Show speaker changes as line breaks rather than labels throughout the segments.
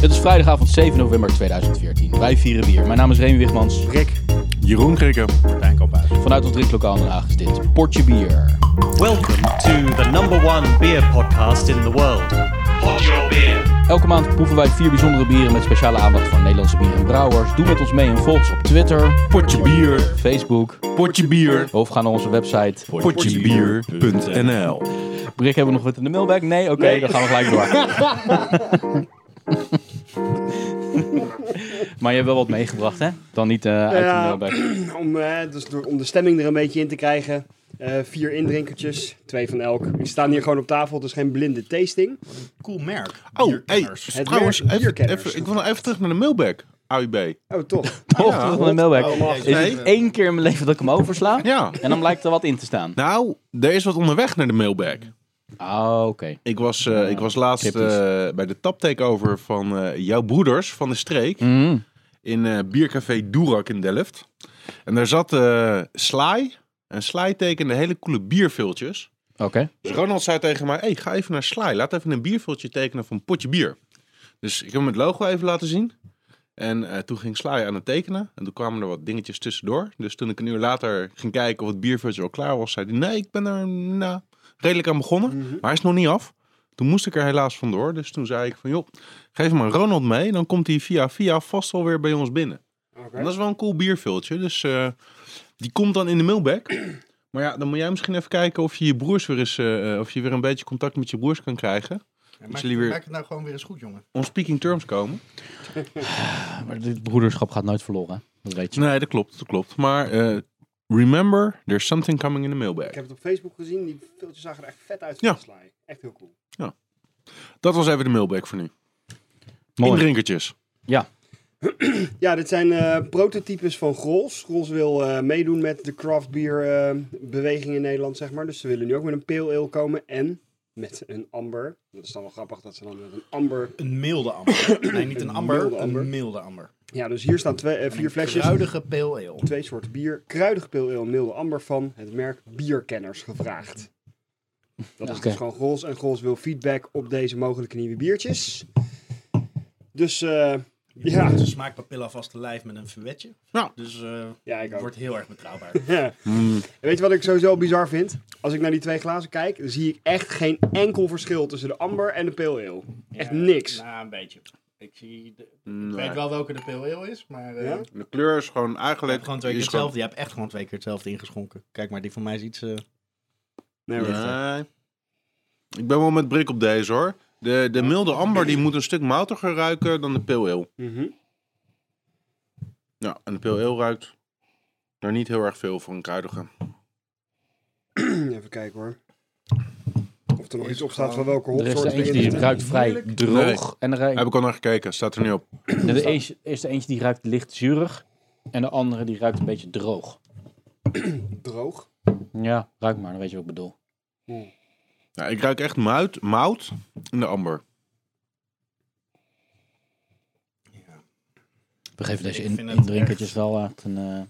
Het is vrijdagavond 7 november 2014. Wij vieren bier. Mijn naam is Remy Wigmans.
Rick.
Jeroen Krikke.
Martijn Kamphuis.
Vanuit ons drinklokaal in Den Haag is dit Portje Bier.
Welcome to the number one beer podcast in the world. Pod your beer.
Elke maand proeven wij vier bijzondere bieren met speciale aandacht van Nederlandse bieren en brouwers. Doe met ons mee en volg ons op Twitter,
Potje bier,
Facebook
potje bier,
of ga naar onze website.
potjebier.nl.
Rick, hebben we nog wat in de mailbag? Nee? Oké, dan gaan we gelijk door. maar je hebt wel wat meegebracht, hè? Dan niet eh, uit
Ja.
de mailbag.
Om, eh, dus door, om de stemming er een beetje in te krijgen. eh, vier indrinkertjes, twee van elk. Die staan hier gewoon op tafel, dus geen blinde tasting.
cool merk.
Oh, hey,
Bierkenners.
Het
trouwens,
merk
even,
bierkenners.
even, ik wil nog even terug naar de mailbag. AUB.
Oh, toch?
Toch terug naar de mailbag.
wacht.
is
Nee.
het één keer in mijn leven dat ik hem oversla?
Ja.
En dan blijkt er wat in te staan.
Nou, er is wat onderweg naar de mailbag.
Nou.
Ah, oké.
Ik was, eh, ik was laatst
cryptisch.
eh, bij de tap takeover van eh, jouw broeders van de streek.
Mm.
In eh, biercafé Doerak in Delft. En daar zat eh Sly. En Sly tekende hele coole bierviltjes.
Oké.
Dus Ronald zei tegen mij, hey, ga even naar Sly. Laat even een bierviltje tekenen van potje bier. Dus ik heb hem het logo even laten zien. En eh, toen ging Sly aan het tekenen. En toen kwamen er wat dingetjes tussendoor. Dus toen ik een uur later ging kijken of het bierviltje al klaar was, zei hij, nee, ik ben er nou, redelijk aan begonnen. Maar hij is nog niet af. Toen moest ik er helaas vandoor. Dus toen zei ik van, joh, geef maar Ronald mee. Dan komt hij via via vast wel weer bij ons binnen.
Oké.
En dat is wel een cool bierviltje. Dus eh, die komt dan in de mailbag. Maar ja, dan moet jij misschien even kijken of je je broers weer eens, eh, eh, of je weer een beetje contact met je broers kan krijgen.
Maak,
jullie weer-
maak het nou gewoon weer eens goed, jongen.
On speaking terms komen.
Maar dit broederschap gaat nooit verloren. hè? Dat weet je.
Nee, dat klopt, dat klopt. Maar eh, remember, there's something coming in the mailbag.
Ik heb het op Facebook gezien, die filmpjes zagen er echt vet uit.
Ja.
Ja. Sly. Echt heel cool.
Dat was even de mailbag voor nu.
Mooi.
Indrinkertjes.
Ja.
Ja, dit zijn eh, prototypes van Grols. Grols wil eh, meedoen met de craft beer eh, beweging in Nederland, zeg maar. Dus ze willen nu ook met een pale ale komen en met een amber. Dat is dan wel grappig dat ze dan met een amber...
Een milde amber. nee, niet een amber,
milde amber.
een milde amber.
Ja, dus hier staan twee, eh,
Een
vier flesjes.
Kruidige pale ale.
twee soorten bier. Kruidig pale ale, milde amber van het merk Bierkenners gevraagd. Dat is
Oké.
dus gewoon Grols. En Grols wil feedback op deze mogelijke nieuwe biertjes. Dus eh, ja,
Ze smaakt papilla vast te lijf met een verwetje.
Ja.
Dus eh
ja, ik ook.
wordt heel erg betrouwbaar.
En weet je wat ik sowieso bizar vind? Als ik naar die twee glazen kijk, dan zie ik echt geen enkel verschil tussen de amber en de pale ale. Echt
Ja,
niks.
Nou, een beetje. Ik, zie de- ik
Nee.
weet wel welke de pale ale is, maar... eh
Ja?
ik
De kleur is gewoon
heb
eigenlijk...
gewoon twee keer
is gewoon-
hetzelfde. Je hebt echt gewoon twee keer hetzelfde ingeschonken. Kijk maar, die van mij is iets... eh,
Nee, hoor.
Nee. Ik ben wel met Brik op deze hoor. De, de milde amber die moet een stuk moutiger ruiken dan de pale ale.
Mhm.
Ja, en de pale ale ruikt daar niet heel erg veel voor een kruidige.
Hm, Even kijken hoor. Of er nog iets op staat van welke
Er is
hopsoort
er eentje die ruikt vrij droog. En er
Heb ik al naar gekeken, staat er niet op.
er is, is er eentje die ruikt licht zuurig. En de andere die ruikt een beetje droog.
droog.
Ja, ruik maar, dan weet je wat ik bedoel.
Ja, ik ruik echt muit, mout in de amber.
We geven deze
Ik
in,
vind het
indrinkertjes
echt-
wel echt een... eh,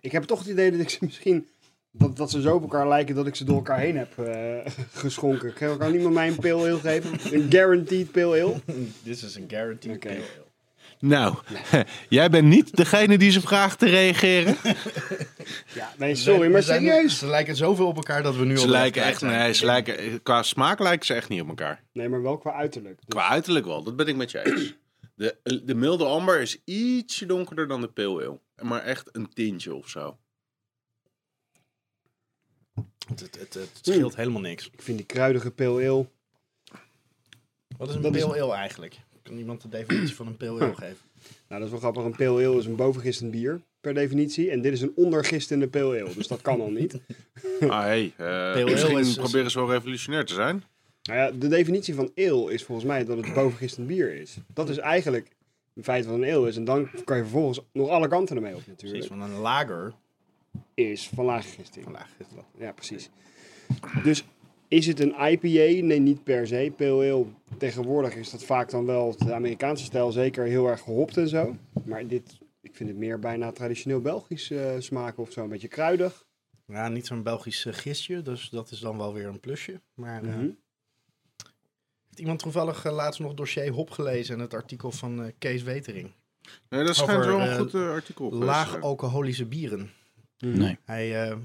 Ik heb toch het idee dat ik ze misschien. Dat, dat ze zo op elkaar lijken dat ik ze door elkaar heen heb eh, geschonken. Kan elkaar niemand mij een pil heel geven? Een guaranteed pil heel?
This is een guaranteed
Oké.
pale ale.
Nou, jij bent niet degene die ze vraagt te reageren.
Ja, nee, sorry, maar
Ze zijn-
serieus.
Ze lijken zoveel op elkaar dat we nu al...
Ze
de
lijken
helft
echt,
kwijt zijn.
nee, ze lijken, qua smaak lijken ze echt niet op elkaar.
Nee, maar wel qua uiterlijk. Dus-
Qua uiterlijk wel, dat ben ik met je eens. De, de milde amber is ietsje donkerder dan de pale ale. Maar echt een tintje of zo.
Het, het, het, het scheelt
Hm.
helemaal niks.
Ik vind die kruidige pil heel.
Wat is een
Dat is-
pale ale eigenlijk? Kan iemand de definitie van een pale ale geven?
Nou, dat is wel grappig. Een pil heel is een bovengistend bier, per definitie. En dit is een ondergistende pil heel. Dus dat kan al niet.
Ah, hey, eh,
ale
misschien
is- is-
proberen ze wel revolutionair te zijn.
Nou ja, de definitie van ale is volgens mij dat het bovengistend bier is. Dat is eigenlijk in feite wat een ale is. En dan kan je vervolgens nog alle kanten ermee op,
Precies,
natuurlijk.
van een lager.
Is van lage gisting.
lager is dat.
Ja, precies. Dus is het een IPA? Nee, niet per se. Pale ale, tegenwoordig is dat vaak dan wel de Amerikaanse stijl zeker heel erg gehopt en zo. Maar dit, ik vind het meer bijna traditioneel Belgisch eh, smaken of zo. Een beetje kruidig.
Ja, niet zo'n Belgisch eh, gistje, dus dat is dan wel weer een plusje. Maar eh,
Mhm.
had iemand toevallig eh, laatst nog dossier Hop gelezen en het artikel van eh, Kees Wetering.
Nee, dat schijnt
Over,
wel een
eh,
goed eh, artikel. op, eh,
Laag
schrijven.
alcoholische bieren.
Hmm.
Nee.
Hij eh,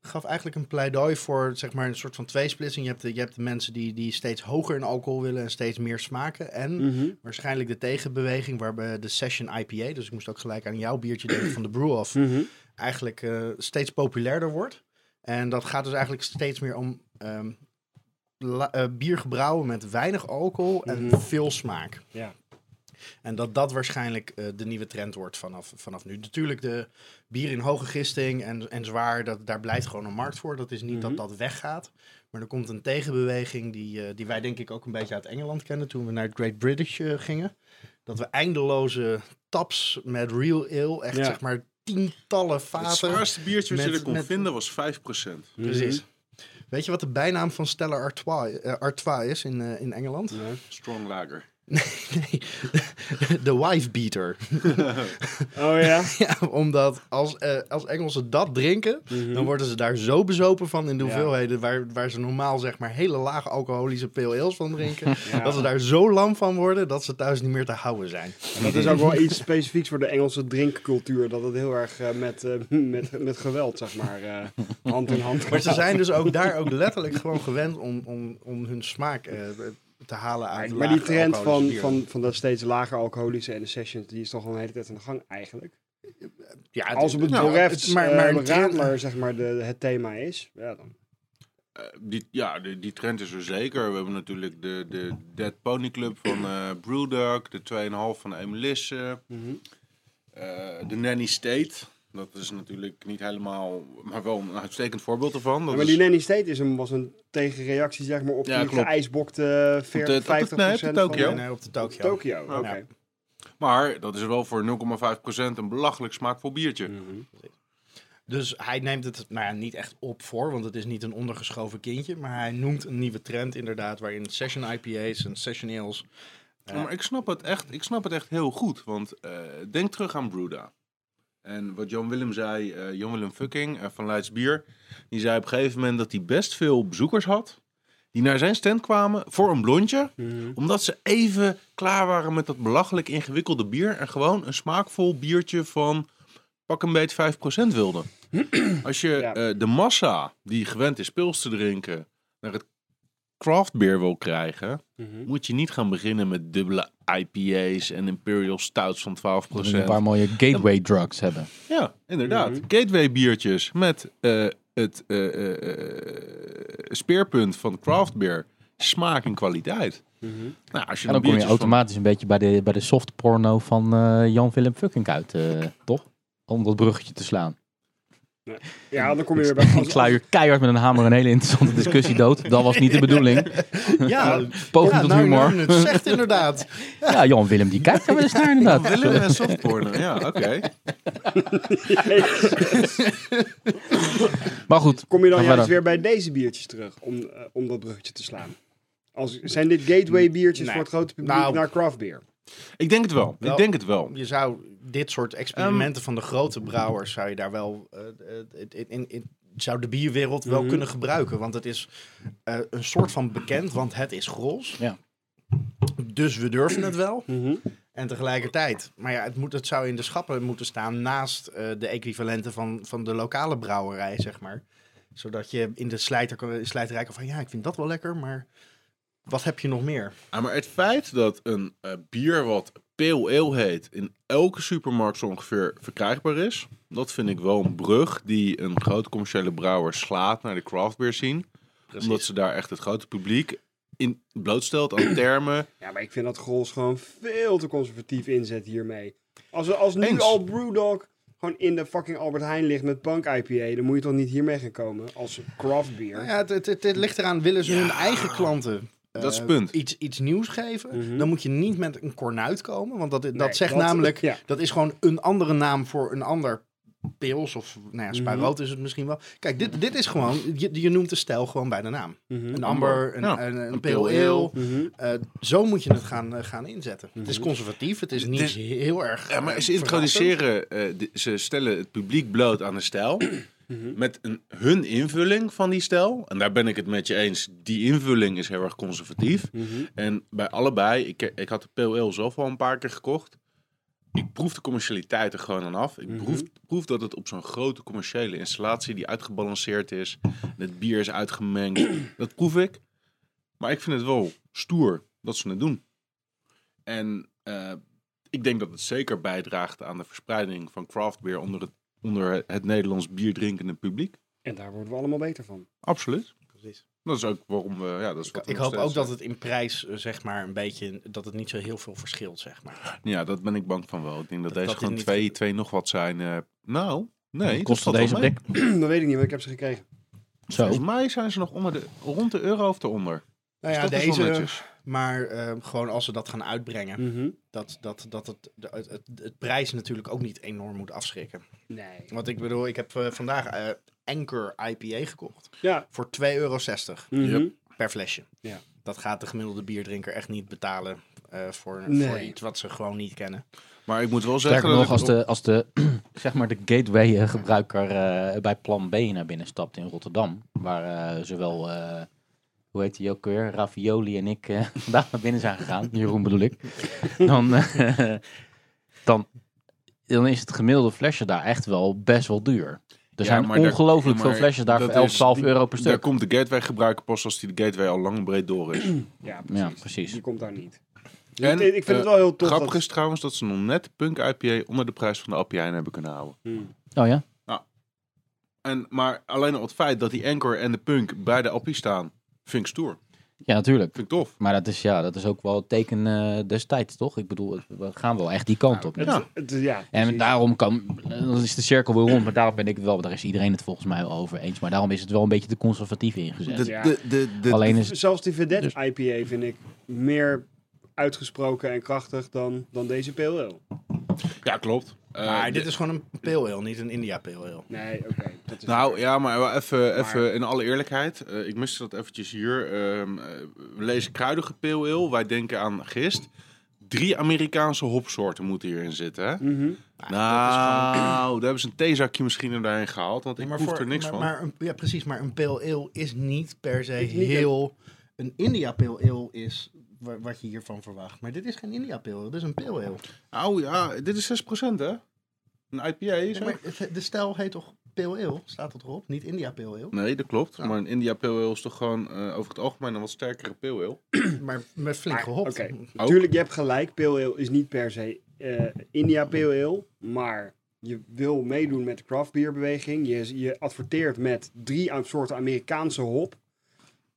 gaf eigenlijk een pleidooi voor zeg maar, een soort van tweesplitsing. Je hebt de, je hebt de mensen die, die steeds hoger in alcohol willen en steeds meer smaken. En
Mhm.
waarschijnlijk de tegenbeweging waarbij de Session IPA, dus ik moest ook gelijk aan jouw biertje denken van de Brew Off,
Mhm.
eigenlijk eh, steeds populairder wordt. En dat gaat dus eigenlijk steeds meer om ehm, la- eh, bier gebrouwen met weinig alcohol en
Mhm.
veel smaak.
Ja.
En dat dat waarschijnlijk eh, de nieuwe trend wordt vanaf, vanaf nu. Natuurlijk, de bier in hoge gisting en, en zwaar, dat, daar blijft gewoon een markt voor. Dat is niet
Mhm.
dat dat weggaat. Maar er komt een tegenbeweging die, eh, die wij denk ik ook een beetje uit Engeland kennen toen we naar het Great British eh, gingen. Dat we eindeloze taps met real ale, echt
Ja.
zeg maar tientallen
Het
vaten.
zwaarste biertje wat je
met-
er kon
met-
vinden was 5%.
Precies.
Mhm.
Weet je wat de bijnaam van Stella Artois, eh, Artois is in, eh, in Engeland?
Ja.
Strong lager.
Nee, de wife beater.
Oh ja?
Ja, omdat als, eh, als Engelsen dat drinken, dan worden ze daar zo bezopen van in de
Mhm. Ja.
hoeveelheden waar, waar ze normaal zeg maar hele lage alcoholische pale ales van drinken,
Ja.
dat ze daar zo lam van worden dat ze thuis niet meer te houden zijn.
Dat is ook wel iets specifieks voor de Engelse drinkcultuur. Dat het heel erg eh, met, eh, met, met geweld, zeg maar, eh, hand in hand
Maar ze
gaat.
zijn dus ook daar ook letterlijk gewoon gewend om, om, om hun smaak eh, te halen uit
Maar die
lage
trend van,
alcoholische bieren.
van, van dat steeds lager alcoholische en de sessions, die is toch al een hele tijd aan de gang eigenlijk.
ja, het-
Als op het
nou,
Borefts
het-
maar, maar
een trend-
zeg maar, de, het thema is, ja dan.
Eh, die, ja, die, die trend is er zeker. We hebben natuurlijk de, de Dead Pony Club van eh Brewdog, de 2,5 van Emelisse,
Mhm.
eh, de Nanny State. Dat is natuurlijk niet helemaal, maar wel een uitstekend voorbeeld ervan. Dat
Ja, maar
is,
die Nanny State is een, was een tegenreactie, zeg maar, op
Ja,
die
klopt.
geijsbokte
Op
40,
de- op
50%
de- nee, op de
van-
Tokyo.
Nee, nee, op de Tokyo.
Tokio, oké.
Ja.
maar dat is wel voor 0,5% een belachelijk smaakvol biertje.
Mhm.
Dus hij neemt het nou ja, niet echt op voor, want het is niet een ondergeschoven kindje. Maar hij noemt een nieuwe trend inderdaad, waarin session IPA's en session ales...
Ja, maar ik snap het echt, ik snap het echt heel goed. Want eh, denk terug aan Bruda. En wat Jan Willem zei, eh Jan Willem Fucking eh, van Leids Bier. Die zei op een gegeven moment dat hij best veel bezoekers had. Die naar zijn stand kwamen voor een blondje. Omdat ze even klaar waren met dat belachelijk ingewikkelde bier. En gewoon een smaakvol biertje van pak een beet 5% wilden. Als je
Ja.
eh, de massa die gewend is pils te drinken. naar het craftbeer wil krijgen moet je niet gaan beginnen met dubbele IPA's en Imperial Stouts van 12%.
We een paar mooie gateway drugs hebben.
Ja, inderdaad. Gateway biertjes met eh, het eh, eh, eh, speerpunt van craft beer. Smaak en kwaliteit. Nou, als je
En dan kom
dan
je
biertjes van-
automatisch een beetje bij de, bij de soft porno van eh, Jan-Willem Fucking uit, eh, toch? Om dat bruggetje te slaan.
Ja, dan kom je weer bij
Ik sla je keihard met een hamer een hele interessante discussie dood. Dat was niet de bedoeling.
Ja,
Poging
ja
tot
nou,
humor.
nou, het zegt inderdaad.
Ja, Jan-Willem die kijkt daar wel eens naar
Jan
inderdaad.
Willem en softporno, ja, oké.
Maar goed.
Kom je dan
gaan we verder.
juist weer bij deze biertjes terug om, eh, om dat bruggetje te slaan? Als, zijn dit gateway biertjes
Nee.
voor het grote publiek
Nou.
naar craft beer?
Ik denk het wel.
Wel-
Ik denk het wel.
Je zou dit soort experimenten van de grote brouwers, zou je daar wel... eh, eh, in, in, in- zou de bierwereld wel
Mhm.
kunnen gebruiken. Want het is eh, een soort van bekend, want het is grols.
Ja.
Dus we durven het wel. En tegelijkertijd, maar ja, het, moet, het zou in de schappen moeten staan naast eh, de equivalenten van, van de lokale brouwerij, zeg maar. Zodat je in de slijter, kan- slijterij kan van, ja, ik vind dat wel lekker, maar wat heb je nog meer?
Ah, maar het feit dat een eh, bier wat pale ale heet in elke supermarkt zo ongeveer verkrijgbaar is, dat vind ik wel een brug die een grote commerciële brouwer slaat naar de craft beer scene. Omdat ze daar echt het grote publiek in blootstelt aan termen.
Ja, maar ik vind dat Grols gewoon veel te conservatief inzet hiermee. Als, als nu
Eens.
al Brewdog gewoon in de fucking Albert Heijn ligt met punk IPA, dan moet je toch niet hiermee gaan komen als craft beer.
Nou ja, het, het, het, het ligt eraan, willen ze hun eigen klanten eh,
Dat is het punt.
Iets, iets nieuws geven, dan moet je niet met een kornuit komen, want dat, dat
Mhm. Nee,
zegt
dat-
namelijk,
ja.
dat is gewoon een andere naam voor een ander pils of nou ja,
Mhm.
spaarrood is het misschien wel. Kijk, dit, dit is gewoon, je, je noemt de stijl gewoon bij de naam.
Mhm.
Een amber, een,
Ja,
een, een
een
pale
pale
ale.
ale.
Eh, zo moet je het gaan, eh, gaan inzetten. Het
Mhm.
is conservatief, het is niet
is-
heel erg.
Ja, maar
eh,
ze introduceren, eh, di- ze stellen het publiek bloot aan de stijl. met een, hun invulling van die stijl. En daar ben ik het met je eens. Die invulling is heel erg conservatief. En bij allebei, ik, ik had de Pale Ale zelf al een paar keer gekocht. Ik proef de commercialiteit er gewoon aan af. Ik proef, proef dat het op zo'n grote commerciële installatie die uitgebalanceerd is. en Het bier is uitgemengd. dat proef ik. Maar ik vind het wel stoer dat ze het doen. En eh, ik denk dat het zeker bijdraagt aan de verspreiding van craft beer onder het, onder het Nederlands bierdrinkende publiek.
En daar worden we allemaal beter van.
Absoluut.
Precies.
Dat is ook waarom we. Ja, dat is wat we
Ik
nog
hoop
steeds-
ook dat het in prijs, eh, zeg maar, een beetje, dat het niet zo heel veel verschilt, zeg maar. Nou
Ja, dat ben ik bang van wel. Ik denk dat,
Dat-
deze
dat
gewoon
dit niet-
twee, twee nog wat zijn. eh, nou, nee.
Nee,
dat
kosten
valt wel
deze op
mee.
dek. nou.
dat weet ik niet, want ik heb ze gekregen.
Zo.
Volgens mij zijn ze nog onder de, rond de euro of eronder.
Nou
Dus
ja,
dat is wel
deze,
netjes.
maar eh, gewoon als ze dat gaan uitbrengen,
Mm.
Mhm.
dat, dat, dat het, de- het, het, het prijs natuurlijk ook niet enorm moet afschrikken.
Nee.
Want ik bedoel, ik heb eh, vandaag eh, Anchor IPA gekocht
Ja.
voor 2,60 euro
Mhm.
per flesje.
Ja.
Dat gaat de gemiddelde bierdrinker echt niet betalen eh, voor,
Nee.
voor iets wat ze gewoon niet kennen.
Maar ik moet wel zeggen.
Sterker nog,
ik
als
op-
de, als de, zeg maar de gateway-gebruiker eh, bij plan B naar binnen stapt in Rotterdam, waar eh, zowel, eh, hoe heet die ook weer, Ravioli en ik eh, vandaag naar binnen zijn gegaan, Jeroen bedoel ik, dan, eh, dan, dan is het gemiddelde flesje daar echt wel best wel duur. Er
Ja,
zijn
maar daar-
ongelooflijk
ja,
veel
maar
flesjes daar
dat
voor 11,
is-
12
die-
euro per
Daar
stuk.
komt de gateway gebruiker pas als die de gateway al lang en breed door is.
Ja, precies.
Ja, precies.
Die komt daar niet. Dus
En,
ik, ik vind
eh,
het wel heel tof.
Grappig
dat-
is trouwens dat ze nog net de Punk IPA onder de prijs van de IPA hebben kunnen houden.
Hmm.
Oh ja?
En, maar alleen al het feit dat die Anchor en de Punk bij de appie staan, vind ik stoer.
Ja, natuurlijk.
Vind ik tof.
Maar dat is, ja, dat is ook wel het teken eh, destijds, toch? Ik bedoel, we gaan wel echt die kant op.
Het,
Ja.
het- ja,
En
precies.
daarom kan, eh, dan is de cirkel weer rond, maar daarom ben ik het wel, daar is iedereen het volgens mij wel over eens. Maar daarom is het wel een beetje de conservatieve ingezet.
Ja.
de,
Alleen is
Zelfs die Vedette IPA vind ik meer uitgesproken en krachtig dan, dan deze PLL.
ja, klopt. Eh,
maar dit
de-
is gewoon een pale ale, niet een India pale ale.
Nee, oké. dat is
Nou ja, maar wel even, even in alle eerlijkheid. eh, ik miste dat eventjes hier. Ehm, eh, we lezen kruidige pale ale. Wij denken aan gist. Drie Amerikaanse hopsoorten moeten hierin zitten. Hè?
Mhm.
Nou, daar hebben ze een theezakje misschien er doorheen gehaald. Want ik proef er niks
maar,
van.
Maar, een- ja, precies. Maar een pale ale is niet per se
Is niet
heel... Een India pale ale is wa- wat je hiervan verwacht. Maar dit is geen India pale ale, dit is een pale ale.
Oh ja, dit is 6% hè? Een IPA is
Ja, maar het- de stijl heet toch pale ale? Staat dat erop? Niet India pale ale?
Nee, dat klopt. Maar een India Pale Ale is toch gewoon eh, over het algemeen een wat sterkere Pale Ale?
Maar met flink
Maar,
gehopt.
oké.
Ook.
Tuurlijk, je hebt gelijk. Pale Ale is niet per se eh, India Pale Ale. Maar je wil meedoen met de craft beer beweging. Je, je adverteert met drie aan- soorten Amerikaanse hop.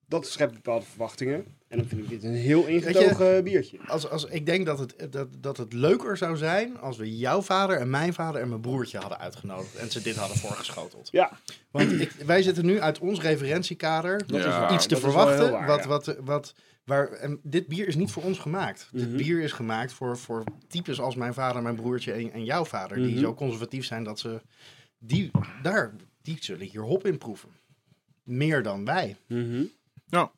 Dat schept bepaalde verwachtingen. En dan vind ik dit een heel ingetogen biertje.
Als, als, ik denk dat het, dat, dat het leuker zou zijn als we jouw vader en mijn vader en mijn broertje hadden uitgenodigd. En ze dit hadden voorgeschoteld.
Ja,
Want ik, wij zitten nu uit ons referentiekader
Dat is
iets te
dat is wel
verwachten.
heel waar,
wat,
ja.
wat, wat, waar, en dit bier is niet voor ons gemaakt.
Mhm.
Dit bier is gemaakt voor, voor types als mijn vader, mijn broertje en, en jouw vader.
Mhm.
Die zo conservatief zijn dat ze... Die, daar, die zullen hier hop in proeven. Meer dan wij.
Ja.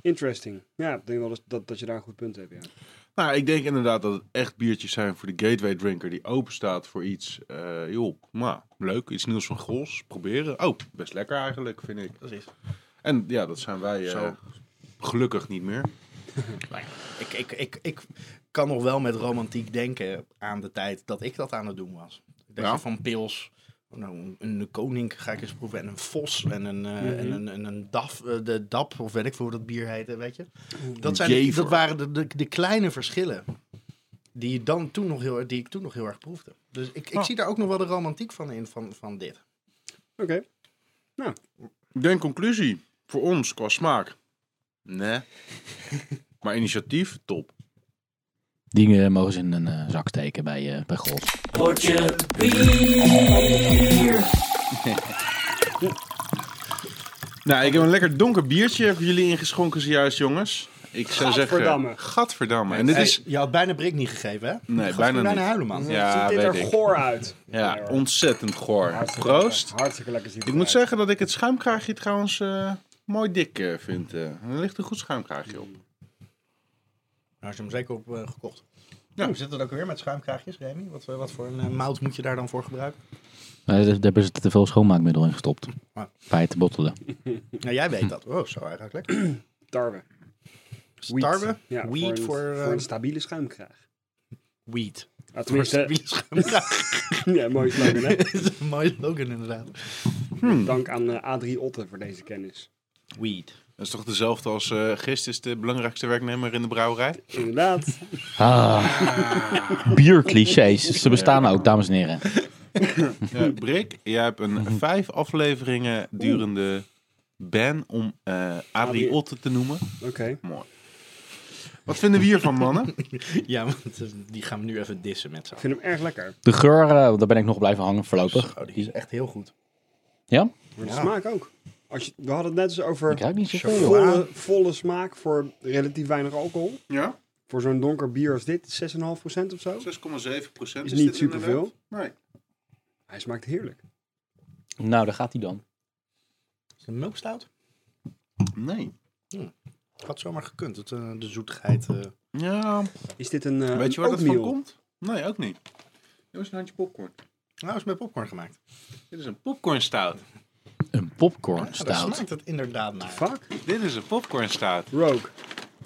interesting. Ja, ik denk wel eens dat, dat je daar een goed punt hebt. Ja.
Nou, ik denk inderdaad dat het echt biertjes zijn voor de gateway drinker die open staat voor iets. eh, joh, maar leuk, iets nieuws van Gros, proberen. Oh, best lekker eigenlijk, vind ik. En ja, dat zijn wij eh,
Zo.
gelukkig niet meer.
Ik, ik, ik, ik kan nog wel met romantiek denken aan de tijd dat ik dat aan het doen was. Dat
Ja.
je van pils, nou, een, een koning ga ik eens proeven en een vos en een, eh,
Mhm.
en een, en een daf, eh, de dap of weet ik veel hoe dat bier heette, weet je. Dat, zijn de,
jever.
dat waren de, de, de kleine verschillen die, je dan toen nog heel, die ik toen nog heel erg proefde. Dus ik, ik
Ah.
zie daar ook nog wel de romantiek van in, van, van dit.
Oké.
Ik denk conclusie, voor ons qua smaak, nee. maar initiatief, top.
die eh, mogen ze in een eh, zak steken bij, eh bij Gros.
Nou, ik heb een lekker donker biertje voor jullie ingeschonken zojuist, jongens. Ik zou
Gadverdamme.
zeggen, gadverdamme. En dit
Hey,
is...
Dus je had bijna Brik niet gegeven, hè?
Nee,
Gaat
bijna
bijna
niet.
huilen, man.
Ja,
Ziet dit
weet
er
ik.
goor uit.
Ja,
hoor.
ontzettend goor.
Hartstikke
Proost.
lekker. Hartstikke lekker ziet
Ik
het
moet
eruit.
zeggen dat ik het schuimkraagje trouwens eh, mooi dik eh, vind. eh. Er ligt een goed schuimkraagje op.
Nou, ze hem zeker op eh, gekocht.
Ja.
Ja. zit het ook weer met schuimkraagjes, Remy? Wat, eh, wat voor een eh, mout moet je daar dan voor gebruiken?
Nee, daar daar hebben ze te veel schoonmaakmiddel in gestopt.
Ah.
Bij het bottelen.
Nou, jij weet dat. Oh, zo eigenlijk lekker.
Tarwe. Wheat.
Tarwe?
Ja,
Weed
voor,
voor...
een,
eh,
voor een stabiele schuimkraag.
Weed.
Ah,
Voor
tenminste,
stabiele schuimkraag.
ja, mooi slogan, hè?
Dat is een mooie slogan inderdaad.
Dank aan eh, A3 Otten voor deze kennis.
Weed.
Dat is toch dezelfde als eh Gist is de belangrijkste werknemer in de brouwerij?
Inderdaad.
Ah. Bierclichés. Ze bestaan ook, dames en heren.
Ja, Brik, jij hebt een vijf afleveringen durende ban om eh Adrie
Adrie.
Otte te noemen.
Oké.
Mooi. Wat vinden we hiervan, mannen?
Ja, want eh, die gaan we nu even dissen met z'n
Ik
allen.
vind hem erg lekker.
De geur, eh, daar ben ik nog blijven hangen voorlopig.
Zo, Oh, die is echt heel goed.
Ja?
Maar de
Ja.
smaak ook. Als je, we hadden het net eens
Ik
over
ruik niet zoveel.
Chocola.
joh.
volle, volle smaak voor relatief weinig alcohol.
Ja,
Voor zo'n donker bier als dit, 6,5% of zo.
6,7 procent
Is niet superveel.
Nee.
Hij smaakt heerlijk.
Nou, daar gaat hij dan.
Is het een melkstout?
Nee.
Had zomaar gekund. Het, eh, de zoetigheid. eh.
Ja,
Is dit een eh
weet je waar
een
dat van
oatmeal?
komt? Nee, ook niet. Dit is een handje popcorn.
Nou, is met popcorn gemaakt.
Dit is een popcornstout.
Een popcorn
Ja, daar
stout.
smaakt het inderdaad naar.
Fuck.
Dit is een popcornstout.
Rogue.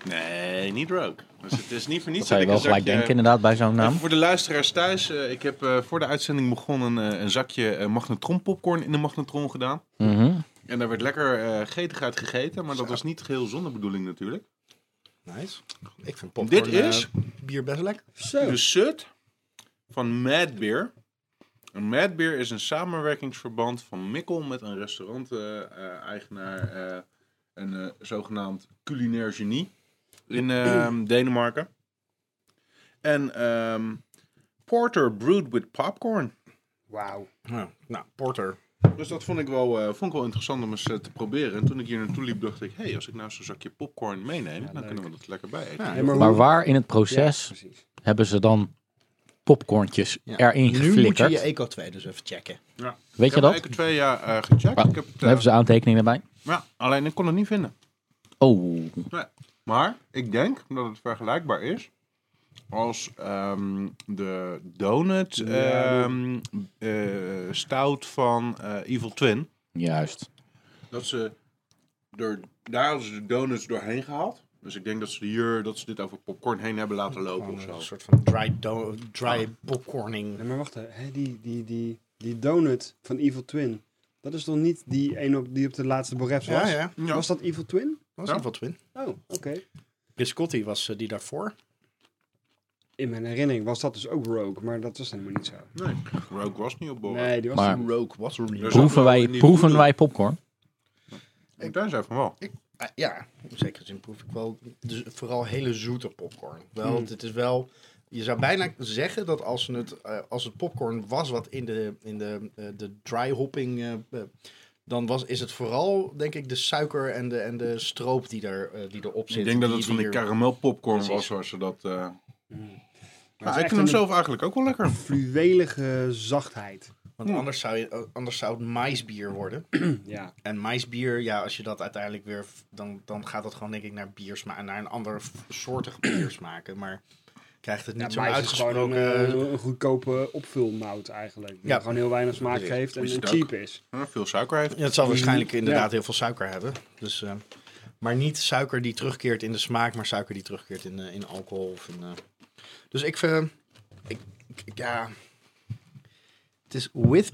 Nee, niet rook. Dus het is niet voor niets
Dat zou je wel
een
gelijk
zakje-
denken inderdaad bij zo'n naam.
Even voor de luisteraars thuis, eh, ik heb eh, voor de uitzending begonnen een, eh, een zakje eh, magnetron popcorn in de magnetron gedaan.
Mhm.
En daar werd lekker eh, getig uit gegeten, maar dat was niet geheel zonder bedoeling natuurlijk.
Nice. Ik vind popcorn
Dit is-
eh, bier best lekker.
Zo.
De Sut van Mad Beer. En Mad Beer is een samenwerkingsverband van Mikkel met een restaurant-eigenaar, een eh, zogenaamd culinair genie in ehm, Denemarken. En ehm, Porter Brewed with Popcorn.
Wauw.
Ja, nou, porter.
Dus dat vond ik wel, eh, vond ik wel interessant om eens eh, te proberen. En toen ik hier naartoe liep, dacht ik: hé, hey, als ik nou zo'n zakje popcorn meeneem, dan kunnen we dat lekker bij eten.
Ja,
Hey, maar
Maar
hoe-
waar in het
Ja,
proces
precies.
hebben ze dan popcorntjes
Ja.
erin
Nu moet je
geflikkerd?
je Eco 2 dus even checken.
Weet
ik
je
heb
dat?
Ik heb twee jaar eh, gecheckt.
Ah,
ik heb het,
Daar hebben
eh,
ze aantekeningen bij.
ja, alleen ik kon het niet vinden.
Oh,
Nee. Maar ik denk dat het vergelijkbaar is als ehm, de donut ehm, eh, stout van eh, Evil Twin.
juist.
dat ze er, daar hadden ze de donuts doorheen gehaald. Dus ik denk dat ze hier dat ze dit over popcorn heen hebben laten lopen of
Gewoon
zo.
Ah. Een soort van dry, do- dry popcorning.
Nee, maar wacht, hè, die, die, die, die donut van Evil Twin. Dat is toch niet die een op, die op de laatste borefs was?
Ja, ja.
Ja.
Was dat Evil Twin?
Dat was
Ja.
in wat twin.
Oh, oké.
Biscotti was eh, die daarvoor.
In mijn herinnering was dat dus ook Rogue, maar dat was helemaal niet zo.
Oh.
Nee, rook was niet op borrel.
Nee, die was
Maar-
toen-
Rogue was er
Dus dat
Proeven
wel
wij,
in die
proeven
voeding.
wij popcorn?
Ik daar zei van wel.
Ah, ja, in zekere zin proef ik wel dus vooral hele zoete popcorn. Wel, dit is wel... Je zou bijna zeggen dat als het, eh, als het popcorn was wat in de, in de, eh, de dry hopping... eh, eh, dan was, is het vooral, denk ik, de suiker en de, en de stroop die, er, eh, die erop zit.
Ik denk dat
die-
het van
die
die
er-
karamel popcorn
Precies.
was waar ze dat. eh,
het
Maar
is
ik
echt
vind hem
een
zelf eigenlijk ook wel lekker.
fluwelige zachtheid.
Hmm.
Want anders zou, je, eh, anders zou het maisbier worden.
Ja.
En maisbier, ja, als je dat uiteindelijk weer... Dan, dan gaat dat gewoon, denk ik, naar biersmaak... Naar een ander soortig biersmaken. Maar krijgt het niet
ja,
zo'n
mais is gewoon
uitgesproken...
een, eh, een goedkope opvulmout eigenlijk. Die
Ja.
gewoon heel weinig smaak geeft en
Is het
cheap
ook.
is.
Ja, veel suiker heeft.
Ja, het zal waarschijnlijk
Ja.
inderdaad heel veel suiker hebben. Dus, eh, maar niet suiker die terugkeert in de smaak, maar suiker die terugkeert in, eh, in alcohol. Of in, eh. Dus ik vind. Ik, ik- ja. Het is with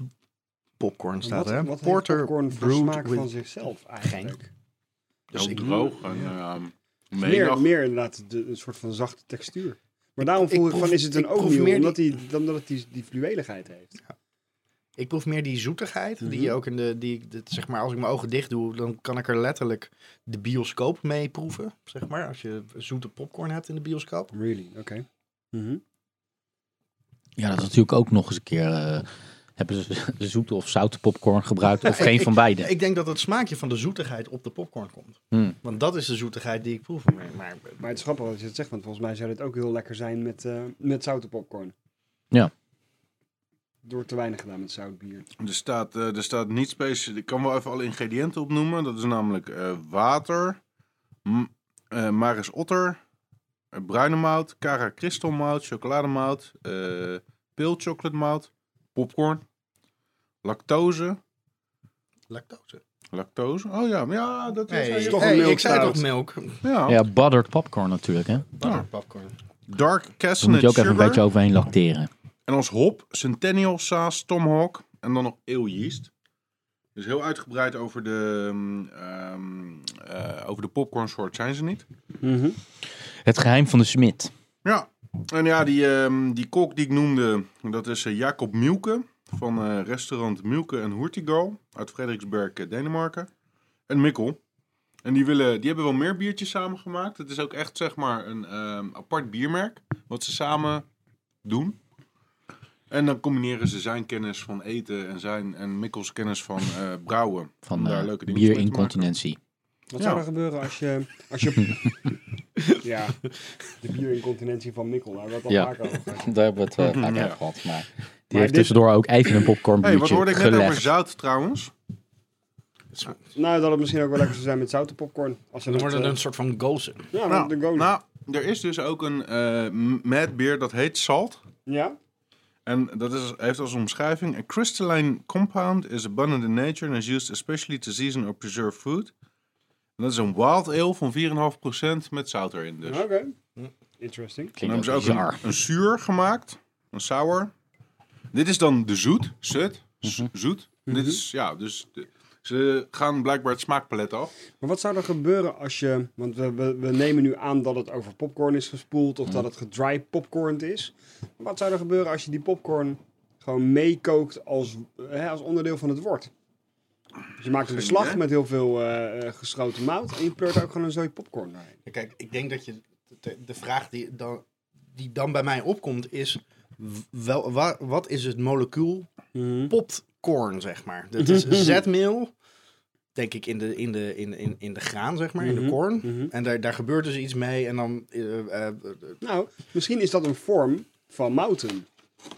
popcorn staat
Wat,
er. hè?
wat
Porter
heeft popcorn voor
brewed
smaak
with-
van zichzelf eigenlijk?
Dus
heel
ik-
droog en ehm
Meer,
menig.
meer inderdaad de, een soort van zachte textuur. Maar daarom
ik
voel ik,
proef-
van is het een
ik proef
oatmeal,
meer
omdat, die, dan dat het die, die fluweligheid heeft.
Ik proef meer die zoetigheid. Die je ook in de. Die, ik- dat, zeg maar, als ik mijn ogen dicht doe, dan kan ik er letterlijk de bioscoop mee proeven. Zeg maar. Als je zoete popcorn hebt in de bioscoop.
Really, oké. Mhm.
Ja, dat is natuurlijk ook nog eens een keer. eh, hebben ze zoete of zoute popcorn gebruikt? Of geen van beide?
Ik denk dat het smaakje van de zoetigheid op de popcorn komt.
Hmm.
Want dat is de zoetigheid die ik proef. Maar, maar
Maar het is grappig dat je dat zegt, want volgens mij zou dit ook heel lekker zijn met, eh met zoute popcorn.
Ja.
Door te weinig gedaan met zout bier.
Er staat, eh, er staat niet specifiek. Ik kan wel even alle ingrediënten opnoemen. Dat is namelijk eh, water, m- eh, Maris Otter, eh, eh, bruine mout, Cara Crystal mout, chocolademout, eh pil chocolate mout, popcorn, lactose.
Lactose.
Lactose? Oh ja, maar ja, dat is...
Nee,
is
ja,
toch een
nee,
milk
ik zei
stout.
toch melk.
ja.
Ja, buttered popcorn natuurlijk, hè.
Butter popcorn.
Dark
Daar moet
Chestnut
je ook even een
Sugar.
beetje overheen lacteren.
En als hop, Centennial Saas, Tomahawk en dan nog ale yeast. Dus heel uitgebreid over de, ehm, ehm, eh, over de popcorn soort zijn ze niet.
Mhm.
Het geheim van de smid.
Ja, en ja, die, ehm, die kok die ik noemde, dat is eh, Jacob Mielke van eh, restaurant Mielke en Hurtigal uit Frederiksberg, eh, Denemarken. En Mikkel. En die, willen, die hebben wel meer biertjes samen gemaakt. Het is ook echt zeg maar een ehm, apart biermerk wat ze samen doen. En dan combineren ze zijn kennis van eten en, zijn, en Mikkels kennis van eh, brouwen.
Van
Om daar
eh,
leuke dingen mee te maken.
bierincontinentie.
Wat
Ja.
zou er gebeuren als je... Als je ja, de bierincontinentie van Mikkel, daar hebben we het
Ja.
al vaker over gehad.
Daar hebben we het eh,
vaak Mhm, Ja. over
gehad. Maar die
dit-
heeft tussendoor ook even een popcorn
hey, wat
biertje
hoorde ik net over
gelegd.
zout trouwens?
Nou, dat het misschien ook wel lekker zou zijn met zouten popcorn. Als ze
Dan
dat,
wordt het
eh,
een soort van gozen.
Ja,
Nou,
de gozer.
nou, er is dus ook een eh mad beer dat heet Salt.
ja?
En dat is, heeft als omschrijving: A crystalline compound is abundant in nature and is used especially to season or preserve food. En dat is een wild ale van 4,5% met zout erin. Dus.
Oké.
En
Interesting.
Dan
Klinkt
hebben ze
ook
ook een,
bizar.
een zuur gemaakt, een sour. Dit is dan de zoet, zut, z-
Mhm.
zoet. Dit is, ja, dus de- ze gaan blijkbaar het smaakpalet af.
Maar wat zou er gebeuren als je... Want we, we, we nemen nu aan dat het over popcorn is gespoeld... of dat het gedry popcorn is. Maar wat zou er gebeuren als je die popcorn gewoon meekookt als, hè, als onderdeel van het wort? Dus je maakt
Geen
een beslag
idee.
met heel veel eh, eh, geschoten mout... en je pleurt ook gewoon een zooi popcorn doorheen.
Ja, Kijk, ik denk dat je de, de vraag die dan, die dan bij mij opkomt is: w- wel, wa- wat is het molecuul
Mhm.
popcorn, zeg maar? Dat is zetmeel, denk ik, in de, in de, in, in, in de graan, zeg maar, in de
Mhm,
korn.
mhm.
En daar, daar gebeurt dus iets mee en dan. eh, eh,
Nou, misschien is dat een vorm van mouten.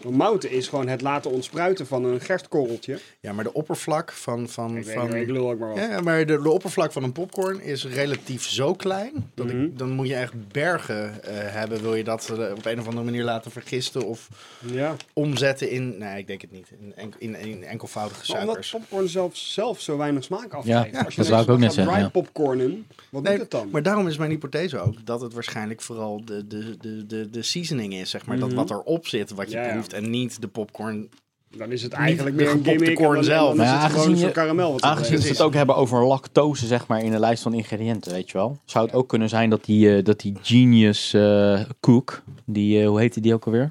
Want mouten is gewoon het laten ontspruiten van een gerstkorreltje.
ja, maar de oppervlak van. van,
Ik, weet, ik
van
lul ook maar wat.
ja, ja, maar de, de oppervlak van een popcorn is relatief zo klein. Dat
Mhm.
ik, dan moet je echt bergen eh, hebben. Wil je dat eh, op een of andere manier laten vergisten? Of
Ja.
omzetten in, nee, ik denk het niet, in, enk- in, in enkelvoudige
Maar omdat
suikers.
popcorn zelf, zelf zo weinig smaak afgeeft.
Ja,
Als je
dat
ineens
wou ik ook net
gaat
zeggen,
dry
ja.
popcornen, wat
Nee,
doet het dan?
maar daarom is mijn hypothese ook dat het waarschijnlijk vooral de, de, de, de, de seasoning is, zeg maar.
Mhm.
Dat wat erop zit, wat je
Ja, ja.
proeft en niet de popcorn.
dan is het eigenlijk
niet
meer een
de gepopte
gimmick.
korn
en dan,
zelf.
Dan
Maar
is
ja,
het gewoon
aangezien
zo'n
je-
karamel. Wat
Aangezien
erbij
ze
is.
het ook hebben over lactose, zeg maar, in de lijst van ingrediënten, weet je wel. Zou het ook kunnen zijn dat die, eh, dat die genius eh cook, die, eh, hoe heette die ook alweer?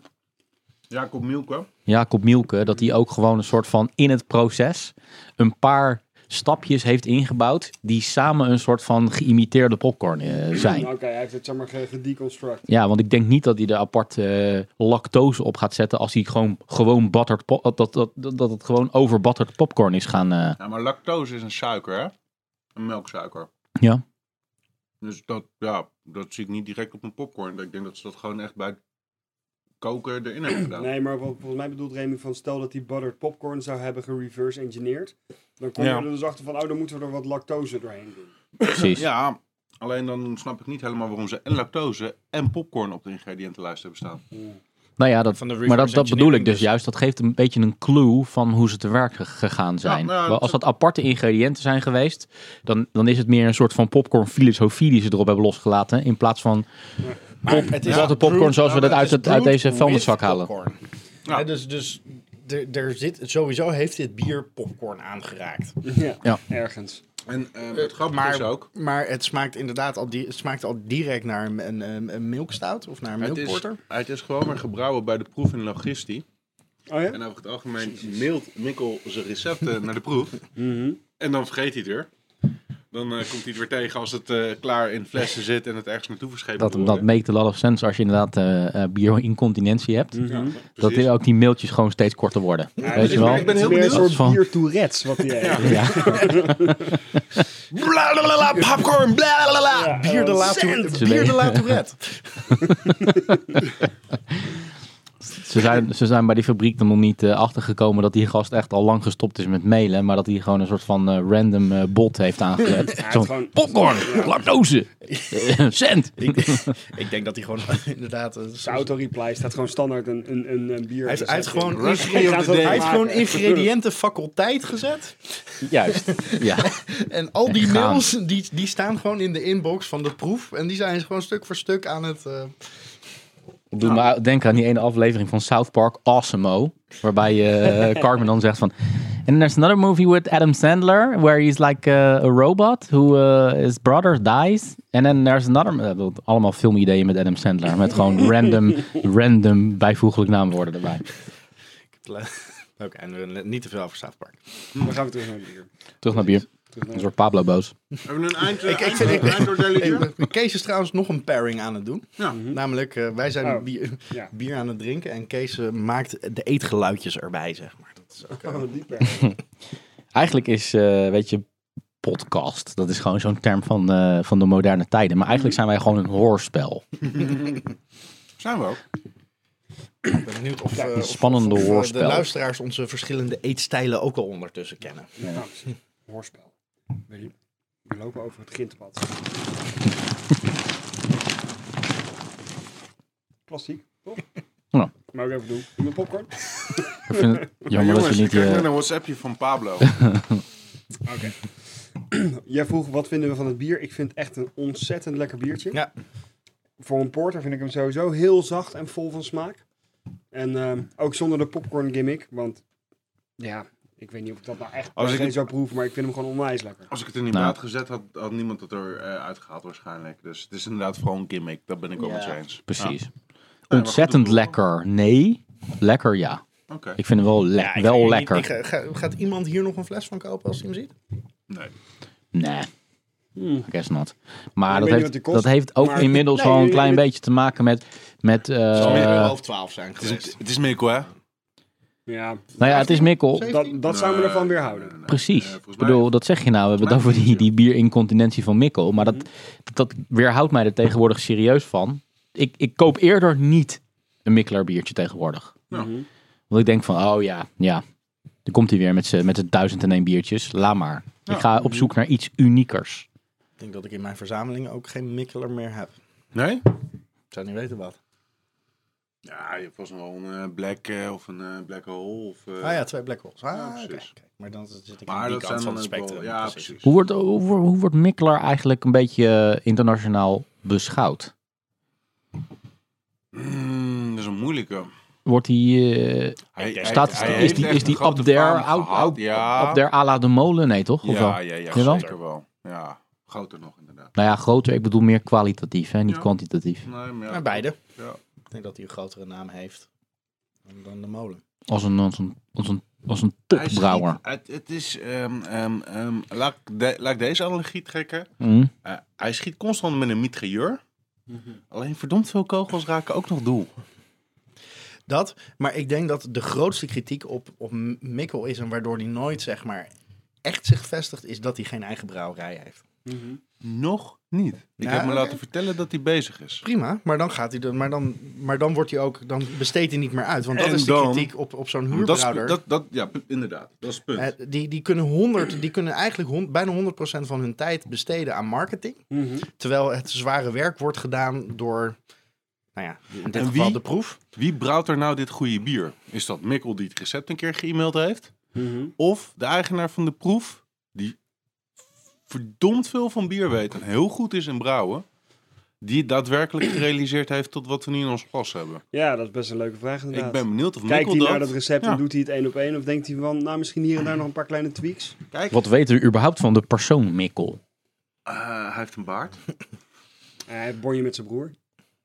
Jacob Mielke.
Jacob Mielke, dat die ook gewoon een soort van in het proces een paar stapjes heeft ingebouwd die samen een soort van geïmiteerde popcorn eh, zijn.
Oké, hij heeft het zeg maar ge- gedeconstruct.
Ja, want ik denk niet dat hij er apart eh, lactose op gaat zetten als hij gewoon, gewoon buttered pop, dat, dat, dat, dat het gewoon over buttered popcorn is gaan. eh.
Ja, maar lactose is een suiker, hè? Een melksuiker.
Ja.
Dus dat, ja, dat zie ik niet direct op mijn popcorn. Ik denk dat ze dat gewoon echt bij het koken erin hebben gedaan.
Nee, maar wat, volgens mij bedoelt Remy van stel dat die buttered popcorn zou hebben gereverse engineerd. Dan kom je
Ja.
er dus achter van, oh, dan moeten we er wat lactose doorheen doen.
precies.
Ja, alleen dan snap ik niet helemaal waarom ze en lactose en popcorn op de ingrediëntenlijst hebben staan.
Nou ja, dat,
Van de
maar dat,
reverse
dat bedoel ik
engineering
dus,
dus.
juist. Dat geeft een beetje een clue van hoe ze te werk ge- gegaan zijn.
nou ja,
Wel,
dat-
Als dat aparte ingrediënten zijn geweest, dan, dan is het meer een soort van popcorn filosofie die ze erop hebben losgelaten. In plaats van
het
is altijd popcorn zoals we dat uit het- uit deze vuilniszak halen.
Ja.
Ja. Dus, dus er, er zit, sowieso heeft dit bier popcorn aangeraakt.
Ja,
Ja.
ergens.
En eh, het grappige
maar-
is ook,
Maar het smaakt inderdaad al, di- het smaakt al direct naar een, een, een- een milkstout of naar een
het is,
milkporter.
het is gewoon maar gebrouwen bij de proef in logistie.
Oh ja?
En over het algemeen mailt Mikkel zijn recepten naar de proef.
Mhm.
En dan vergeet hij het weer. Dan eh, komt hij het weer tegen als het eh, klaar in flessen zit en het ergens naartoe verscheept
dat,
moet
dat
worden.
make a lot of sense als je inderdaad eh eh, bio-incontinentie hebt.
Ja,
Dat
precies.
dit ook die mailtjes gewoon steeds korter worden. Weet
dus
je wel?
ik ben heel
het is meer
benieuwd.
een soort bier Tourette's wat hij heeft.
Ja.
Blalalala, popcorn, blalalala.
Ja,
Bier de
eh,
La Tourette.
Ze
Bier de La
weten-
Tourette.
Ze zijn, ze zijn bij die fabriek dan nog niet eh, achtergekomen dat die gast echt al lang gestopt is met mailen. Maar dat hij gewoon een soort van eh, random eh, bot heeft aangezet.
Ja, het
Zo'n
gewoon-
popcorn, lactose, eh, cent.
ik, ik denk dat hij gewoon inderdaad... een
Zijn auto-reply staat gewoon standaard een, een, een, een bier.
Hij heeft, hij heeft
gezet.
gewoon,
Recipe
hij
of
heeft
the day.
gewoon ingrediëntenfaculteit gezet.
Juist, ja.
En al die
En gaan.
mails, die, die staan gewoon in de inbox van de proef. En die zijn gewoon stuk voor stuk aan het... eh,
Doe me denken aan die ene aflevering van South Park, Awesomeo. Waarbij eh Cartman dan zegt van... And there's another movie with Adam Sandler, where he's like eh, a robot who eh, his brother dies. And then there's another... eh, bedoel, allemaal filmideeën met Adam Sandler. Met gewoon random, random bijvoeglijk naamwoorden erbij.
Oké, en we- niet te veel over South Park.
Dan gaan we terug naar het bier.
Terug naar bier. Een soort Pablo boos.
Hebben we een eind,
Ik- ik
eind-
vind- ik-
einddoordeel hier?
Hey, Kees is trouwens nog een pairing aan het doen.
Ja.
Namelijk, eh, wij zijn
Mhm. Oh,
bier,
ja.
bier aan het drinken en Kees eh, maakt de eetgeluidjes erbij, zeg maar. Dat is ook, eh,
Oh, dieper.
Eigenlijk is, eh, weet je, podcast. Dat is gewoon zo'n term van, eh, van de moderne tijden. Maar eigenlijk zijn wij gewoon een hoorspel.
Zijn we ook.
ik ben benieuwd of, eh,
een
of-
spannende
of, eh,
hoorspel.
de luisteraars onze verschillende eetstijlen ook al ondertussen kennen.
Nou, hoorspel. We, we lopen over het grintpad. Klassiek, toch?
Nou.
Maar ook even doen. Doe mijn popcorn.
Ik vind het
Ja,
jammer dat
jongens,
je
ik
niet...
krijg
eh,
net een WhatsAppje van Pablo.
Oké. Jij vroeg wat vinden we van het bier. Ik vind het echt een ontzettend lekker biertje.
Ja.
Voor een porter vind ik hem sowieso heel zacht en vol van smaak. En ehm, ook zonder de popcorn gimmick. Want ja, ik weet niet of ik dat nou echt
Als Oh,
Als
dus ik
ik
het-
zou proeven. Maar ik vind hem gewoon onwijs lekker.
Als ik het er niet
Nou.
bij had gezet, had, had niemand het eruit uitgehaald waarschijnlijk. Dus het is inderdaad vooral een gimmick. Dat ben ik ook
Ja.
met je eens.
Precies.
maar
Ontzettend
goed, dat
lekker. Nee. Lekker ja.
Oké.
Ik vind hem wel, le-
Ja, ik ga
wel
hier
lekker.
niet-
eh,
ik ga- ga- gaat iemand hier nog een fles van kopen als hij hem ziet?
Nee.
Nee,
Hmm.
I guess not.
weet
Maar dat
niet wat die
heeft,
kost,
dat heeft ook
maar-
inmiddels
Nee,
wel een
nee,
klein
nee.
beetje te maken met... met eh,
Het zal meer
nou
half twaalf zijn
Het is,
geweest.
het is Mikkel, hè?
Ja,
nou ja, het is Mikkel.
dat, dat zou me
Nee,
ervan weer
nee,
houden.
nee, nee. Eh,
Precies.
volgens
Ik bedoel,
mij-
dat zeg je nou. We hebben het
mij
over die,
niet, Mhm.
die bierincontinentie van Mikkel. Maar dat, dat weerhoudt mij er tegenwoordig serieus van. Ik, ik koop eerder niet een Mikkelaar biertje tegenwoordig.
Nou.
Mhm.
Want ik denk van, oh ja, ja. Dan komt hij weer met zijn met z'n duizend en één biertjes. Laat maar.
Ja.
Ik ga op zoek naar iets uniekers.
Ik denk dat ik in mijn verzameling ook geen Mikkeler meer heb.
Nee?
Ik zou niet weten wat.
Ja, je hebt vast nog wel een eh, black eh, of een eh, black hole. Of, eh,
Ah ja, twee Black Holes. Ah,
Ja,
oké,
precies.
oké. Maar dan zit ik aan
Maar
die
dat zijn
kant van
dan
het
ook wel-
spectrum.
Ja,
precies.
precies.
Hoe wordt, hoe, wordt- hoe wordt Mikkelaar eigenlijk een beetje eh, internationaal beschouwd?
Mm, dat is een moeilijke.
Wordt hij... eh,
Hij, hij-
staat,
hij
is
heeft
die,
echt
is
een
die
grote
up there,
faam
out,
gehad,
out-
ja.
up there à la de molen? Nee, toch? Of wel?
Ja, ja, ja,
Jawel?
zeker wel. Ja, groter nog inderdaad.
Nou ja, groter. Ik bedoel meer kwalitatief, hè, niet
Ja.
kwantitatief.
Nee, maar ja,
Maar beide.
Ja.
Ik denk dat hij een grotere naam heeft dan, dan de molen.
Als een, als een, als een, als een
Hij is
topbrouwer.
niet- Het, het is, ehm, ehm, ehm, laat, ik de- laat ik deze analogie trekken.
Hm?
Eh, hij schiet constant met een mitrailleur.
Mhm.
Alleen verdomd veel kogels raken ook nog doel.
Dat, maar ik denk dat de grootste kritiek op, op M- Mikkel is... en waardoor hij nooit, zeg maar, echt zich vestigt... is dat hij geen eigen brouwerij heeft.
Mhm.
Nog niet. Ik
Ja,
heb me
oké.
laten vertellen dat hij bezig is.
Prima, maar dan gaat hij... de- Maar dan, maar dan wordt hij ook... Dan besteedt hij niet meer uit. Want dat
En
is de
dan-
kritiek op, op zo'n
Dat is,
huurbrouwer.
dat, dat, ja, pu- inderdaad. Dat is het punt.
Eh, die, die kunnen, 100, die kunnen eigenlijk hon- bijna 100% van hun tijd besteden aan marketing.
Mhm.
Terwijl het zware werk wordt gedaan door, nou ja, in dit
En
geval
wie?
de proef.
Wie brouwt er nou dit goede bier? Is dat Mikkel die het recept een keer ge-mailed heeft?
Mhm.
Of de eigenaar van de proef, die verdomd veel van bier weet en heel goed is in brouwen, die het daadwerkelijk gerealiseerd heeft tot wat we nu in ons glas hebben.
Ja, dat is best een leuke vraag inderdaad.
Ik ben benieuwd of
Kijkt
Mikkel
hij
dat...
naar dat recept
Ja.
en doet hij het één op één? Of denkt hij van, nou misschien hier en daar nog een paar kleine tweaks?
Kijk,
Wat weten we überhaupt van de persoon Mikkel?
eh, hij heeft een baard.
Eh, Hij heeft bonje met zijn broer.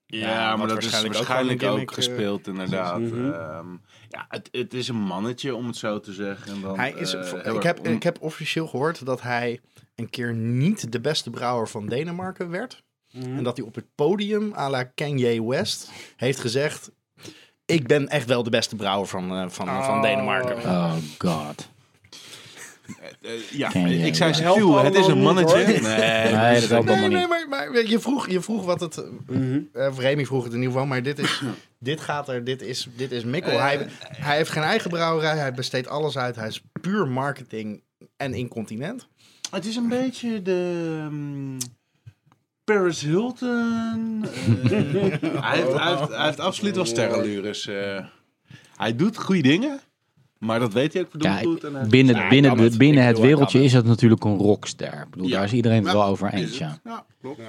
Ja,
Ja,
maar dat
wat
is
waarschijnlijk ook
waarschijnlijk ook,
gewoon een gimmick,
gespeeld, inderdaad.
precies. Mhm.
Ehm, ja, het, het is een mannetje, om het zo te zeggen. En dan,
Hij is,
eh,
voor-
heel
ik,
erg
heb,
on-
ik heb officieel gehoord dat hij een keer niet de beste brouwer van Denemarken werd. En dat hij op het podium à la Kanye West heeft gezegd... eh, Oh. Ik ben echt wel de beste brouwer van, eh, van, van Denemarken.
Oh god.
Eh, eh, ja,
Ken je
ik zei
wel.
subtiel. Het is een
Helpt allemaal
mannetje.
niet, hoor.
Nee,
Nee, dat helpt
Nee,
allemaal
nee,
niet.
maar, maar je, vroeg, je vroeg wat het... eh of Remy vroeg het in ieder geval, maar dit, is, dit gaat er, dit is, dit is Mikkel. hij, hij heeft geen eigen brouwerij, hij besteedt alles uit. Hij is puur marketing en incontinent.
Het is een beetje de mm, Paris Hilton. eh, hij, heeft, hij, heeft, hij heeft absoluut wel sterrenlures. eh. hij doet goede dingen, maar dat weet hij ook verdomd
Ja,
goed. En hij-
Binnen,
Ja,
binnen,
kan
de,
het.
binnen
Ik
het
bedoel, hij
wereldje
kan
is dat natuurlijk een rockster. Ik bedoel,
Ja.
daar is iedereen het
Ja,
wel over
het.
eens. Ja.
Ja, klopt.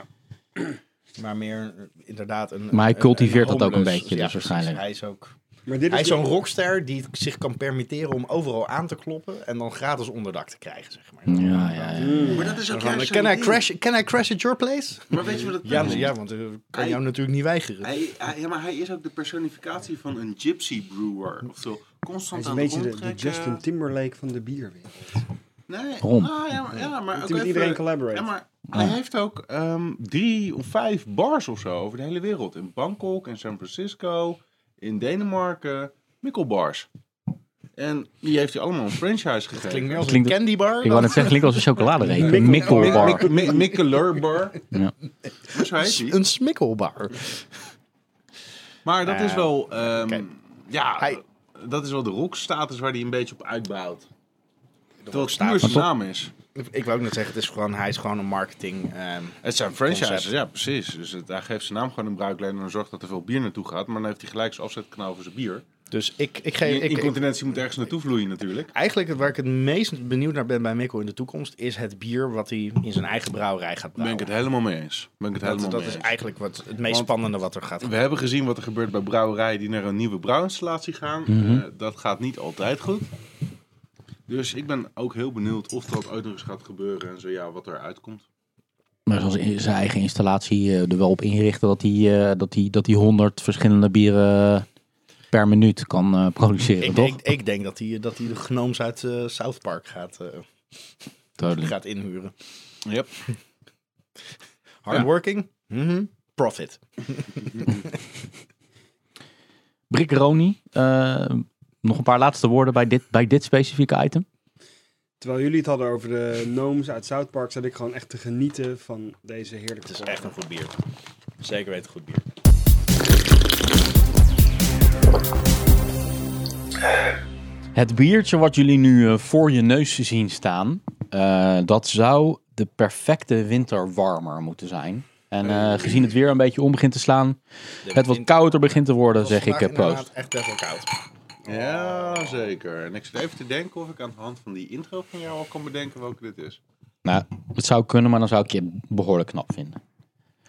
Maar meer eh, inderdaad een...
Maar hij
een-
cultiveert dat ook een
homeless.
beetje, dus
precies.
waarschijnlijk.
Hij is ook...
Maar dit
Hij is
niet-
zo'n rockster die het zich kan permitteren om overal aan te kloppen en dan gratis onderdak te krijgen, zeg maar. eh,
Ja, ja, ja.
Maar dat is ook juist
Can I,
zijn ding.
crash, can I crash at your place?
Maar weet je wat het
Ja,
punt is?
ja want eh, kan
Hij-
jou natuurlijk niet weigeren.
Hij, hij- ja, maar hij is ook de personificatie van een gypsy brewer. Oftewel,
Hij
constant
is een
aan de
beetje de,
grond
de
trekken.
Justin Timberlake van de bierwereld.
Nee,
Waarom?
nou, ja, maar, ja, maar ook
Die met
even-
iedereen collaborate.
Ja, maar hij heeft ook ehm, drie of vijf bars of zo over de hele wereld. In Bangkok, in San Francisco, in Denemarken. Mikkelbars. En die heeft hij allemaal een franchise gegeven.
Klinkt meer als
Klinkt-
een candy bar.
Ik wou net zeggen, klinkt als een chocoladereep. Een
Mikkel-
mikkelbar.
Mik- Mik- Mikkelerbar.
Ja.
Zo heet Dus hij.
Een smikkelbar.
Maar dat is wel... ehm,
Nou kijk.
Ja,
Hij-
dat is wel de rockstatus waar hij een beetje op uitbouwt. Terwijl het
rockstatus.
puur zijn naam is.
Ik wou ook net zeggen, het is gewoon, hij is gewoon een marketing. ehm,
Het zijn franchises,
Concept.
ja precies. Dus het, hij geeft zijn naam gewoon een bruikleen en zorgt dat er veel bier naartoe gaat. Maar dan heeft hij gelijk zijn afzetkanaal voor zijn bier.
dus ik, ik
Die
geef. Ik, ik,
incontinentie moet ergens naartoe vloeien natuurlijk.
eigenlijk waar ik het meest benieuwd naar ben bij Mikkel in de toekomst is het bier wat hij in zijn eigen brouwerij gaat
Ben
brouwen.
ik het helemaal mee eens. Ben ik het
dat
helemaal
dat
mee
is
eens.
eigenlijk wat, het meest
Want-
spannende wat er gaat gebeuren.
We hebben gezien wat er gebeurt bij brouwerijen die naar een nieuwe brouwinstallatie gaan.
Mhm.
Eh, dat gaat niet altijd goed. Dus ik ben ook heel benieuwd of dat ooit nog eens gaat gebeuren en zo ja, wat eruit komt.
Maar zoals in zijn eigen installatie eh, er wel op inrichten dat hij, eh, dat hij, dat hij 100 verschillende bieren eh, per minuut kan eh, produceren,
Ik,
toch?
ik, ik denk dat hij, dat hij de gnooms uit eh, South Park gaat, eh,
Totally.
gaat inhuren.
Yep.
Hardworking, mhm, profit.
Brickeroni, eh, nog een paar laatste woorden bij dit, bij dit specifieke item.
Terwijl jullie het hadden over de gnomes uit South Park, zat ik gewoon echt te genieten van deze heerlijke
Het is
porter.
echt een goed bier. Zeker weten goed bier.
Het biertje wat jullie nu eh, voor je neus zien staan, eh, dat zou de perfecte winterwarmer moeten zijn. En eh, gezien het weer een beetje om begint te slaan, het wat kouder begint te worden, zeg ik eh, proost.
echt best wel koud.
Ja, zeker. En ik zit even te denken of ik aan de hand van die intro van jou al kan bedenken welke dit is.
Nou, het zou kunnen, maar dan zou ik je behoorlijk knap vinden.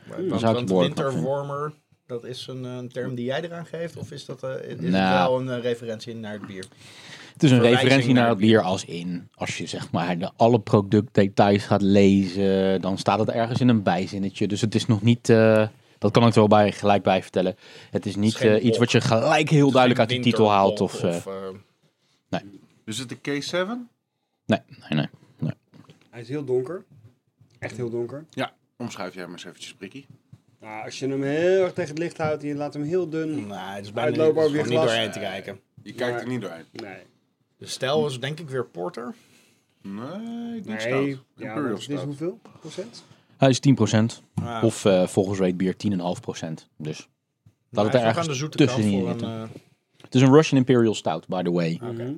Want,
zou ik
want
het behoorlijk
winterwarmer, dat is een, eh, term die jij eraan geeft? Of is dat eh, is
Nou.
het wel een eh, referentie naar het bier?
Het is een
Verwijzing
referentie naar
naar
het bier als in. Als je zeg maar de, alle productdetails gaat lezen, dan staat het ergens in een bijzinnetje. Dus het is nog niet. eh, dat kan ik er wel bij, gelijk bij vertellen. Het is niet
geen
eh, iets
pop.
wat je gelijk heel duidelijk uit de
Winter
titel haalt.
Pulp
Of, eh,
eh,
Dus het de K7?
nee, nee, nee. nee.
Hij is heel donker. Echt heel donker.
Ja, omschrijf jij maar eens eventjes, Prikkie.
Nou, als je hem heel erg tegen het licht houdt en je laat hem heel dun.
nou, het
Uitloop
is bijna niet, het is
over je
gewoon niet
glas.
doorheen te kijken.
Je kijkt
Maar-
er niet doorheen.
Nee.
De stijl is denk ik weer porter.
Nee, ik denk
Nee.
stout.
Ja,
Imperial
want het is
stout.
hoeveel procent?
Hij is 10%.
Ah.
Of eh, volgens Rate Beer 10,5%. Dus
Maar
laat het
hij
er
is nog aan de
ergens
zoete
tussenin
kant
zitten.
voor een, eh, Ah.
Het is een Russian Imperial Stout, by the way.
Mhm.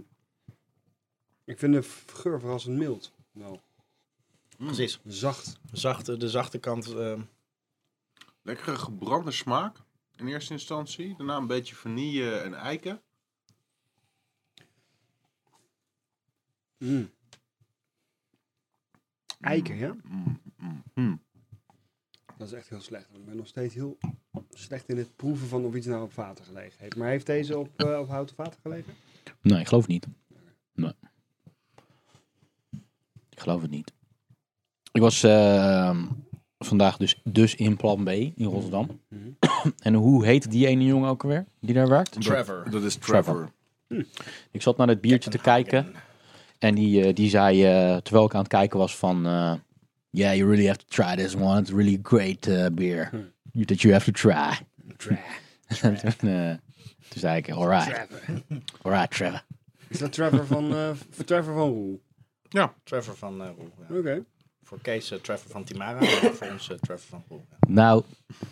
Ik vind de v- geur verrassend mild. Nou. Wel
eh, precies.
Mm, zacht.
Zachte, de zachte kant. eh,
Lekkere gebrande smaak in eerste instantie. Daarna een beetje vanille en eiken.
Mm. Eiken, ja?
mm.
Dat is echt heel slecht. Ik ben nog steeds heel slecht in het proeven van of iets nou op water gelegen heeft. Maar heeft deze op, eh, op houten water gelegen?
Nee, ik geloof het niet. Nee. Ik geloof het niet. Ik was eh, vandaag dus, dus in plan B in Rotterdam.
Mhm.
en hoe heet die ene jongen ook alweer die daar werkt?
Trevor.
Dat is Trevor.
Ik zat naar het biertje te kijken. En die, eh, die zei, eh, terwijl ik aan het kijken was van... eh, yeah, you really have to try this one. It's really great eh, beer. You- That you have to try. En toen, eh, toen zei ik, alright.
Trevor.
Alright, Trevor.
Is dat Trevor van, eh, Trevor van Roel?
Ja.
Trevor van eh Roel. ja.
Oké.
Voor Kees eh, Trevor van Timara, en voor ons eh, Trevor van Roel. Ja.
Nou,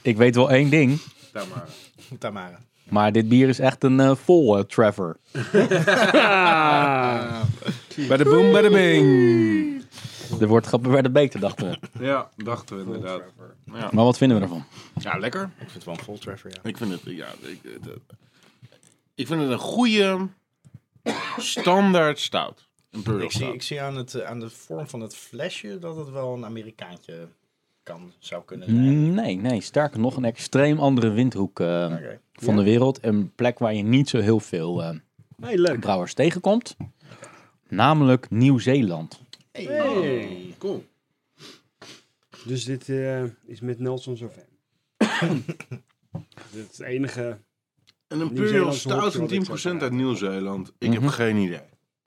ik weet wel één ding.
Tamara.
Tamara.
Maar dit bier is echt een eh, vol eh, Trevor.
Bij de boom, bij de bing.
Er wordt grappig bij de beter, dachten we.
Ja, dachten we inderdaad. Ja.
Maar wat vinden we ervan?
ja, lekker.
Ik vind het wel een vol Trevor, ja.
Ik vind het, ja, ik, het, eh, ik vind het een goede standaard stout. Een
Ik
Imperial
zie,
stout.
ik zie aan, het, eh, aan de vorm van het flesje dat het wel een Amerikaantje kan, zou kunnen
Hmm.
zijn.
Nee, nee. Sterker nog, een extreem andere windhoek eh,
Oké.
van de wereld. Een plek waar je niet zo heel veel eh,
Hey, leuk.
brouwers tegenkomt. Namelijk Nieuw-Zeeland.
Hey.
Hey.
Cool.
Dus dit eh, is met Nelson Sauvin. dit is het enige...
Een Imperial
Nieuw-Zeelandse
stout
hopje
van
wat
10%
ik
uit
zeg.
Nieuw-Zeeland. Ik
Mhm.
heb geen idee.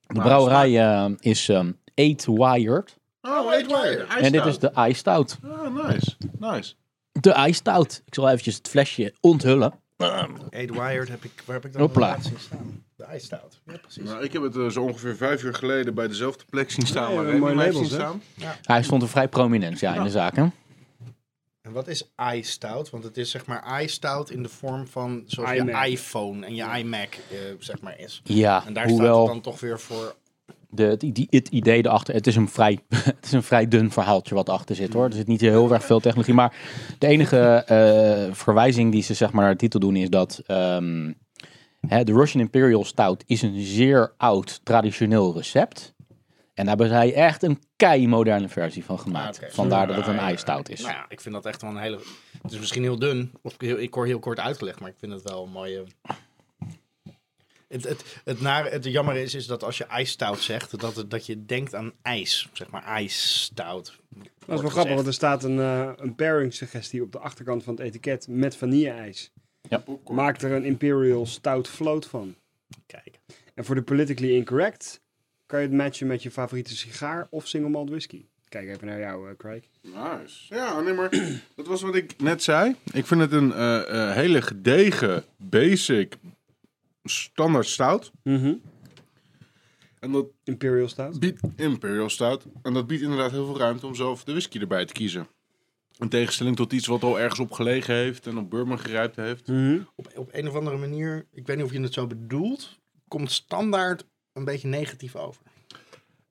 De brouwerij eh, is ehm Eight Wired.
Oh, Eight Wire.
En dit is de Ice Stout.
Oh, nice. Nice.
De Ice Stout. Ik zal eventjes het flesje onthullen.
Aid Wired heb ik, waar heb ik dan
Hopla.
laatst zien staan? De Ice Stout. Ja, precies.
Nou, ik heb het eh, zo ongeveer vijf uur geleden bij dezelfde plek zien staan
Nee,
waar
een
Remy
mooie
mij heeft
labels,
zien
hè?
staan.
Hij stond er vrij prominent ja, in de zaken.
En wat is iStout? Want het is zeg maar iStout in de vorm van zoals
iMac.
je iPhone en je iMac eh, zeg maar is.
Ja,
En daar staat
hoewel
het dan toch weer voor.
de, het, idee- het idee erachter... Het is, een vrij, het is een vrij dun verhaaltje wat achter zit, hoor. Er zit niet heel erg veel technologie. Maar de enige eh, verwijzing die ze zeg maar, naar de titel doen is dat... ehm, hè, de Russian Imperial Stout is een zeer oud, traditioneel recept. En daar hebben zij echt een kei-moderne versie van gemaakt.
Ah, oké.
Vandaar dat het een Ice Stout is.
Nou ja, ik vind dat echt wel een hele... Het is misschien heel dun, of heel, ik hoor heel kort uitgelegd, maar ik vind het wel een mooie... Het, het, het, nare, het jammer is, is dat als je ijsstout zegt, dat, het, dat je denkt aan ijs. Zeg maar ijsstout.
Dat is wel grappig, want er staat een, eh, een pairing suggestie op de achterkant van het etiket met vanille-ijs.
Ja.
Maak er een Imperial Stout Float van.
Kijk.
En voor de politically incorrect kan je het matchen met je favoriete sigaar of single malt whisky. Kijk even naar jou, eh, Craig.
Nice. Ja, nee, maar dat was wat ik net zei. Ik vind het een eh, eh, hele gedegen, basic, standaard stout. En dat
Imperial Stout.
biedt Imperial Stout. En dat biedt inderdaad heel veel ruimte om zelf de whisky erbij te kiezen. In tegenstelling tot iets wat al ergens op gelegen heeft en op Bourbon gerijpt heeft.
Hmm.
Op, op een of andere manier, ik weet niet of je het zo bedoelt, komt standaard een beetje negatief over.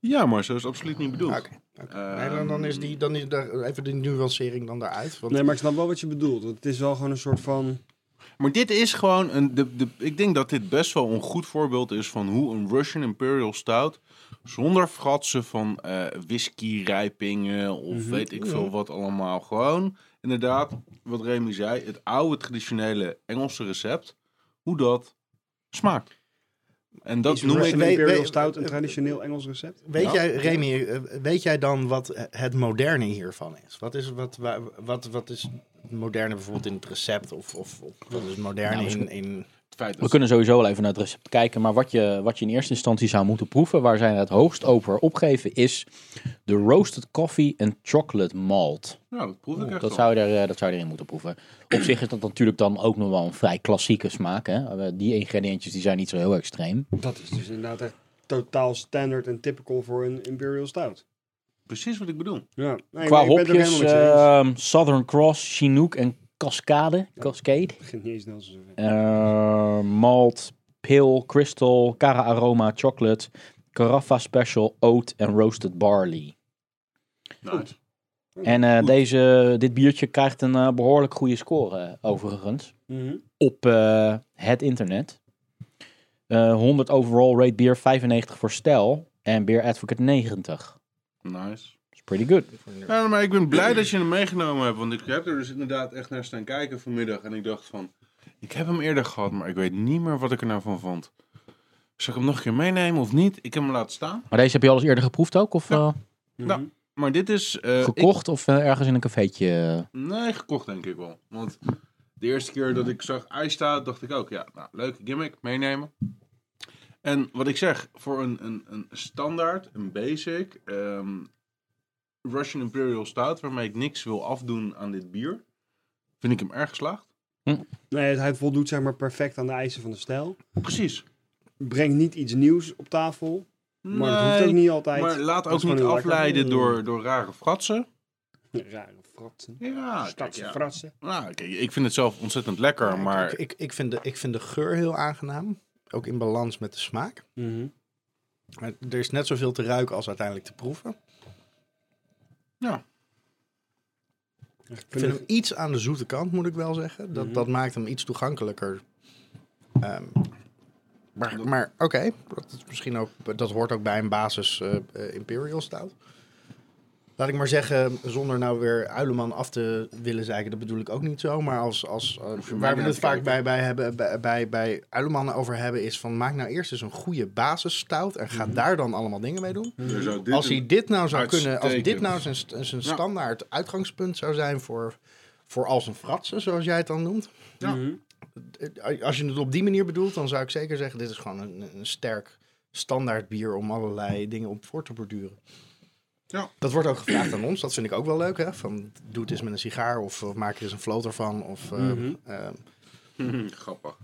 Ja, maar zo is het absoluut niet bedoeld.
Oké.
Ehm,
Nee, dan, dan is die, dan is daar even de nuancering dan daaruit. Want
Nee, maar ik snap wel wat je bedoelt. want Het is wel gewoon een soort van...
Maar dit is gewoon een. De, de, ik denk dat dit best wel een goed voorbeeld is van hoe een Russian Imperial Stout. zonder fratsen van eh whisky-rijpingen of
Mhm.
weet ik veel wat allemaal. Gewoon inderdaad, wat Remy zei, het oude traditionele Engelse recept. hoe dat smaakt. En dat
is
noem ik.
Russian
Nee,
Imperial
nee,
Stout een
eh,
traditioneel Engels recept?
weet
Ja.
jij, Remy, eh, weet jij dan wat eh, het moderne hiervan is? Wat is, wat, wa- wat, wat is het moderne bijvoorbeeld in het recept? Of, of, of wat is moderne
Nou,
in, in...
Het feit dat
We kunnen sowieso wel even naar het recept kijken. Maar wat je, wat je in eerste instantie zou moeten proeven, waar zij het hoogst over opgeven, is de roasted coffee en chocolate malt.
Nou, dat proef ik echt
Dat
al.
zou, je er, eh, dat zou je erin moeten proeven. Op zich is dat natuurlijk dan ook nog wel een vrij klassieke smaak. Hè? Eh, Die ingrediëntjes die zijn niet zo heel extreem.
Dat is dus inderdaad echt totaal standard en typical voor een Imperial Stout.
Precies wat ik bedoel.
Ja. Nee,
Qua
nee, ik ben het ook
hopjes,
helemaal met je eens.
ehm, Southern Cross, Chinook en Cascade. Cascade.
Het begint niet eens Nelson Sauvin.
Eh, malt, pil, crystal, cara aroma, chocolate, Carafa special, oat en roasted barley.
Nice.
En eh, deze, dit biertje krijgt een eh, behoorlijk goede score, eh, overigens.
Mhm.
Op eh, het internet. Eh, 100 overall rate bier, 95 voor stijl. En Beer Advocate 90.
Nice.
Is pretty good.
Ja, maar ik ben blij dat je hem meegenomen hebt. Want ik heb er dus inderdaad echt naar staan kijken vanmiddag. En ik dacht van, ik heb hem eerder gehad, maar ik weet niet meer wat ik er nou van vond. Zal ik hem nog een keer meenemen of niet? Ik heb hem laten staan.
Maar deze heb je al eens eerder geproefd ook? Of eh,
Nou, maar dit is... eh,
gekocht? Of eh, ergens in een cafeetje?
ik- nee, gekocht denk ik wel. Want de eerste keer dat ik zag ijs staan, dacht ik ook, ja, nou, leuke gimmick, meenemen. En wat ik zeg, voor een, een, een standaard, een basic, ehm, Russian Imperial Stout, waarmee ik niks wil afdoen aan dit bier, vind ik hem erg geslaagd.
Nee, hij voldoet zeg maar perfect aan de eisen van de stijl.
Precies.
Brengt niet iets nieuws op tafel. Maar dat hoeft ook niet altijd.
Maar laat
Dat
ook
is gewoon
niet
heel lekker. Mm.
afleiden door, door rare fratsen.
Ja, Rare fratsen.
Ja, kijk,
Stadse
ja.
fratsen.
Nou, kijk, ik vind het zelf ontzettend lekker,
Ja,
maar
Ik, ik, ik, vind de, ik vind de geur heel aangenaam. Ook in balans met de smaak.
Mhm.
Maar er is net zoveel te ruiken als uiteindelijk te proeven.
Echt
Ik vind hem iets aan de zoete kant, moet ik wel zeggen.
Mhm.
Dat, dat maakt hem iets toegankelijker. Ehm, maar maar oké, dat, is misschien ook- dat hoort ook bij een basis eh, eh, Imperial Stout. Laat ik maar zeggen, zonder nou weer Uileman af te willen zeiken, dat bedoel ik ook niet zo. Maar als, als, eh, waar we
niet
het
te
vaak
kijken.
bij, bij, hebben, bij, bij, bij Uileman over hebben, is van maak nou eerst eens een goede basisstout en
Mhm.
ga daar dan allemaal dingen mee doen.
er zou dit
Als hij dit nou zou kunnen, als dit
uitstekend.
nou zijn, st- zijn
Ja.
standaard uitgangspunt zou zijn voor, voor als een fratsen, zoals jij het dan noemt.
Ja.
Mhm.
Eh, Als je het op die manier bedoelt, dan zou ik zeker zeggen: dit is gewoon een, een sterk standaard bier om allerlei dingen op voor te borduren.
Ja.
Dat wordt ook gevraagd aan ons, dat vind ik ook wel leuk. Hè? Van, doe het eens met een sigaar of, of maak er eens een float ervan. Of, eh,
Mhm.
eh,
grappig.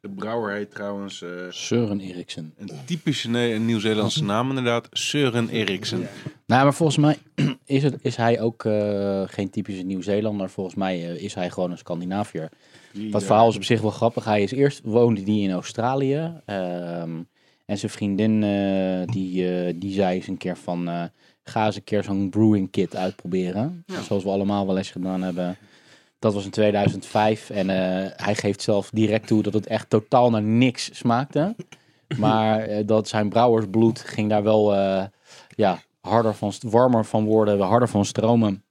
De brouwer heet trouwens eh,
Søren Eriksen.
een typische nee, een Nieuw-Zeelandse naam inderdaad, Søren Eriksen.
Nou, maar volgens mij is, het, is hij ook eh, geen typische Nieuw-Zeelander. Volgens mij eh, is hij gewoon een Scandinaviër.
Die,
Dat
eh,
verhaal is op zich wel grappig. Hij is eerst woonde die in Australië. ehm, en zijn vriendin eh, die, eh, die zei eens een keer van... eh, ga eens een keer zo'n brewing kit uitproberen. Dus Zoals we allemaal wel eens gedaan hebben. Dat was in 2005. En eh, hij geeft zelf direct toe dat het echt totaal naar niks smaakte. Maar eh, dat zijn brouwersbloed ging daar wel eh, ja, harder van, st- warmer van worden, harder van stromen.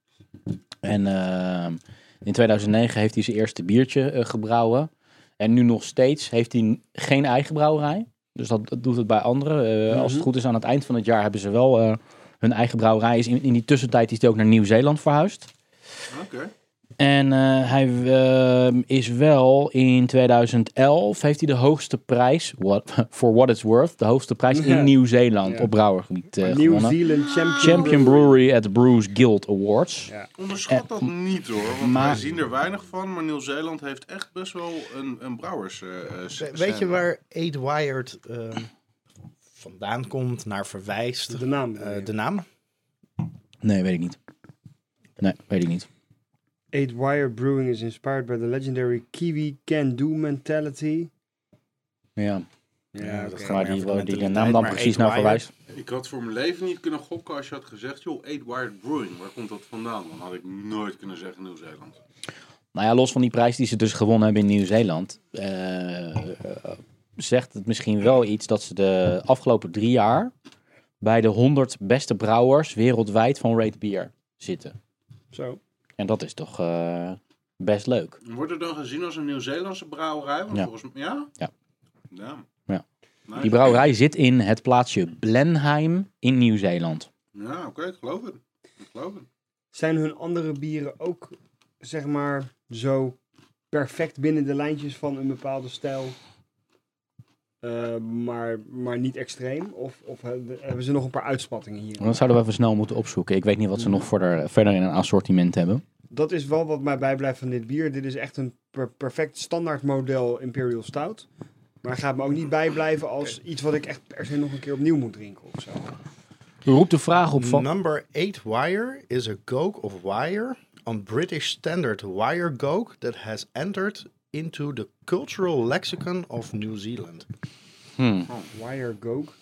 En ehm, in 2009 heeft hij zijn eerste biertje eh, gebrouwen. En nu nog steeds heeft hij n- geen eigen brouwerij. Dus dat, dat doet het bij anderen. Eh,
Mhm.
Als het goed is, aan het eind van het jaar hebben ze wel eh, hun eigen brouwerij. Is in, in die tussentijd is hij ook naar Nieuw-Zeeland verhuisd.
oké.
En eh, hij ehm, is wel in 2011 heeft hij de hoogste prijs, what, for what it's worth, de hoogste prijs
Ja.
in Nieuw-Zeeland
Ja.
op brouwergebied eh,
New
gewonnen.
Zealand Champion,
Champion Brewery at Brews Guild Awards.
Ja.
Onderschat dat niet hoor, want
maar-
wij zien er weinig van, maar Nieuw-Zeeland heeft echt best wel een, een brouwers. eh, eh,
we-
scène.
weet je waar Aid Wired eh, vandaan komt, naar verwijst?
De naam.
Eh, de naam?
Nee, weet ik niet. Nee, weet ik niet.
Eight Wire Brewing is inspired by the legendary Kiwi can-do mentality.
Ja,
Ja, dat
maar
meer
die,
over de
waar die de naam
mentaliteit,
dan
maar
precies
Aid
naar
Wired-
verwijst.
Ik had voor mijn leven niet kunnen gokken als je had gezegd, joh, Eight Wired Brewing, waar komt dat vandaan? Dan had ik nooit kunnen zeggen Nieuw-Zeeland.
Nou ja, los van die prijs die ze dus gewonnen hebben in Nieuw-Zeeland, eh, eh, zegt het misschien wel iets dat ze de afgelopen drie jaar bij de 100 beste brouwers wereldwijd van Rate Beer zitten.
Zo.
En dat is toch eh, best leuk.
Wordt het dan gezien als een Nieuw-Zeelandse brouwerij? Want
Ja.
Volgens mij, ja?
Ja.
Ja.
Ja.
Nice.
Die brouwerij zit in het plaatsje Blenheim in Nieuw-Zeeland.
Ja, oké, ik geloof het. Ik geloof het.
Zijn hun andere bieren ook, zeg maar, zo perfect binnen de lijntjes van een bepaalde stijl, eh, maar, maar niet extreem? Of, of he- hebben ze nog een paar uitspattingen hier?
Dat zouden we even snel moeten opzoeken. Ik weet niet wat
Mm.
ze nog verder, verder in een assortiment hebben.
Dat is wel wat mij bijblijft van dit bier. Dit is echt een per- perfect standaard model Imperial Stout. Maar gaat me ook niet bijblijven als iets wat ik echt per se nog een keer opnieuw moet drinken of zo.
Roep de vraag op van...
Number 8 wire is a gog of wire on British standard wire gog that has entered into the cultural lexicon of New Zealand.
Hmm.
Wire Goak.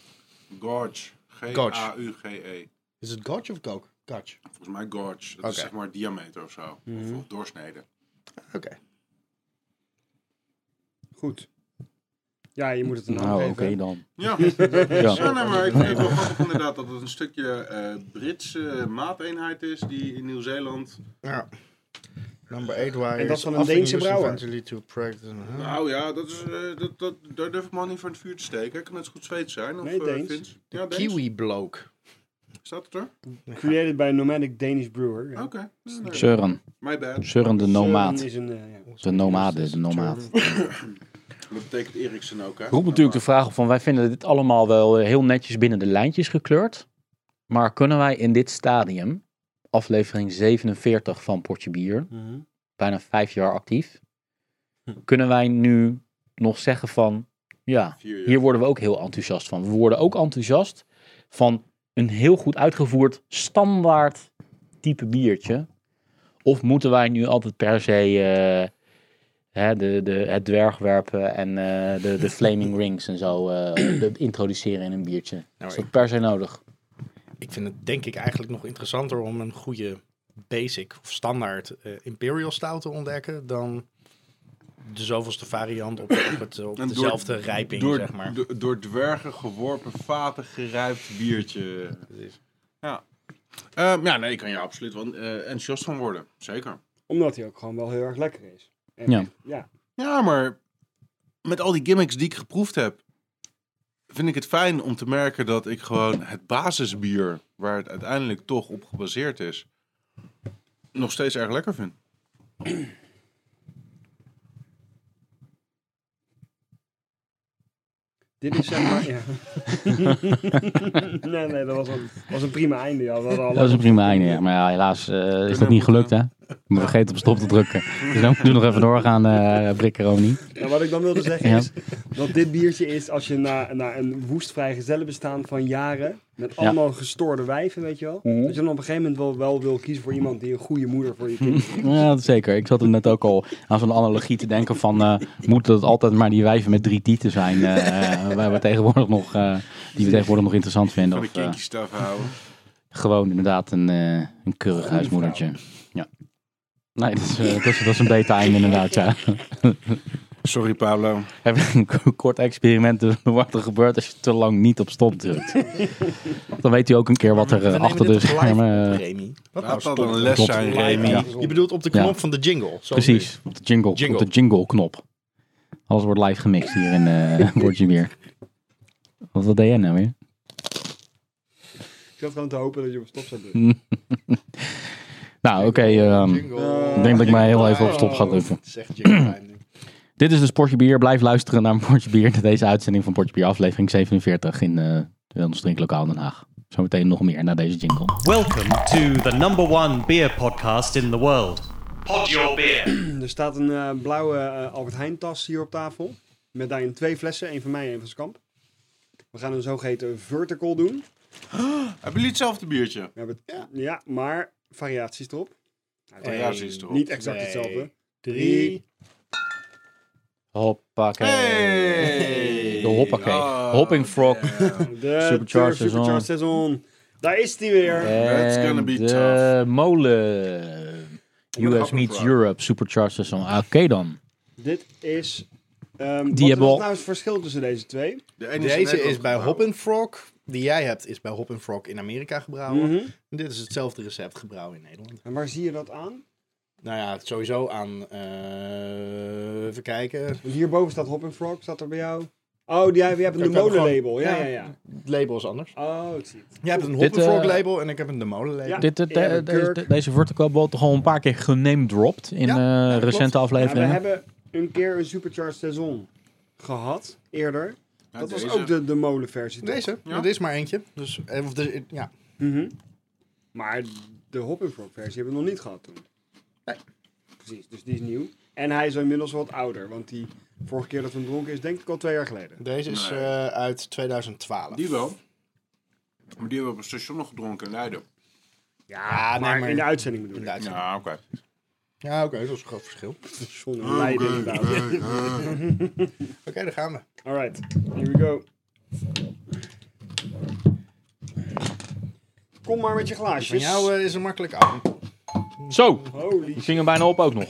Gorge.
Gorge.
G-A-U-G-E.
Is het gog of gog? Gog.
Volgens mij gorge. Dat is
Oké.
zeg maar diameter of zo. Of, of doorsnede.
Oké.
Goed. Ja, je moet het een naam
Nou, oké
geven.
dan.
Ja.
Ja.
Ja, nee, maar ik vind het wel grappig inderdaad dat het een stukje eh, Britse maateenheid is die in Nieuw-Zeeland...
Ja. Nou, Number 8 wire
En dat
is
van een
often
Deense
used
brouwer.
Eventually to practice.
Nou ja, dat is, eh, dat, dat, daar durf ik me al niet voor in het vuur te steken. Kan het zo goed Zweeds zijn? Of,
Nee,
eh,
Deens.
Fins? Ja, Deens.
Kiwi bloke.
Staat het er?
Created by nomadic Danish brewer.
Oké.
Ja.
Nee, nee.
Søren.
My bad.
Søren de nomaat.
Søren Is een, eh, ja.
De nomade, de nomaat.
Dat betekent Eriksen ook, hè?
Roep natuurlijk de vraag op van wij vinden dit allemaal wel heel netjes binnen de lijntjes gekleurd. Maar kunnen wij in dit stadium, aflevering 47 van Potje Bier,
Mhm. Hm.
bijna vijf jaar actief, kunnen wij nu nog zeggen van ja,
Vier jaar.
hier worden we ook heel enthousiast van. We worden ook enthousiast van een heel goed uitgevoerd standaard type biertje? Of moeten wij nu altijd per se eh, hè, de, de, het dwergwerpen en eh, de, de flaming rings en zo eh, de- introduceren in een biertje?
maar
Is dat per se nodig?
Ik vind het denk ik eigenlijk nog interessanter om een goede basic of standaard eh, Imperial Stout te ontdekken dan de zoveelste variant op, op, het, op
En door-
dezelfde rijping,
door,
zeg maar.
do- door dwergen geworpen, vaten gerijpt biertje. Ja. Ehm, ja, nee, ik kan je absoluut wel eh, enthousiast van worden. Zeker.
Omdat hij ook gewoon wel heel erg lekker is. En
Ja.
ja.
Ja, maar met al die gimmicks die ik geproefd heb, vind ik het fijn om te merken dat ik gewoon het basisbier, waar het uiteindelijk toch op gebaseerd is, nog steeds erg lekker vind.
Dit is zeg maar... Ja. nee, nee, dat was een, was een prima einde. Ja. We hadden al
Dat is een prima einde, ja. Maar ja, helaas eh, is dat niet gelukt, hè? We vergeten op stop te drukken. Dus dan moeten we nog even doorgaan, eh Brikkeroni.
Nou, wat ik dan wilde zeggen
Ja.
is dat dit biertje is als je na, na een woest vrijgezellenbestaan van jaren met allemaal gestoorde wijven, weet je wel. Dat je dan op een gegeven moment wel, wel wil kiezen voor iemand die een goede moeder voor je kind is.
Ja, dat zeker. Ik zat er net ook al aan zo'n analogie te denken van... eh moeten dat altijd maar die wijven met drie tieten zijn... eh, eh, waar we tegenwoordig nog, eh, die we tegenwoordig nog interessant vinden?
Van de
Of eh,
kinky stuff houden.
gewoon inderdaad een, eh, een keurig huismoedertje. Ja. Nee, dat is, eh, dat, is, dat is een beter einde inderdaad, ja.
Sorry, Pablo.
Even een kort experiment doen wat er gebeurt als je te lang niet op stop drukt. Dan weet u ook een keer wat er eh, achter de schermen... eh,
Remy. Wat nou
Laat dat een
stom?
les
Klopt.
zijn,
Lijkt
Remy.
me
Ja.
gezond.
Je bedoelt op de
Ja.
knop van de jingle. zoals
Precies, op de jingle,
Jingle.
Op de jingle knop. Alles wordt live gemixt hier in eh Bordje Bier. Wat, wat deed jij nou weer?
Ik zat gewoon te hopen dat je op stop zou doen.
Nou, oké.
dit.
ehm,
Jingle.
ik denk dat ik mij heel even op stop ga drukken.
Zegt Jingle.
Dit is dus Portje Bier. Blijf luisteren naar Portje Bier. Deze uitzending van Portje Bier, aflevering 47 in eh ons drinklokaal in Den Haag. Zometeen nog meer na deze jingle.
Welcome to the number one beer podcast in the world. Pod your beer.
Er staat een eh, blauwe eh, Albert Heijn tas hier op tafel. Met daarin twee flessen, één van mij en één van Skamp. We gaan een zogeheten vertical doen.
Hebben jullie hetzelfde biertje?
We hebben het- ja. maar variaties erop.
Hey, ja, ze is erop.
Niet exact hetzelfde.
Drie.
Hoppakee.
Hey!
De hoppakee.
Oh,
Hopping frog.
yeah.
De
Supercharged
Turf Supercharged seizoen. Daar is die weer.
That's
En
gonna be
de molen.
een
US
happer
meets
vraag.
Europe, supercharged song. Oké dan.
Dit is... ehm wat
hebben
is
we al-
nou het verschil tussen deze twee?
De ene in
Deze
Nederland
is bij
gebrouwen.
Hop and Frog. Die jij hebt is bij Hop and Frog in Amerika gebrouwen.
Mhm.
En Dit is hetzelfde recept gebrouwen in Nederland.
En waar zie je dat aan?
Nou ja, sowieso aan... eh even kijken.
Want hierboven staat Hop and Frog. Staat er bij jou? Oh, die, jij- je hebt een
Ik heb
molenlabel.
gewoon-
Ja, ja, ja.
Het label is anders.
Oh, het ziet.
Jij hebt een
Dit,
Hop and Frog
eh,
label en ik heb een De Molen label.
Ja.
Dit, dit,
Ja,
eh,
de
deze,
Kirk.
deze vertical wordt toch al een paar keer genamedropt in
Ja,
eh, recente
Ja, Nou, we
afleveringen.
hebben een keer een Supercharged seizoen gehad. Eerder.
Ja,
dat was
deze.
ook de, de molenversie. toch?
Deze,
Ja.
er is maar eentje. Dus, eh, of er- ja.
Mhm. Maar de Hop and Frog versie hebben we nog niet gehad toen.
Nee.
Precies, dus die is nieuw. En hij is inmiddels wat ouder, want die vorige keer dat we hem dronken is denk ik al twee jaar geleden.
Deze is
Nee.
eh, uit 2012.
Die wel. Maar die hebben we op een station nog gedronken in Leiden.
Ja, nee,
maar,
maar-
in de uitzending bedoel ik.
Inderdaad. Ja,
Ja, oké.
oké, dat is een groot verschil. Oké,
Zonder Leiden
Oh,
inderdaad.
daar gaan we.
Alright, here we go. Kom maar met je
Van
glaasjes.
jou eh, is een makkelijk af.
Zo,
Holy
ik zing hem bijna op ook nog.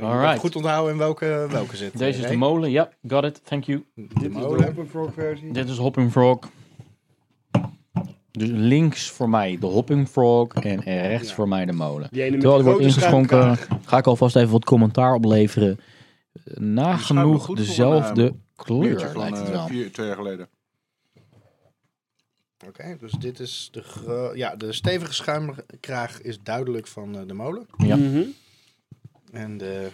Alright,
Goed onthouden in welke, welke zit.
deze is
Nee?
de molen. Ja, got it, thank you.
Dit is de
molen.
Hop and Frog versie.
Dit is Hopping Frog. Dus links voor mij de Hopping Frog en rechts
Ja.
voor mij de molen.
Die ene met
Terwijl
die
er wordt
grote
ingeschonken,
schuimkraag.
ga ik alvast even wat commentaar opleveren. Eh,
schuimt
Nagenoeg
goed voor een,
dezelfde
eh, Biertje
kleur
van
lijkt het
eh,
wel.
vier, twee jaar geleden.
Oké, dus dit is de gro- Ja, de stevige schuimkraag is duidelijk van eh, de molen.
Ja.
Mhm.
En de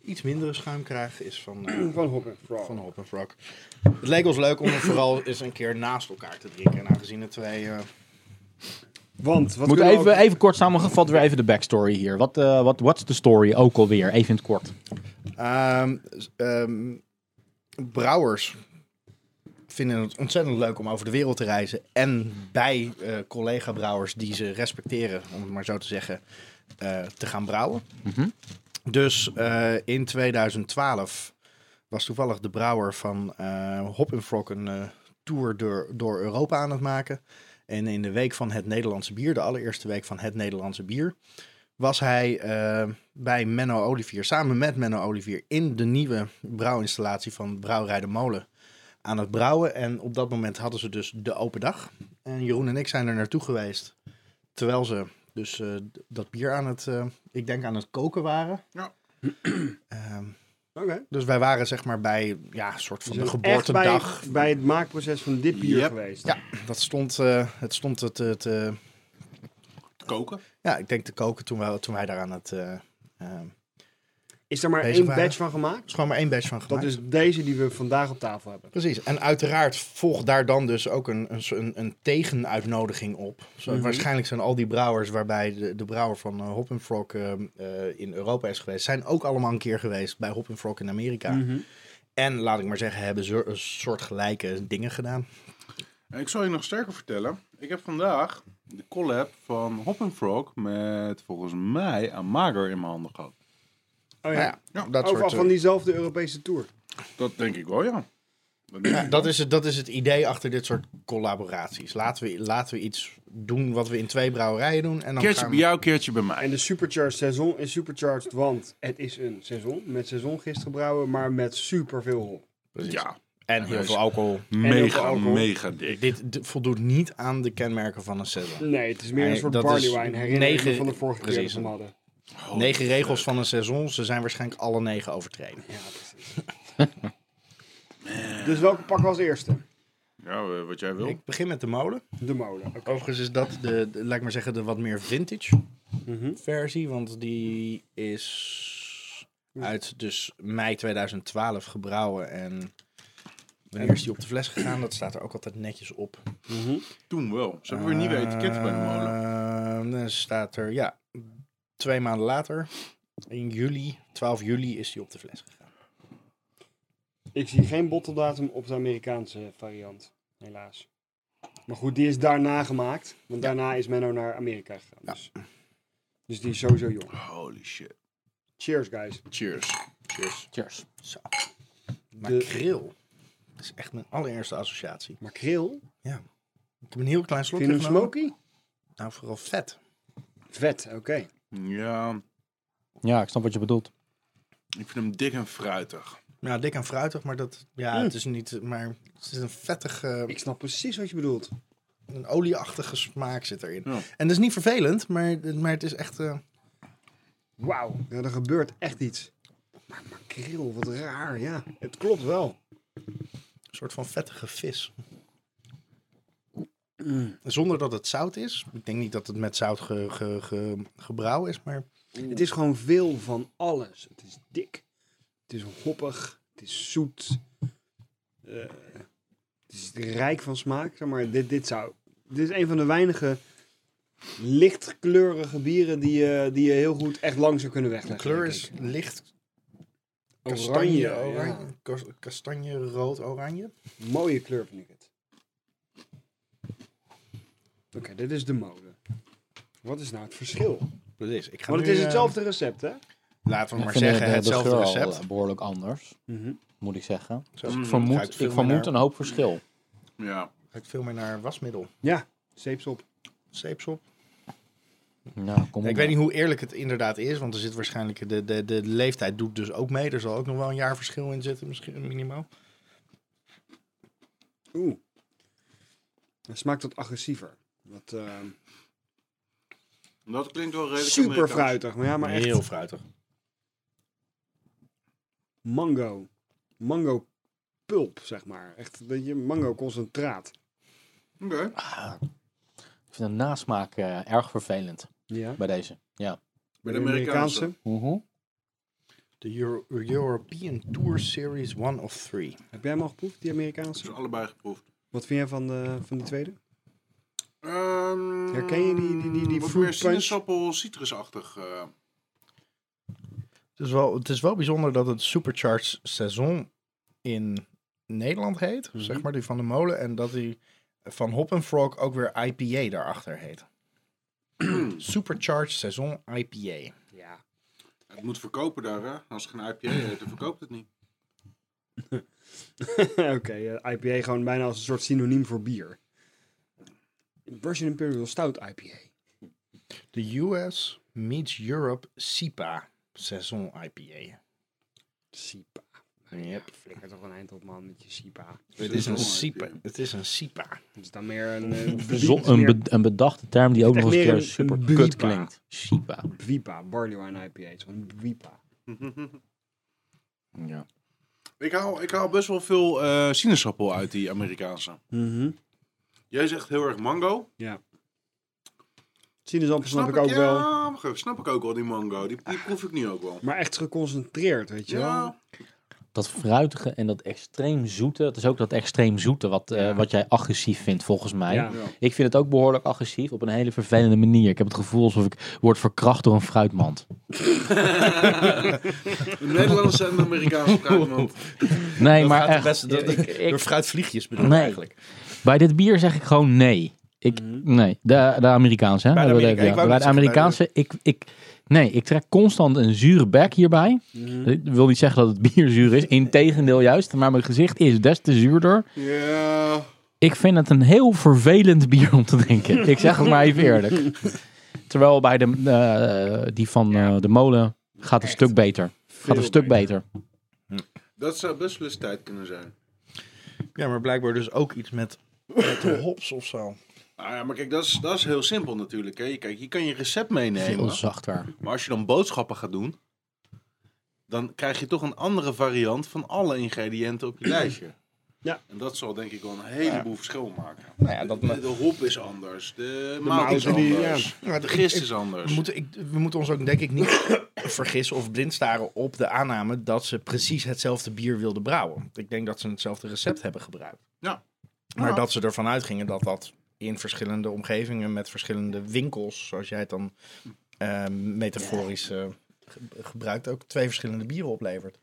iets mindere schuimkraag is van, eh,
Van Hop and Frog.
van Hop and Frog. Het leek ons leuk om hem vooral eens een keer naast elkaar te drinken. En aangezien het twee... eh,
Want, wat
Moet
kunnen we
even,
ook-
even kort samengevat weer even de backstory hier. Wat is wat what's de story ook alweer? Even in het kort.
Ehm, s- ehm, brouwers vinden het ontzettend leuk om over de wereld te reizen. En bij eh, collega-brouwers die ze respecteren, om het maar zo te zeggen, eh, te gaan brouwen.
Mhm.
Dus eh, in 2012 was toevallig de brouwer van eh Hop Frog een eh, tour door, door Europa aan het maken. En in de week van het Nederlandse bier, de allereerste week van het Nederlandse bier, was hij eh, bij Menno Olivier, samen met Menno Olivier, in de nieuwe brouwinstallatie van Brouwerij de Molen aan het brouwen. En op dat moment hadden ze dus de open dag. En Jeroen en ik zijn er naartoe geweest, terwijl ze dus eh, d- dat bier aan het, eh, ik denk aan het koken waren.
Ja.
Ehm,
Oké.
dus wij waren zeg maar bij ja, een soort van
Dus
de
echt
geboortedag.
Bij, bij het maakproces van dit bier
Yep.
geweest.
Ja, dat stond, eh, het stond het, het, eh,
Koken.
ja, ik denk te koken toen wij, toen wij daar aan het, eh, eh, er
Is er maar
Deze
één
waren-
batch van gemaakt?
is gewoon maar één batch van
Dat
gemaakt.
is deze die we vandaag op tafel hebben.
Precies, en uiteraard volgt daar dan dus ook een, een, een, een tegenuitnodiging op. Zo,
Mhm.
Waarschijnlijk zijn al die brouwers waarbij de, de brouwer van eh, Hop Frog eh, eh, in Europa is geweest, zijn ook allemaal een keer geweest bij Hop Frog in Amerika.
Mhm.
En laat ik maar zeggen, hebben ze een soort gelijke dingen
Oh
gedaan.
En ik zal je nog sterker vertellen. Ik heb vandaag de collab van Hop and Frog met volgens mij Amager in mijn handen gehad.
Oh
Nou
ja.
ja, dat
Overal
soort eh,
van diezelfde Europese tour.
Dat denk ik wel, ja. Dat denk
Ja,
ik
eh, dat,
wel.
is het, dat is het idee achter dit soort collaboraties. Laten we, laten we iets doen wat we in twee brouwerijen doen. En dan
Keertje
gaan
bij
we-
jou, keertje bij mij.
En de Supercharged seizoen is supercharged, want het is een seizoen. Met seizoengist gebrouwen, maar met superveel hop.
Precies.
Ja,
En heel veel alcohol.
heel veel
mega,
alcohol.
mega dik.
Dit d- voldoet niet aan de kenmerken van een seizoen.
Nee, het is meer
Nee,
een soort
dat
barley
is
wine herinnering
negen-
van de vorige keer dat
precies.
we hem hadden.
Negen regels van een seizoen. Ze zijn waarschijnlijk alle negen overtreden.
Ja, precies. dus welke pakken we als eerste?
Ja, eh, wat jij wil.
Ik begin met de molen.
De molen. Oké.
Overigens is dat de, de- laat ik maar zeggen, de wat meer vintage
Mhm.
versie. Want die is uit dus mei 2012 gebrouwen. En wanneer is die op de fles gegaan? Dat staat er ook altijd netjes op.
Mhm.
Toen wel. Ze hebben weer
Eh,
nieuwe etiketten bij de molen.
molen. Ehm, Dan staat er, ja, twee maanden later, in juli, 12 juli, is die op de fles gegaan.
Ik zie geen botteldatum op de Amerikaanse variant, helaas. Maar goed, die is daarna gemaakt, want daarna is Menno naar Amerika gegaan.
Ja.
Dus, dus die is sowieso jong.
Holy shit.
Cheers, guys.
Cheers.
Cheers.
Cheers.
Zo. Makreel. Dat is echt mijn allereerste associatie.
Makreel.
Ik heb een heel klein
Vind
slokje
je hem
genomen.
smoky?
Nou, vooral vet.
Vet, oké.
Ja,
Ja, ik snap wat je bedoelt.
ik vind hem dik en fruitig.
Ja, dik en fruitig, maar dat, ja,
Mm.
het is niet, maar het is een vettig, eh,
Ik snap precies wat je bedoelt.
een olieachtige smaak zit erin.
Ja.
En dat is niet vervelend, maar, maar het is echt, eh,
Wauw, ja, er gebeurt echt iets. Maar makreel, wat raar, ja. Het klopt wel.
Een soort van vettige vis.
Hmm.
Zonder dat het zout is. Ik denk niet dat het met zout ge, ge, ge- gebrouwen is, maar
Het is gewoon veel van alles. Het is dik. Het is hoppig. Het is zoet. eh, het is rijk van smaak. Zeg maar dit, dit, zou, dit is een van de weinige lichtkleurige bieren die je, die je heel goed echt lang zou kunnen
de
wegleggen.
kleur
denk
is
ik.
licht
oranje.
kastanje, oranje,
ja.
kas- kastanje rood oranje.
Mooie kleur vind ik het. Oké, dit is de molen. Wat is nou het verschil?
Precies. Ik ga
Want het
nu,
is
eh,
hetzelfde recept, hè?
laten we
Ik
maar
vind de-
zeggen,
de- de
hetzelfde
geur al,
recept.
eh, behoorlijk anders,
Mhm.
moet ik zeggen.
Zo,
Dus Ik
Mm,
ga
vermoed,
ik veel
ik
meer
vermoed
naar-
een hoop verschil.
Ja.
ga ik veel meer naar wasmiddel,
Ja, zeepsop.
zeepsop.
Nou, kom op.
ik weet niet hoe eerlijk het inderdaad is, want er zit waarschijnlijk de, de, de leeftijd doet dus ook mee. Er zal ook nog wel een jaar verschil in zitten, misschien minimaal.
Oeh. Het smaakt wat agressiever. Wat, ehm,
Dat klinkt wel redelijk
super
Amerikaans.
fruitig. Maar ja, maar echt
heel fruitig.
mango. Mango pulp, zeg maar. Echt een beetje mango concentraat.
Oké.
Ik vind de nasmaak eh, erg vervelend
Ja.
bij deze. Ja.
Bij de Amerikaanse.
De Euro- European Tour Series 1 of 3.
Heb jij hem al geproefd, die
Dus
Amerikaanse?
allebei geproefd.
Wat vind jij van, de, van die tweede?
Ehm,
Herken je die- die- die- die
Wat
fruit
meer
punch?
sinaasappel, citrusachtig. eh.
Het is wel, het is wel bijzonder dat het Supercharged seizoen in Nederland heet, zeg maar, die van de molen. En dat die van Hop en Frog ook weer IPA daarachter heet. Supercharged Saison IPA.
Ja.
Het moet verkopen daar, hè? Als het geen IPA heet, dan verkoopt het niet.
Oké, eh, IPA gewoon bijna als een soort synoniem voor bier. Russian Imperial Stout IPA.
De US meets Europe SIPA Saison IPA.
SIPA.
Yep.
Flikker toch een eind op, man, met je SIPA.
Het is een SIPA. Het is een SIPA.
Het is dan meer een... eh,
Zo- een,
meer-
be- een bedachte term die ook
echt
nog eens een
meer
keer
een-
super
een
kut
bwipa.
klinkt. Shiba.
Bwipa, Barley Wine IPA. Het is gewoon een Bwipa.
Ja.
Ik haal, ik haal best wel veel eh, sinaasappel uit die Amerikaanse.
Mhm.
Jij zegt heel erg mango.
Ja. Sinaasappel snap,
Snap
ik ook
ja,
wel.
maar snap ik ook wel, die mango. Die, die proef ik nu ook wel.
Maar echt geconcentreerd, weet je wel.
Ja,
Dat fruitige en dat extreem zoete. Het is ook dat extreem zoete wat, eh, wat jij agressief vindt volgens mij.
Ja.
Ik vind het ook behoorlijk agressief op een hele vervelende manier. Ik heb het gevoel alsof ik word verkracht door een fruitmand.
de Nederlanders en de Amerikaanse fruitmand.
Nee,
Dat
maar
gaat het
echt,
beste- dat-
ik- ik-
Door fruitvliegjes bedoel ik
Nee.
eigenlijk. Mhm.
bij dit bier zeg ik gewoon nee. Ik, nee, de, de Amerikaanse. Hè?
Bij de
Hebben we
Amerika-
het over.
ik
bij
wou net
de
zeggen, bij de-
Amerikaanse, ik, ik, nee, ik trek constant een zure bek hierbij.
Mhm.
Ik wil niet zeggen dat het bier zuur is, integendeel juist. Maar mijn gezicht is des te zuurder.
Ja.
Ik vind het een heel vervelend bier om te drinken. Ik zeg het maar even eerlijk. Terwijl bij de, eh, die van eh, de molen gaat een stuk beter. Gaat een stuk beter.
Dat zou best wel eens tijd kunnen zijn.
Ja, maar blijkbaar dus ook iets met, met de hops of zo.
Ah ja, maar kijk, dat is, dat is heel simpel natuurlijk. Hè. Je- Kijk, je kan je recept
Veel
meenemen.
zachter.
Maar als je dan boodschappen gaat doen, dan krijg je toch een andere variant van alle ingrediënten op je lijstje.
Ja.
En dat zal denk ik wel een heleboel verschil maken.
Nou ja, dat...
De, de hop is anders, de mout is
mout die-
anders,
Ja,
de gist is anders.
We moeten, ik, we moeten ons ook denk ik niet vergissen of blind staren op de aanname dat ze precies hetzelfde bier wilden brouwen. Ik denk dat ze hetzelfde recept hebben gebruikt.
Ja.
Maar
Ja.
dat ze ervan uitgingen dat dat in verschillende omgevingen met verschillende winkels, zoals jij het dan eh, metaforisch eh, ge- gebruikt, ook twee verschillende bieren oplevert.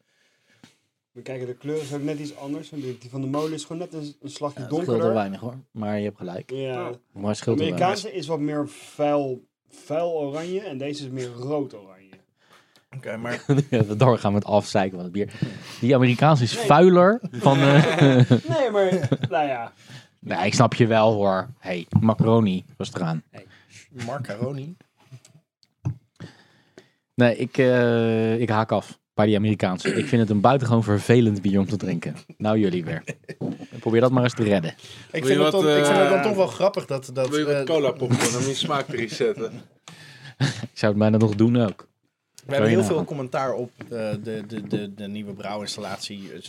We kijken, de kleur is ook net iets anders. En Die die van de molen is gewoon net een, een slagje
Het scheelt wel
donkerder.
weinig hoor, maar je hebt gelijk.
Ja.
Ja.
Maar het
De
scheelt wel weinig.
Amerikaanse is wat meer vuil, vuil oranje. En deze is meer rood oranje.
Oké, maar
Ja, we doorgaan met afzeiken van het bier. Die Amerikaans is vuiler van... eh,
Nee, maar nou ja.
nee, ik snap je wel hoor. hey, macaroni was eraan.
macaroni.
Nee, ik, eh, ik haak af bij die Amerikaanse. Ik vind het een buitengewoon vervelend bier om te drinken. Nou jullie weer. Probeer dat maar eens te redden.
Ik
Wil je
vind,
wat,
het dan, ik vind het dan
eh,
toch wel grappig dat... dat
Wil je wat
eh,
cola popcorn om je smaak te resetten?
Ik zou het bijna nog doen ook.
We hebben
je
heel
nagaan.
veel commentaar op eh, de, de, de, de nieuwe brouwinstallatie eh,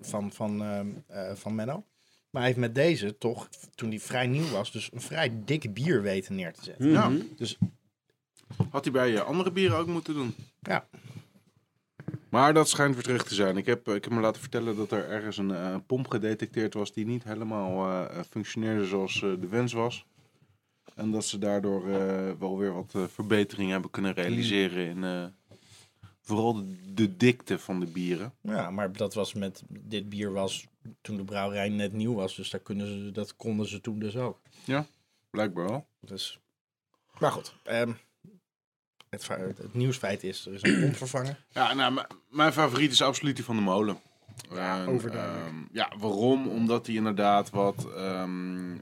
van, van, ehm, eh, van Menno. Maar hij heeft met deze toch, toen die vrij nieuw was, dus een vrij dik bier weten neer te zetten.
Ja,
Dus
Mhm. had hij bij je andere bieren ook moeten doen.
ja,
Maar dat schijnt weer terug te zijn. Ik heb, eh, ik heb me laten vertellen dat er ergens een eh, pomp gedetecteerd was die niet helemaal eh, functioneerde zoals eh, de wens was. En dat ze daardoor eh, wel weer wat eh, verbeteringen hebben kunnen realiseren in eh, vooral de, de dikte van de bieren.
ja, maar dat was met dit bier was toen de brouwerij net nieuw was. Dus daar kunnen ze, dat konden ze toen dus ook.
Blijkbaar wel.
Dus, maar goed, ehm, het, fa- het nieuwsfeit is, er is een pomp vervangen.
Ja, nou, m- mijn favoriet is absoluut die van de molen. En,
overduidelijk.
ehm, ja, waarom? Omdat die inderdaad wat ehm,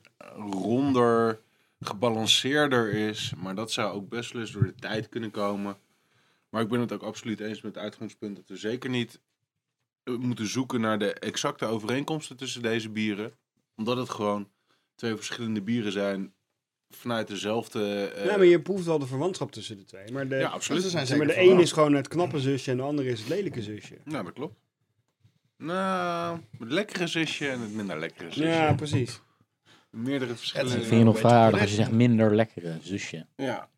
ronder, gebalanceerder is. Maar dat zou ook best wel eens door de tijd kunnen komen. Maar ik ben het ook absoluut eens met het uitgangspunt dat we zeker niet eh, moeten zoeken naar de exacte overeenkomsten tussen deze bieren. Omdat het gewoon twee verschillende bieren zijn vanuit dezelfde... eh,
ja, maar je proeft wel de verwantschap tussen de twee. Maar de,
Ja, absoluut.
Ze zijn
zeg maar, de
zeker
een
verwant.
is gewoon het knappe zusje en de andere is het lelijke zusje.
Nou, dat klopt. Nou, het lekkere zusje en het minder lekkere zusje.
Ja, precies.
Meerdere verschillende.
Ik vind je nog
Beetje
vrij aardig als je
fris.
zegt minder lekkere zusje.
Ja.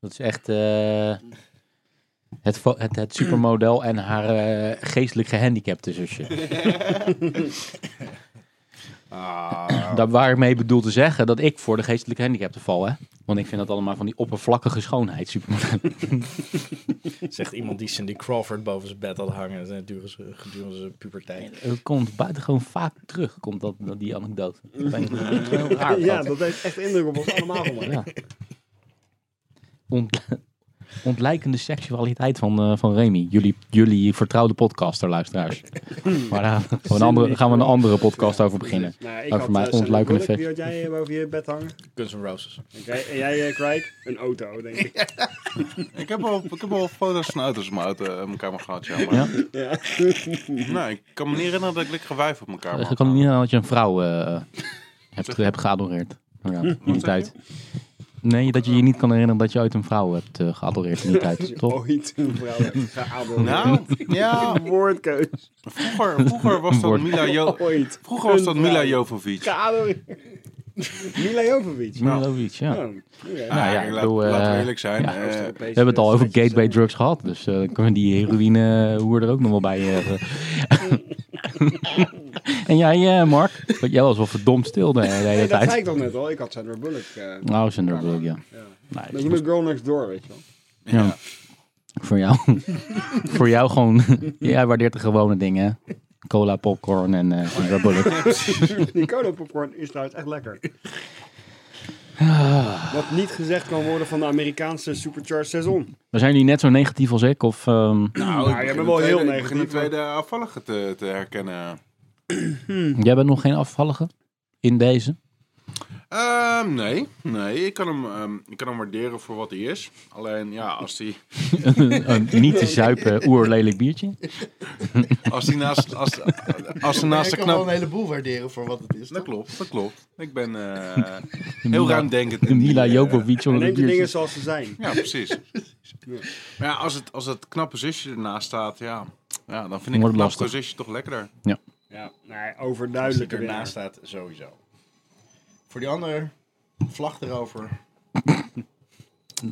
Dat is echt eh, het, fo- het, het supermodel en haar eh, geestelijk gehandicapte zusje.
Ah,
Daar waar ik mee bedoel te zeggen dat ik voor de geestelijke gehandicapten val, hè? Want ik vind dat allemaal van die oppervlakkige schoonheid super.
Zegt iemand die Cindy Crawford boven zijn bed had hangen gedurende zijn- gedurende zijn puberteit.
Het komt buitengewoon vaak terug, komt dat, dat die anekdote. Ik weet niet, dat is heel raar.
ja,
dat.
dat heeft echt indruk op ons allemaal gemaakt.
Ja. Ont- ontlijkende seksualiteit van, eh, van Remy. Jullie, jullie vertrouwde podcaster, luisteraars. Maar daar gaan we een andere, gaan we een andere podcast over beginnen.
Nou, ik
Ook
had
voor mij
eh, Sally
ontluikende
Bullock,
vet.
Wie had jij eh, boven je bed hangen?
Guns N' Roses.
Oké, En jij, eh Craig? Een auto, denk ik.
Ik heb al, ik heb al foto's van auto's op mijn, auto, op mijn kamer gehad, ja. Maar...
Ja?
Ja.
Nee, ik kan me niet herinneren dat ik lekker wijf op mijn kamer
Ik
had.
kan niet aan dat je een vrouw eh, hebt, hebt geadoreerd. Ja, in die
zeg
tijd. Nee, dat je je niet kan herinneren dat je ooit een vrouw hebt eh, geadoreerd in die tijd. Toch?
Ooit een vrouw hebt geadoreerd.
Nou, ja,
woordkeus.
vroeger, vroeger was dat
Woord.
Mila, jo
Ooit.
vroeger was dat
Een vrouw.
Mila Jovovic.
Geadoreerd. Mila Jovovic.
Milovic, ja.
Oh,
We
oké.
Nou ja,
Ah,
ik
laat-
bedoel, eh,
laten we eerlijk zijn.
ja.
eh,
Oost-Europese
hebben het al over
staatjes,
gateway
eh,
drugs gehad, dus eh, dan kunnen we die heroïne hoer er ook nog wel bij eh, hebben. en jij, eh, Mark? Want jij was wel verdomd stil de hele
Nee, dat
tijd.
zei ik toch net al. Ik had Sandra Bullock. eh
Nou, Sandra Bullock, ja.
Ja.
Nee,
dat is mijn girl next door, weet je wel.
ja. Voor jou. voor jou gewoon. jij waardeert de gewone dingen. hè? Cola, popcorn en eh
Oh,
Sandra Bullock.
Die cola popcorn is trouwens echt lekker.
Ah.
Wat niet gezegd kan worden van de Amerikaanse supercharged seizoen.
Maar zijn jullie net zo negatief als ik? Of, ehm,
Nou,
jij
ik
bent
ben
wel heel
Ik begin de
negatief,
tweede afvallige te, te herkennen.
Jij bent nog geen afvallige in deze?
Ehm, nee, nee ik, kan hem, ehm, ik kan hem waarderen voor wat hij is. Alleen, ja, als hij
een niet te zuipen oerlelijk biertje?
als die naast, als, als hij
Maar
naast
ik
de
kan wel een
knap...
heleboel waarderen voor wat het is.
Dat klopt, dat klopt. Ik ben eh, heel ruimdenkend.
De
in die,
Mila
eh,
Jokovic
En
onder de
neem de dingen
biertjes.
zoals ze zijn.
Ja, precies. Maar ja, als het, als het knappe zusje ernaast staat, ja, ja dan vind ik
Wordt
het knappe
lastig.
zusje toch lekkerder.
Ja, nee,
Als ik
overduidelijke
ernaast
winnaars.
staat, sowieso. Voor die ander, vlag erover.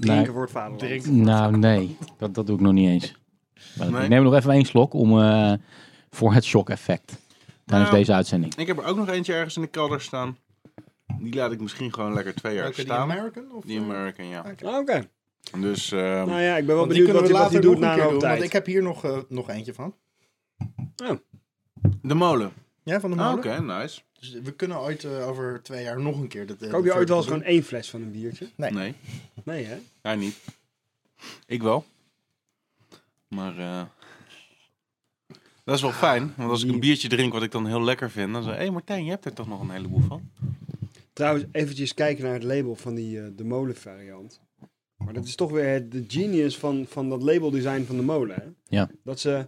Drinken voor het vaderland.
Drink.
Nou, nee. Dat, dat doe ik nog niet eens. Maar
Nee?
Ik neem nog even één slok om, eh, voor het shock-effect tijdens
Nou.
deze uitzending.
Ik heb er ook nog eentje ergens in de kelder staan. Die laat ik misschien gewoon lekker twee jaar
Welke, die
staan.
American? Of,
Die
eh,
American, ja.
Ah, Oké.
Dus, ehm,
Nou ja, ik ben wel
want die
benieuwd wat hij
kunnen we
wat hij
later
doet
nog een
na een
keer
hoop
doen, want ik
tijd.
heb hier nog, eh, nog eentje van.
de molen.
Ja, van de
Ah,
molen.
Oké, nice.
Dus we kunnen ooit eh, over twee jaar nog een keer... Dat, eh,
Koop
dat
je ooit wel eens
doen.
gewoon één fles van een biertje?
Nee.
Nee,
Nee, hè?
hij niet. Ik wel. Maar eh, dat is wel fijn. Want als ik een biertje drink wat ik dan heel lekker vind, dan zeg ik... Hé Martijn, je hebt er toch nog een heleboel van?
Trouwens, eventjes kijken naar het label van die eh, de molen variant. Maar dat is toch weer het- de genius van, van dat labeldesign van de molen. Hè?
Ja.
Dat ze,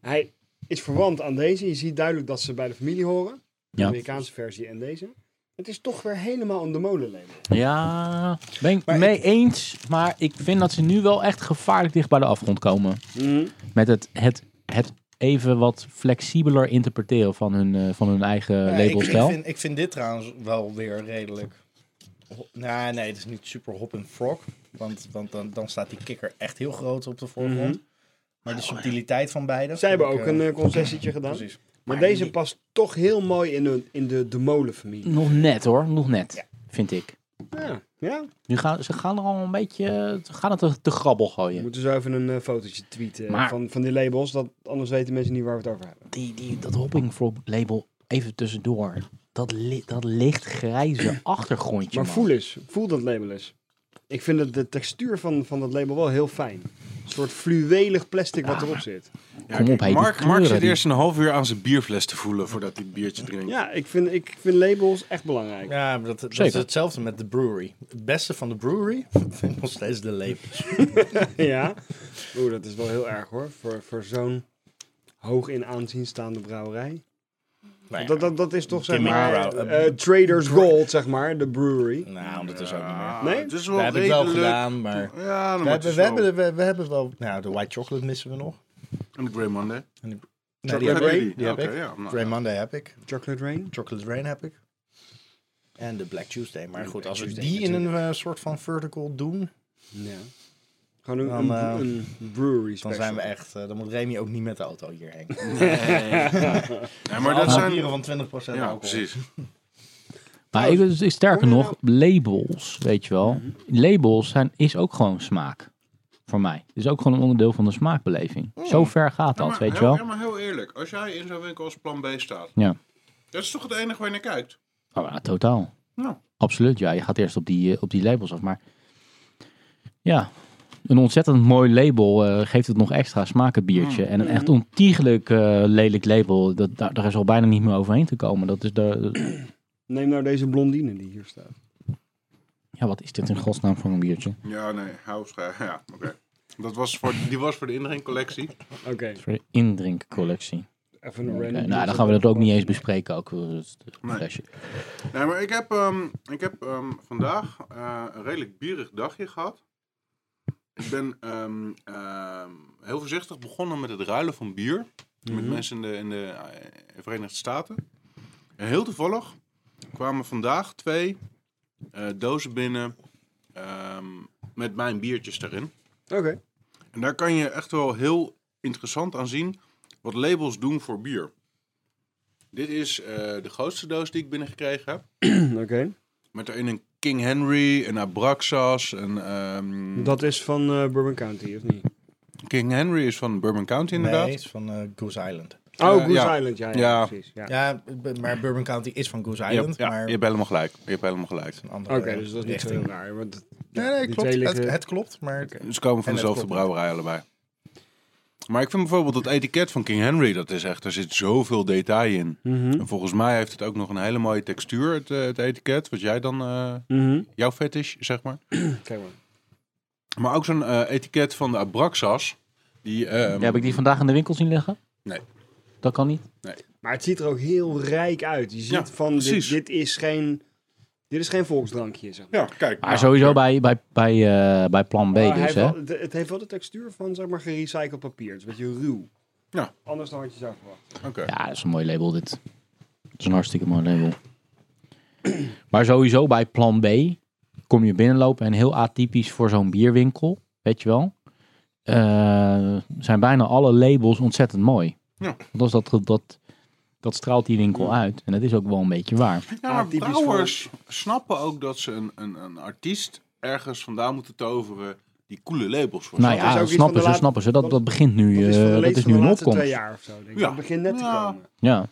hij is verwant aan deze. Je ziet duidelijk dat ze bij de familie horen. De
Ja.
Amerikaanse versie en deze. Het is toch weer helemaal een de molen label.
Ja, ben ik
Maar
mee eens. Maar ik vind dat ze nu wel echt gevaarlijk dicht bij de afgrond komen.
Mhm.
Met het, het, het even wat flexibeler interpreteren van hun, eh, van hun eigen
Ja, ik-
labelstijl.
Ik vind, ik vind dit trouwens wel weer redelijk. ho- Nou, nee, het is niet super hop en frog. Want, want dan, dan staat die kikker echt heel groot op de voorgrond. Maar de subtiliteit van beide.
Mhm. Zij hebben
vind
ook
ik,
een
eh,
eh, concessietje gedaan.
Precies.
Maar deze past toch heel mooi in de, in de, de molen familie.
Nog net hoor, nog net. Vind ik.
Ja. ja.
Nu gaan, ze gaan er al een beetje ze gaan het te, te grabbel
We
gooien.
moeten zo even een eh, fotootje tweeten
Maar-
van, van die labels. Dat, anders weten mensen niet waar we het over hebben.
die, die, dat Hopping Frog label even tussendoor. Dat, li dat licht grijze achtergrondje.
Maar
man.
voel eens, voel dat label eens. Ik vind het, de textuur van, van dat label wel heel fijn. Een soort fluwelig plastic wat erop zit.
Ja,
Kom op,
kijk,
hey, die
Mark, Mark
kleuren,
zit
die-
eerst een half uur aan zijn bierfles te voelen voordat hij een biertje drinkt.
Ja, ik vind, ik vind labels echt belangrijk.
Ja, maar dat, dat is
Zeker.
hetzelfde met de brewery. Het beste van de brewery vind ik nog steeds de labels.
Ja. Oeh, dat is wel heel erg hoor. Voor, voor zo'n hoog in aanzien staande brouwerij.
Nou, ja,
Dat, dat, dat is toch zeg
Gimmick
maar
brouw-
eh, Traders Gold, zeg maar, de brewery.
nou, dat is ook niet meer.
Ja,
Nee?
Ah, Het is wel
We hebben het wel
redelijk.
gedaan, maar...
Ja, dan
We
moet het
hebben, we,
wel.
hebben, we, we hebben wel... Nou, de white chocolate missen we nog.
En de Grey Monday.
Nee,
Chocolate
die heb ik.
Grey?
Die
Die heb
Oké,
ik.
ja, nou,
Grey Monday heb ik.
Chocolate Rain.
Chocolate Rain heb ik. En de Black Tuesday. Maar goed, als we
Tuesday
die in een eh, soort van vertical doen,
Ja. Gewoon een,
Dan,
een,
eh,
een brewery
dan
special.
zijn we echt. eh, dan moet Remy ook niet met de auto hierheen.
Nee, Ja, maar dat
Alle
zijn...
bieren van 20%
Ja,
alcohol.
precies.
Maar ik, dus, sterker nog,
nou-
labels, weet je wel.
Mhm.
Labels zijn, is ook gewoon smaak. Voor mij. Is ook gewoon een onderdeel van de smaakbeleving. Zo ver gaat dat, weet je
heel,
wel.
Mm. ja, maar heel eerlijk. Als jij in zo'n winkel als plan B staat.
Ja.
Dat is toch het enige waar je naar kijkt?
Oh, ja, totaal.
Nou.
Absoluut, ja. Je gaat eerst op die, eh, op die labels af. Maar ja, een ontzettend mooi label eh, geeft het nog extra smaak, het biertje. En een echt ontiegelijk eh, lelijk label, dat, daar, daar is al bijna niet meer overheen te komen. Dat is de,
Neem nou deze blondine die hier staat.
ja, wat is dit in godsnaam voor een biertje?
Ja, nee. Hou scha- Ja, oké. Dat was voor, die was voor de indringcollectie.
Oké,
Voor de indrinkcollectie.
even een
Oké,
random.
nou, dan gaan we dat ook niet eens bespreken. Ook. eh, dat is een
Nee.
flesje.
Nee, maar ik heb, ehm, ik heb ehm, vandaag eh, een redelijk bierig dagje gehad. Ik ben ehm, ehm, heel voorzichtig begonnen met het ruilen van bier. Met mensen in de, in de eh, Verenigde Staten. En heel toevallig kwamen vandaag twee eh, dozen binnen ehm, met mijn biertjes daarin.
Oké,
En daar kan je echt wel heel interessant aan zien wat labels doen voor bier. Dit is eh, de grootste doos die ik binnengekregen heb.
oké.
Met daarin een King Henry, een Abraxas. En, ehm,
Dat is van eh, Bourbon County, of niet?
King Henry is van Bourbon County inderdaad.
Nee, het is van eh, Goose Island.
Oh, Goose
Eh, ja.
Island, ja, ja,
Ja.
precies. Ja.
Ja, maar Bourbon County is van Goose
Ja,
Island,
ja,
maar
je hebt helemaal gelijk. Je hebt helemaal gelijk.
een andere
Oké, dus dat is niet zo heel
richting.
raar. Want het-
Nee,
ja,
nee,
die
klopt.
twee
Het,
liggen-
het klopt, maar
Ze komen van
En het
dezelfde
klopt.
brouwerij allebei. Maar ik vind bijvoorbeeld het etiket van King Henry, dat is echt, daar zit zoveel detail in.
Mhm,
En volgens mij heeft het ook nog een hele mooie textuur, het, eh, het etiket, wat jij dan, eh,
mhm.
jouw fetish, zeg maar.
Kijk maar.
Maar ook zo'n eh, etiket van de Abraxas, die... ehm,
Ja, heb ik die vandaag in de winkel zien liggen?
Nee.
Dat kan niet?
Maar het ziet er ook heel rijk uit. Je ziet
Ja,
van, dit,
precies.
dit, is geen, dit is geen volksdrankje, zeg maar.
Ja, kijk.
Maar
nou,
sowieso bij, bij, bij, eh, bij plan B
Maar hij
dus,
heeft
hè?
wel- het, het heeft wel de textuur van, zeg maar, gerecycled papier. Het is een beetje ruw.
Ja.
Anders dan had je zou verwachten.
Oké.
Ja, dat is een mooi label dit. Dat is een hartstikke mooi label. Maar sowieso bij plan B kom je binnenlopen en heel atypisch voor zo'n bierwinkel, weet je wel, eh, zijn bijna alle labels ontzettend mooi.
Ja.
Want als dat, dat, dat straalt die winkel uit en dat is ook wel een beetje waar.
Ja, maar
Atypisch
brouwers snappen ook dat ze een, een, een artiest ergens vandaan moeten toveren die coole labels voor
nou
ze.
is ook
ja, dat
iets van
snappen
de
ze,
laat-
snappen ze. Dat,
dat-
dat begint nu, eh,
Dat
dat
is van de lees
is
van
nu
de
een
laatste
opkomst.
twee jaar Ah, of zo, denk ik.
Ja.
Dat begint net te
Ja.
komen.
Ja.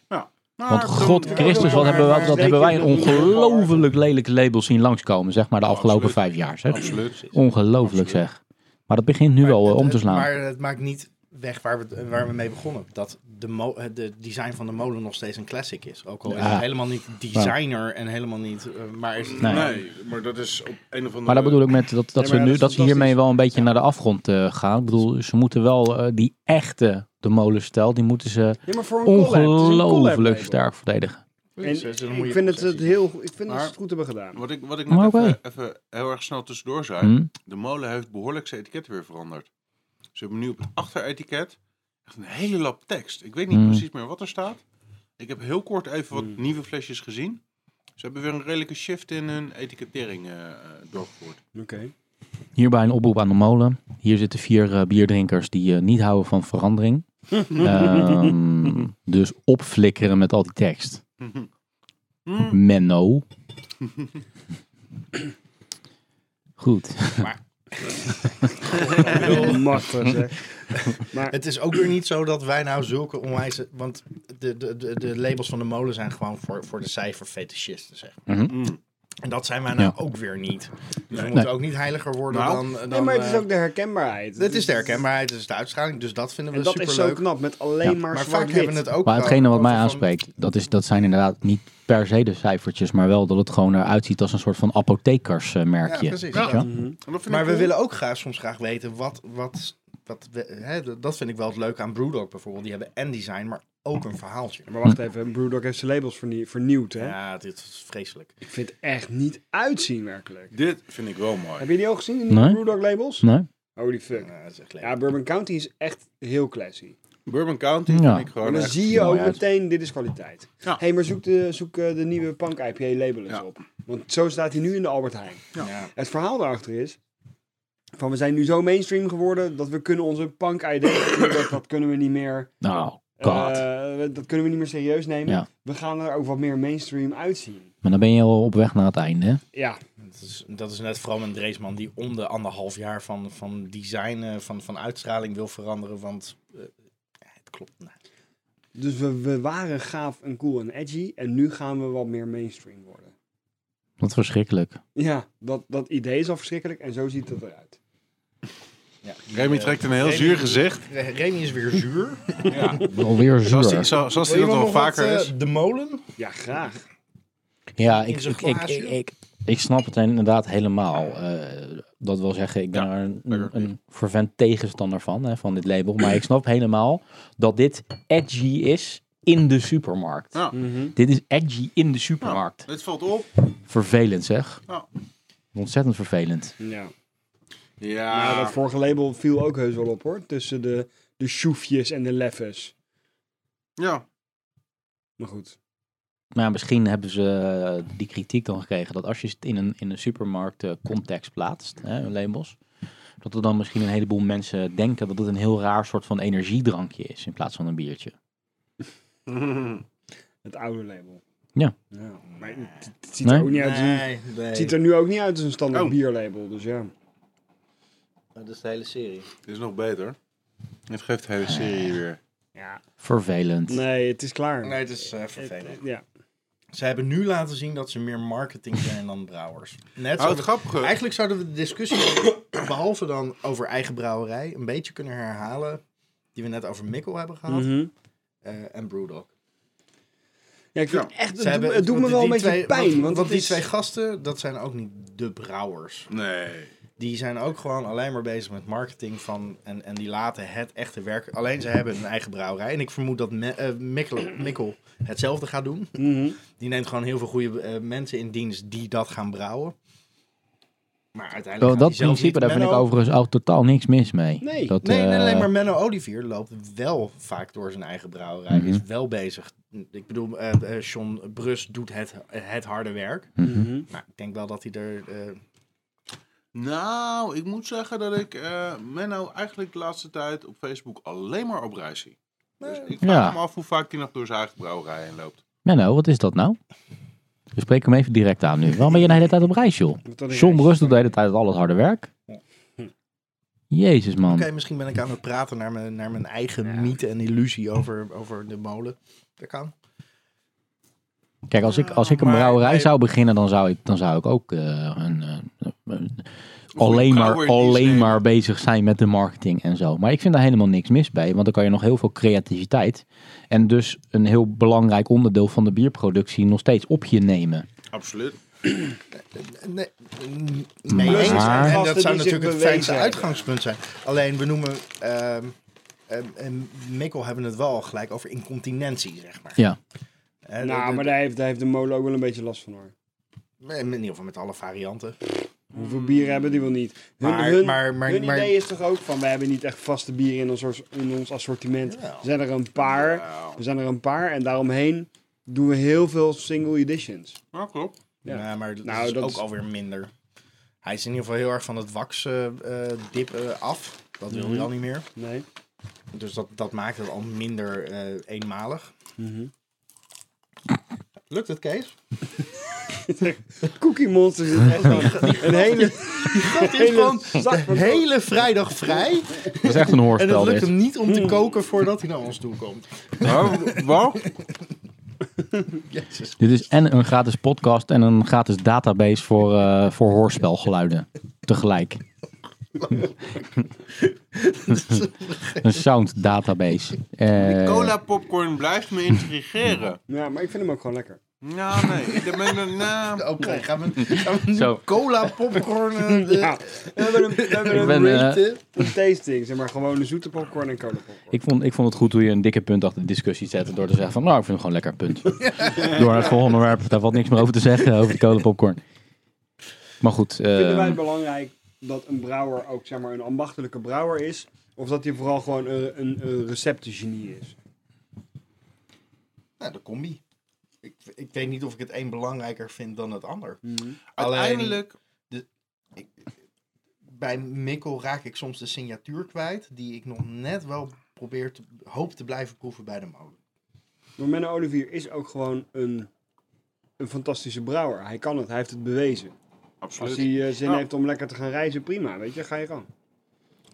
Nou,
Want
dan-
god
ja,
Christus,
maar-
wat hebben, we,
maar-
wat hebben wij een ongelooflijk lelijk label zien langskomen, zeg maar, de
Oh,
afgelopen
absoluut.
vijf jaar. Zeg.
Absoluut.
Ongelooflijk
Absoluut.
zeg. Maar dat begint nu wel
het-
eh, om
het-
te slaan.
Maar het maakt niet weg waar we, waar we mee begonnen. Dat de, mo- eh, de design van de molen nog steeds een classic is. Ook al is
Ja.
het helemaal niet designer en helemaal niet... eh, maar is het
Nee.
Nee, maar dat is op een of andere...
Maar dat bedoel ik met dat, dat,
Nee,
ze,
maar
nu,
dat is
dat ze hiermee
fantastisch.
wel een beetje naar de afgrond eh, gaan. Ik bedoel, ze moeten wel eh, die echte de molenstijl, die moeten ze
Ja, maar voor een collab, het is een collab
ongelooflijk
label.
sterk verdedigen.
En
Dus, eh, dan moet
ik
je
vind het, het
concessies
heel, ik vind dat
Maar-
ze het goed hebben gedaan.
Wat ik, wat ik
Maar
nog
oké.
even, even heel erg snel tussendoor zei.
Hm?
De molen heeft behoorlijk zijn etiket weer veranderd. Ze hebben nu op het achteretiket echt een hele lap tekst. Ik weet niet
Hmm.
precies meer wat er staat. Ik heb heel kort even wat nieuwe flesjes gezien. Ze hebben weer een redelijke shift in hun etikettering eh, eh, doorgevoerd.
Oké.
Hierbij een oproep aan de molen. Hier zitten vier eh, bierdrinkers die eh, niet houden van verandering. Ehm, dus opflikkeren met al die tekst. Menno. Goed.
Machtig zeg.
Het is ook weer niet zo dat wij nou zulke onwijs... Want de, de, de, de labels van de molen zijn gewoon voor, voor de cijferfetischisten, zeg maar.
Mhm.
Mm.
En dat zijn wij nou ook weer niet. Dus we moeten ook niet heiliger worden
Nou,
dan... dan
Nee, maar het is
eh,
ook de herkenbaarheid.
het is de herkenbaarheid, het is de uitstraling. Dus dat vinden we
En dat is
superleuk.
zo knap, met alleen
Ja.
maar,
Maar vaak
zwart-wit.
hebben we het ook...
Maar hetgene wat
over
mij
van-
aanspreekt, dat, is, dat zijn inderdaad niet per se de cijfertjes, maar wel dat het gewoon eruit ziet als een soort van apothekersmerkje.
Ja, precies.
Weet je wel?
Mhm.
En dat vind
Maar
ik
we
cool.
willen ook graag, soms graag weten wat... wat, wat we- hè, d- dat vind ik wel het leuke aan Brewdog bijvoorbeeld. Die hebben en design, maar ook een verhaaltje.
Maar wacht even, Brewdog heeft zijn labels vernie- vernieuwd, hè?
Ja, dit is vreselijk.
Ik vind het echt niet uitzien, werkelijk.
Dit vind ik wel mooi.
Heb je die al gezien, in
Nee.
Brewdog labels?
Nee?
Holy fuck.
Ja, dat is echt lelijk.
Ja, Bourbon County is echt heel classy.
Bourbon County
Oh, nou Ja.
vind ik
Maar
gewoon
dan
echt-
zie je ook
mooi uit.
meteen, dit is kwaliteit.
Ja.
hey, maar zoek de, zoek eh, de nieuwe Punk IPA label eens
Ja.
op. Want zo staat hij nu in de Albert Heijn.
Ja.
Het verhaal daarachter is... Van we zijn nu zo mainstream geworden dat we kunnen onze punk ID dat, dat kunnen we niet meer.
Nou, god.
Eh, we- dat kunnen we niet meer serieus nemen.
Ja.
We gaan er ook wat meer mainstream uitzien.
Maar dan ben je al op weg naar het einde. hè?
Ja,
Dat is, Dus dat is net Fram en Dreesman die om de anderhalf jaar van, van design, eh, van, van uitstraling wil veranderen. Want eh, het klopt. Nou,
dus we, we waren gaaf en cool en edgy. En nu gaan we wat meer mainstream worden.
Wat verschrikkelijk.
Ja, dat, dat idee is al verschrikkelijk en zo ziet het eruit.
ja.
Remy
Eh,
trekt een heel
Remy-
zuur gezicht.
Re- Remy is weer zuur.
Alweer
Zoals hij
zuur.
zo, zoals die
Wil
dat
je
al
nog wat,
vaker
eh,
is.
De molen?
Ja, graag.
Ja,
in
ik,
zo'n
ik, ik,
glaasje?
ik, ik, ik snap het inderdaad helemaal. Eh, dat wil zeggen, ik ben
Ja,
er een,
lekker.
een fervent tegenstander van, hè, van dit label. Maar ik snap helemaal dat dit edgy is in de supermarkt.
Ja.
Dit is edgy in de supermarkt.
Dit valt op.
Vervelend zeg.
Ja.
Ontzettend vervelend.
Ja.
Ja,
Nou, dat vorige label viel ook heus wel op hoor. Tussen de, de sjoefjes en de leffes.
ja.
Maar goed.
Maar ja, misschien hebben ze eh, die kritiek dan gekregen dat als je het in een, in een supermarkt eh, context plaatst, hè, labels, dat er dan misschien een heleboel mensen denken dat het een heel raar soort van energiedrankje is in plaats van een biertje.
Het oude label.
Ja.
Maar het, het ziet er
Nee?
ook niet uit. als een-
nee.
Het ziet er nu ook niet uit als een standaard
Oh.
bierlabel. Dus ja.
Oh, Dat is de hele serie.
Dit is nog beter. Dit geeft de hele serie weer.
ja.
Vervelend.
Nee, het is klaar.
Nee, het is eh,
Het-
vervelend.
ja.
Ze hebben nu laten zien dat ze meer marketing zijn dan brouwers. Net
Oh,
zo.
het grappige.
Eigenlijk zouden we de discussie, behalve dan over eigen brouwerij, een beetje kunnen herhalen. Die we net over Mikkel hebben gehad.
Mhm.
eh, en Brewdog.
Ja, ik
Ja.
vind het echt, het,
Ze hebben-
doet, het doet me
want
wel een
die
beetje
twee-
pijn.
Want,
Want,
want
het
die
is-
twee gasten, dat zijn ook niet de brouwers.
Nee.
Die zijn ook gewoon alleen maar bezig met marketing van. En, en die laten het echte werk. Alleen ze hebben een eigen brouwerij. En ik vermoed dat Me- eh, Mikkel, Mikkel hetzelfde gaat doen.
Mhm.
Die neemt gewoon heel veel goede eh, mensen in dienst die dat gaan brouwen. Maar uiteindelijk.
Oh,
gaat
dat
hij zelf
principe,
niet-
daar vind ik
Menno-
overigens ook totaal niks mis mee.
Nee.
dat,
Nee, nee,
eh,
nee, maar Menno Olivier loopt wel vaak door zijn eigen brouwerij.
Mhm.
Is wel bezig. Ik bedoel, eh eh, John Brus doet het, het harde werk.
mhm.
Mhm.
Maar ik denk wel dat hij er. eh,
Nou, ik moet zeggen dat ik eh Menno eigenlijk de laatste tijd op Facebook alleen maar op reis zie. Dus ik vraag
Ja.
me af hoe vaak hij nog door zijn eigen brouwerij heen loopt.
Menno, wat is dat nou? We spreken hem even direct aan nu. Waarom ben je de hele tijd op reis, joh?
Wat dan
John
is-
Brust doet de hele tijd al het harde werk. Jezus, man.
Oké, misschien ben ik aan het praten naar mijn, naar mijn eigen mythe en illusie over, over de molen. Dat kan.
Kijk, als ik, als ik een
Maar
brouwerij
hij-
zou beginnen, dan zou ik, dan zou ik ook eh, een, eh, een- alleen, maar,
brouwer in dienst
alleen
nemen.
maar bezig zijn met de marketing en zo. Maar ik vind daar helemaal niks mis bij, want dan kan je nog heel veel creativiteit en dus een heel belangrijk onderdeel van de bierproductie nog steeds op je nemen.
Absoluut.
Nee, mee
Maar-
eens. En- En dat
Gasten
zou
die zich
natuurlijk het
bewezen
fijnste
hebben.
uitgangspunt zijn. Alleen we noemen. ehm ehm, en Mikkel hebben het wel gelijk over incontinentie, zeg maar.
Ja.
Eh,
Nou,
dat-
maar daar heeft, daar heeft de molen ook wel een beetje last van hoor.
In ieder geval met alle varianten.
Hoeveel bieren hebben die wel niet? Hun,
Hmm. Maar-
hun,
maar- maar-
hun
maar-
idee is toch ook van, we hebben niet echt vaste bieren in ons, ors- in ons assortiment.
Ja.
Er zijn er een paar.
Nou,
Er zijn er een paar en daaromheen doen we heel veel single editions.
ja, klopt.
Ja.
Ja, Eh, maar dat
Nou,
is
dat
ook
is-
alweer minder. Hij is in ieder geval heel erg van het wax eh, eh, dip eh, af. Dat wil hij
Mhm.
al niet meer.
Nee.
Dus dat, dat maakt het al minder eh, eenmalig. Lukt het, Kees?
Cookie Monster is echt gewoon een hele,
Dat is
hele
gewoon
zak
de
van-
hele vrijdag vrij.
Dat is echt een
En het
hoorspel
lukt
dit.
hem niet om te koken voordat hij naar ons toe komt.
Waar? waar?
Jezus.
Dit is en een gratis podcast en een gratis database voor, eh, voor hoorspelgeluiden. Tegelijk. een sound database. Eh,
Cola popcorn blijft me intrigeren.
Ja, maar ik vind hem ook gewoon lekker.
Nou, nee. Ik ben er nou.
Oké, gaan we, gaan we nu
Zo.
cola, popcorn... eh, de-
Ja, we hebben een, we hebben
Ik
een
ben, eh,
rated tasting, zeg maar gewoon een zoete popcorn en cola popcorn.
ik, vond, ik vond het goed hoe je een dikke punt achter de discussie zette. Door te zeggen van, nou, ik vind hem gewoon lekker, punt. Door naar het volgende onderwerp. Daar valt niks meer over te zeggen, over de cola popcorn. Maar goed. eh,
Vinden wij het belangrijk dat een brouwer ook zeg maar een ambachtelijke brouwer is? Of dat hij vooral gewoon een, een, een receptengenie is?
Nou, de combi. Ik, ik weet niet of ik het een belangrijker vind dan het ander. Alleen-
Uiteindelijk.
bij Mikkel raak ik soms de signatuur kwijt die ik nog net wel probeer te, hoop te blijven proeven bij de molen.
Maar Menno Olivier is ook gewoon een, een fantastische brouwer. Hij kan het, hij heeft het bewezen. Als hij eh, zin
Nou.
heeft om lekker te gaan reizen, prima. Weet je, ga je gang.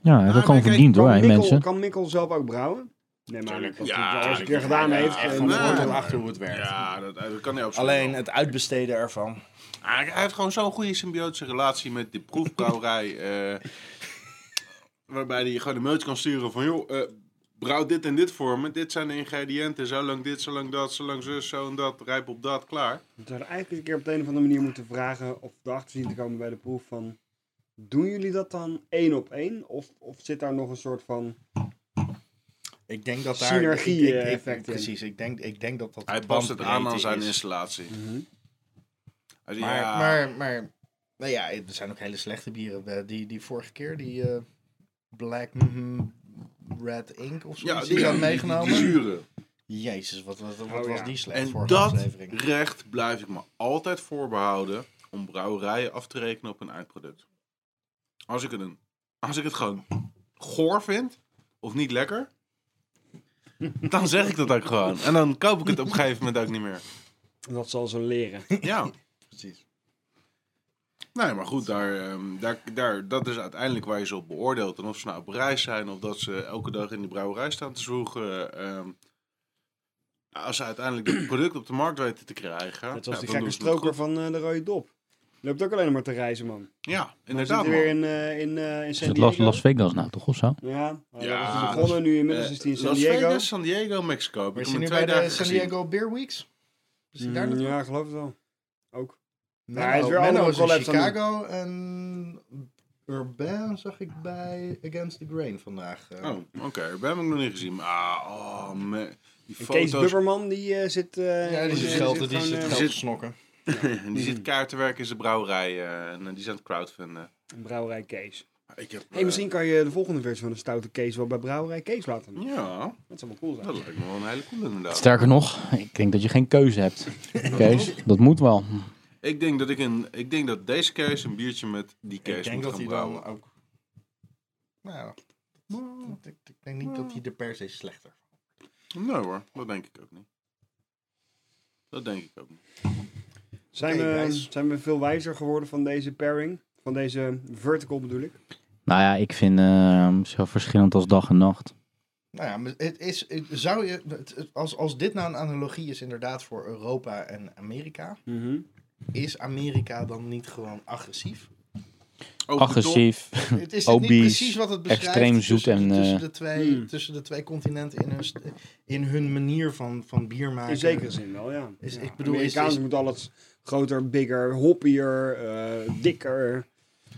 Ja, hij heeft
maar
het gewoon
kijk,
verdiend hoor,
Kan
hè,
Mikkel,
mensen.
kan Mikkel zelf ook brouwen? Nee, maar dat
Tuurlijk.
hij
Ja,
het al eens een keer
dat-
gedaan
ja,
heeft.
echt
en-
Van de
Nee,
hoort
maar-
achter hoe het werkt.
Ja, dat, dat kan hij absoluut
Alleen
wel. Ah,
het uitbesteden ervan.
Hij, hij heeft gewoon zo'n goede symbiotische relatie met de proefbrouwerij. eh, waarbij hij gewoon de mailtje kan sturen van... joh, eh, brouw dit en dit voor me. Dit zijn de ingrediënten. Zo lang dit, zo lang dat, zo lang zus, zo en dat. Rijp op dat, klaar.
We zouden eigenlijk een keer op de een of andere manier moeten vragen of erachter zien te komen bij de proef van... Doen jullie dat dan één op één? Of, of zit daar nog een soort van...
Ik denk dat daar...
Synergie,
ik- ik-
eh,
ik-
effect in.
Precies, ik denk, ik denk dat dat
Hij
de
past het aan aan
bandbreedte
zijn
is. Mhm.
installatie. Hij zei,
Maar,
ja,
maar, maar, nou ja, er zijn ook hele slechte bieren. Eh, Die, die vorige keer, die eh, Black mhm, Red Ink of zo,
ja,
die, die had meegenomen.
Die, die zure.
Jezus, wat, wat, wat
Oh,
was
ja.
die slecht
En
vorige
dat
aflevering.
recht blijf ik me altijd voorbehouden om brouwerijen af te rekenen op een eindproduct. Als ik het, een, als ik het gewoon goor vind of niet lekker, dan zeg ik dat ook gewoon. En dan koop ik het op een gegeven moment ook niet meer.
Dat zal ze leren.
Ja,
Precies.
nee, maar goed, daar, ehm, daar, daar, dat is uiteindelijk waar je ze op beoordeelt. En of ze nou op reis zijn of dat ze elke dag in die brouwerij staan te zwoegen. ehm, als ze uiteindelijk het product op de markt weten te krijgen.
Net
ja,
zoals die
dan
gekke
doen ze het goed.
stroker van eh, de Rode Dop. Die loopt ook alleen maar te reizen, man.
Ja,
Dan zit
inderdaad.
hij
man.
weer in, eh, in, eh, in
Is
San
het Las,
Diego.
Las Vegas nou toch of zo?
Ja, maar
Ja,
dat is begonnen. Nu inmiddels dus is hij in
Eh,
San
Las
Diego.
Vegas, San Diego, Mexico. Heb
Maar
ik
is
hem
hij
in
nu
twee
bij de
dagen
San
gezien.
Diego Beer Weeks? Is hij
Mm,
daar naartoe?
ja, geloof het wel. Ook.
Menno-
hij is weer
Menno
allemaal
is in
collabs aan het
Chicago en Urbain zag ik bij Against the Grain vandaag. eh.
Oh, oké. Daar heb ik nog niet gezien. Maar, ah, oh, man. Die
En
foto's.
Kees Bubberman, die eh, zit... eh,
Ja, die zit geld, die
gewoon,
zit
eh,
geld
zit-
te snokken.
die zit kaart te werken in zijn brouwerij. eh, en eh, die zijn aan het crowdfunden.
een Brouwerij Kees.
Ik heb,
eh, hey, misschien kan je de volgende versie van de stoute Kees wel bij Brouwerij Kees laten
eh,
doen.
Ja,
Dat zou wel cool zijn.
dat lijkt me wel een hele coole inderdaad.
Sterker nog, ik denk dat je geen keuze hebt. Kees, dat moet wel.
Ik denk dat ik een, ik denk dat deze Kees een biertje met die Kees
Ik denk
moet
dat
gaan
hij
brouwen.
dan ook... Nou,
Hmm.
dat- ik, ik denk niet dat hij er per se slechter
Nee hoor, dat denk ik ook niet. Dat denk ik ook niet.
Zijn,
Oké,
we,
guys.
zijn we veel wijzer geworden van deze pairing? Van deze vertical bedoel ik?
Nou ja, ik vind eh, zo verschillend als dag en nacht.
Nou ja, maar het is, het zou je, het- het- als, als dit nou een analogie is inderdaad voor Europa en Amerika,
Mhm.
is Amerika dan niet gewoon agressief?
Over de
Agressief.
Het is dit niet
Obese,
precies wat het beschrijft
Hm. extreem zoet
tussen,
en, eh,
tussen, de twee,
Hmm.
tussen de twee continenten in hun, st- in hun manier van, van bier maken.
In zekere zin wel, ja.
Is-
ja.
ik bedoel, is-
Amerikaans
is-
moet alles groter, bigger, hoppier, eh, dikker.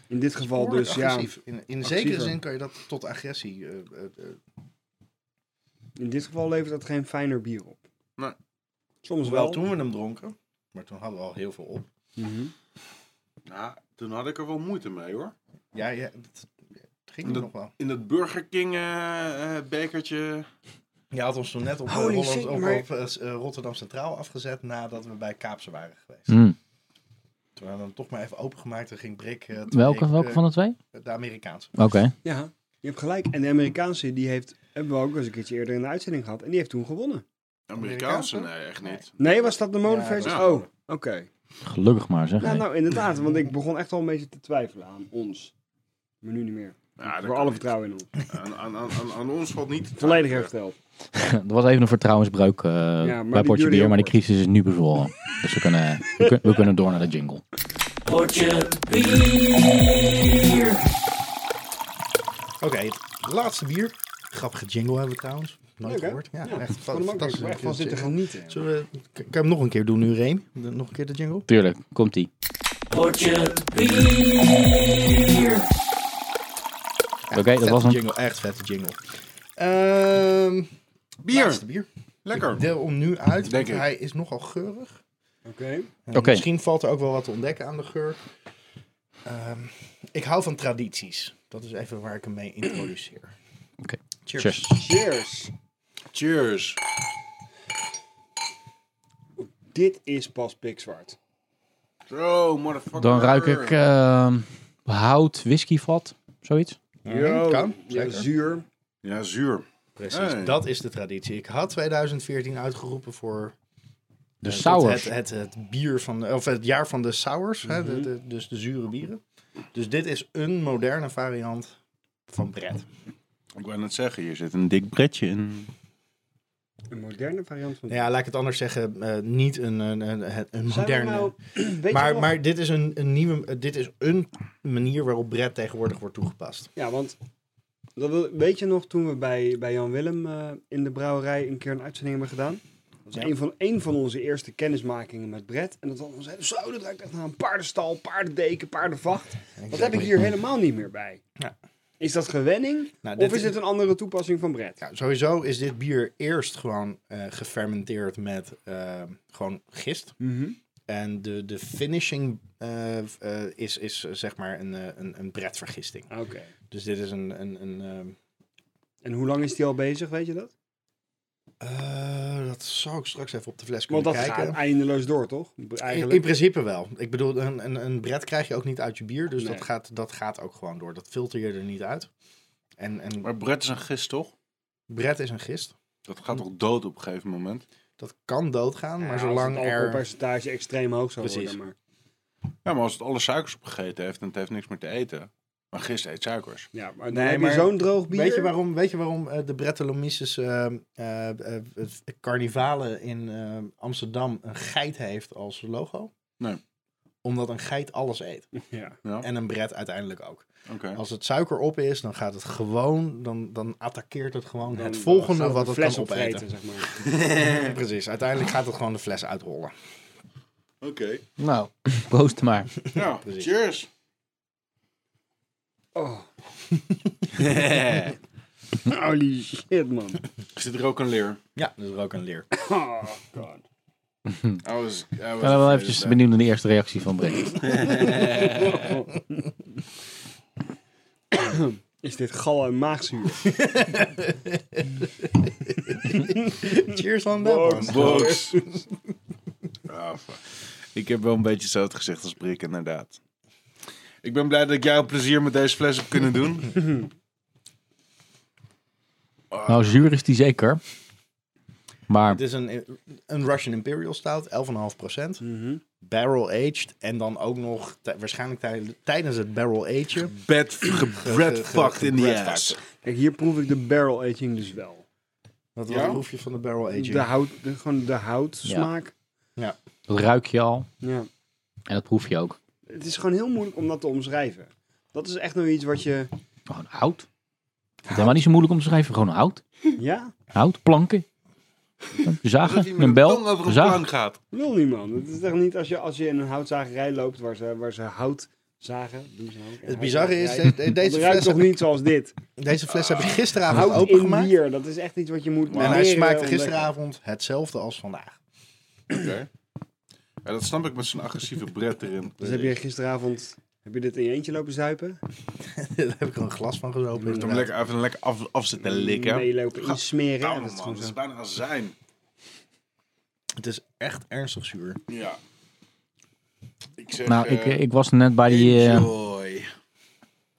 In dit geval
Behoorlijk
dus, ja.
agressief. In, in zekere
Agressiever.
zin kan je dat tot agressie. eh, eh, eh,
In dit geval levert dat geen fijner bier op.
Nee.
Soms
hoewel
wel.
toen we hem dronken, maar toen hadden we al heel veel op.
Mhm.
tocht- Nou, toen had ik er wel moeite mee hoor.
Ja, ja dat, dat ging
Dat-
nog wel.
In dat Burger King eh, eh, bekertje.
Je had ons toen net op, eh,
Holy
Holland-
shit,
op-
maar-
op, eh, s- eh, Rotterdam Centraal afgezet nadat we bij Kaapse waren geweest.
Hm.
Toen hadden we hem toch maar even opengemaakt en ging Brik... eh, toen
Welke,
ik,
welke
eh,
van de twee?
De Amerikaanse.
Oké.
Ja, je hebt gelijk. En de Amerikaanse, die heeft, hebben we ook eens een keertje eerder in de uitzending gehad. En die heeft toen gewonnen.
Amerikaanse?
Amerikaanse?
Nee, echt niet.
Nee, was dat de molenversie?
Ja,
dat was-
oh, oké.
Gelukkig maar zeg.
Nou,
hé.
nou, inderdaad, want ik begon echt al een beetje te twijfelen aan ons. Maar nu niet meer.
Ja, dat
Voor
kan
alle
niet.
vertrouwen in ons.
Aan, aan, aan, aan- aan ons valt niet. te
Volledig
twijfelen.
hersteld.
Er was even een vertrouwensbreuk eh,
maar
bij
die
Potje
duurde
Bier,
heel
maar de
kort.
crisis is nu bezworen. dus we kunnen, we, kun- we kunnen door naar de jingle.
Oké, het laatste bier. Grappige jingle hebben we trouwens. Nooit
Leuk, hè?
gehoord. Ja, echt
Van de
fantastisch.
echt van zitten genieten.
Zullen we, k- kan je hem nog een keer doen nu, Reen? De- Nog een keer de jingle?
Tuurlijk, komt-ie.
Ja,
Oké, dat
vette
was hem.
jingle. Echt vette jingle. Ehm
eh, Bier!
laatste bier.
Lekker!
Ik deel hem nu uit,
Denk
want
ik.
hij is nogal geurig.
Oké.
En
Oké.
Misschien valt er ook wel wat te ontdekken aan de geur. Ehm, ik hou van tradities. Dat is even waar ik hem mee introduceer.
Oké.
Cheers.
Cheers.
Cheers.
Cheers!
Dit is pas pikzwart.
Zo, motherfucker.
Dan ruik ik eh, hout, whiskyvat, zoiets.
Mhm, kan,
ja,
zeker.
zuur.
Ja, zuur.
Precies,
Hey.
dat is de traditie. Ik had 2014 uitgeroepen voor
De
eh,
sours.
Het, het, het, het bier van de, of het jaar van de sours, hè,
Mhm.
de- de- dus de zure bieren. Dus dit is een moderne variant van Brett.
Ik wou net zeggen, hier zit een dik bretje in.
Een moderne variant van...
Nou Ja, laat ik het anders zeggen, eh, niet een, een, een, een
Zijn we
moderne.
nou- Weet je
maar,
nog-
maar dit is een, een nieuwe, eh, dit is een manier waarop Brett tegenwoordig wordt toegepast.
Ja, want dat wil- weet je nog toen we bij, bij Jan Willem eh, in de brouwerij een keer een uitzending hebben gedaan? Dat was
Ja.
een, van, een van onze eerste kennismakingen met Brett. En dat was zeiden, zo, dat ruikt echt naar een paardenstal, paardendeken, paardenvacht. Dat heb ik hier helemaal niet meer bij.
Ja.
Is dat gewenning?
Nou, dit
Of is dit een andere toepassing van Brett?
Ja, sowieso is dit bier eerst gewoon eh, gefermenteerd met eh, gewoon gist. En de, de finishing eh, f- eh, is, is eh, zeg maar een, eh, een, een bretvergisting.
Oké.
Dus dit is een... een, een ehm,
En hoe lang is die al bezig, weet je dat?
eh, dat zou ik straks even op de fles
Want
kunnen
dat
kijken.
gaat eindeloos door, toch? B-
In,
Eigenlijk.
in principe wel. Ik bedoel, een, een, een bret krijg je ook niet uit je bier. Dus
Nee.
dat, gaat, dat gaat ook gewoon door. Dat filter je er niet uit. En, en
Maar Brett is een gist, toch?
bret is een gist.
Dat gaat toch dood op een gegeven moment?
Dat kan doodgaan,
Ja,
maar
als
zolang
het
er...
alcoholpercentage extreem hoog zou
Precies.
worden. Maar,
Ja, maar als het alle suikers opgegeten heeft en het heeft niks meer te eten. Maar gist eet suikers.
ja, maar
Nee,
dan heb je
maar
zo'n droog bier.
Weet je waarom, weet je waarom eh, de Brettelomyces eh eh, eh, het carnivale in eh, Amsterdam een geit heeft als logo?
Nee.
Omdat een geit alles eet.
Ja.
Ja,
En een bret uiteindelijk ook.
oké.
Als het suiker op is, dan gaat het gewoon, dan, dan attakkeert het gewoon
Dan-
het
dan
volgende
gaat
wat
de
het
fles
kan opeten.
zeg maar.
Precies, uiteindelijk gaat het gewoon de fles uitrollen.
Oké.
Nou, proost maar.
Ja,
Precies.
cheers.
Oh. Holy shit, man.
Zit er ook een leer?
Ja, dus er ook een leer.
Oh, god.
I was, I was
Ik ben wel
afraid of
eventjes
that.
benieuwd naar de eerste reactie van Brett.
Is dit gal en maagzuur?
Cheers on that one.
Box. Ah, fuck. ik heb wel een beetje hetzelfde gezicht als Brik, inderdaad. Ik ben blij dat ik jou plezier met deze fles heb kunnen doen.
Nou, zuur is die zeker. Maar
Het is een, een Russian Imperial Stout, 11,5 procent.
Mhm.
Barrel aged en dan ook nog tij- waarschijnlijk tij- tijdens het barrel agen.
Bed gebredfucked in the
gebredfucked.
ass.
Kijk, hier proef ik de barrel aging dus wel.
Dat
Ja?
was proef je van de barrel aging.
De hout, de, gewoon de houtsmaak.
dat ruik je al.
Ja.
En dat proef je ook.
Het is gewoon heel moeilijk om dat te omschrijven. Dat is echt nog iets wat je...
Gewoon hout. Het is helemaal niet zo moeilijk om te schrijven. Gewoon hout.
Ja?
Hout, planken.
Alsof je
Zagen,
met
een
tong
bel,
over een
een zaag.
plank gaat.
Wil niet, man. Het is echt niet als je, als je in een houtzagerij loopt waar ze, waar ze hout zagen. Doen ze ook.
het bizarre is,
Houtzagerij.
de- de- deze
Dat ruikt
fles,
toch
heb ik,
niet zoals dit?
deze fles heb ik gisteravond
Hout in
opengemaakt.
bier, dat is echt iets wat je moet
En hij
leren
smaakte
ontdekken.
gisteravond hetzelfde als vandaag.
Oké. Ja, dat snap ik met zo'n agressieve bret erin.
Dus heb je gisteravond... Heb je dit in je eentje lopen zuipen?
Daar heb ik er een glas van gezopen.
Moet hem
inderdaad.
lekker even lekker af, af zitten likken.
Nee, lopen
Gadverdamme,
insmeren. Ja, dat is
man,
gewoon
dat is
zo.
bijna azijn.
Het is echt ernstig zuur.
Ja. Ik zeg,
Nou, ik,
eh,
ik was net bij die... eh,
Enjoy.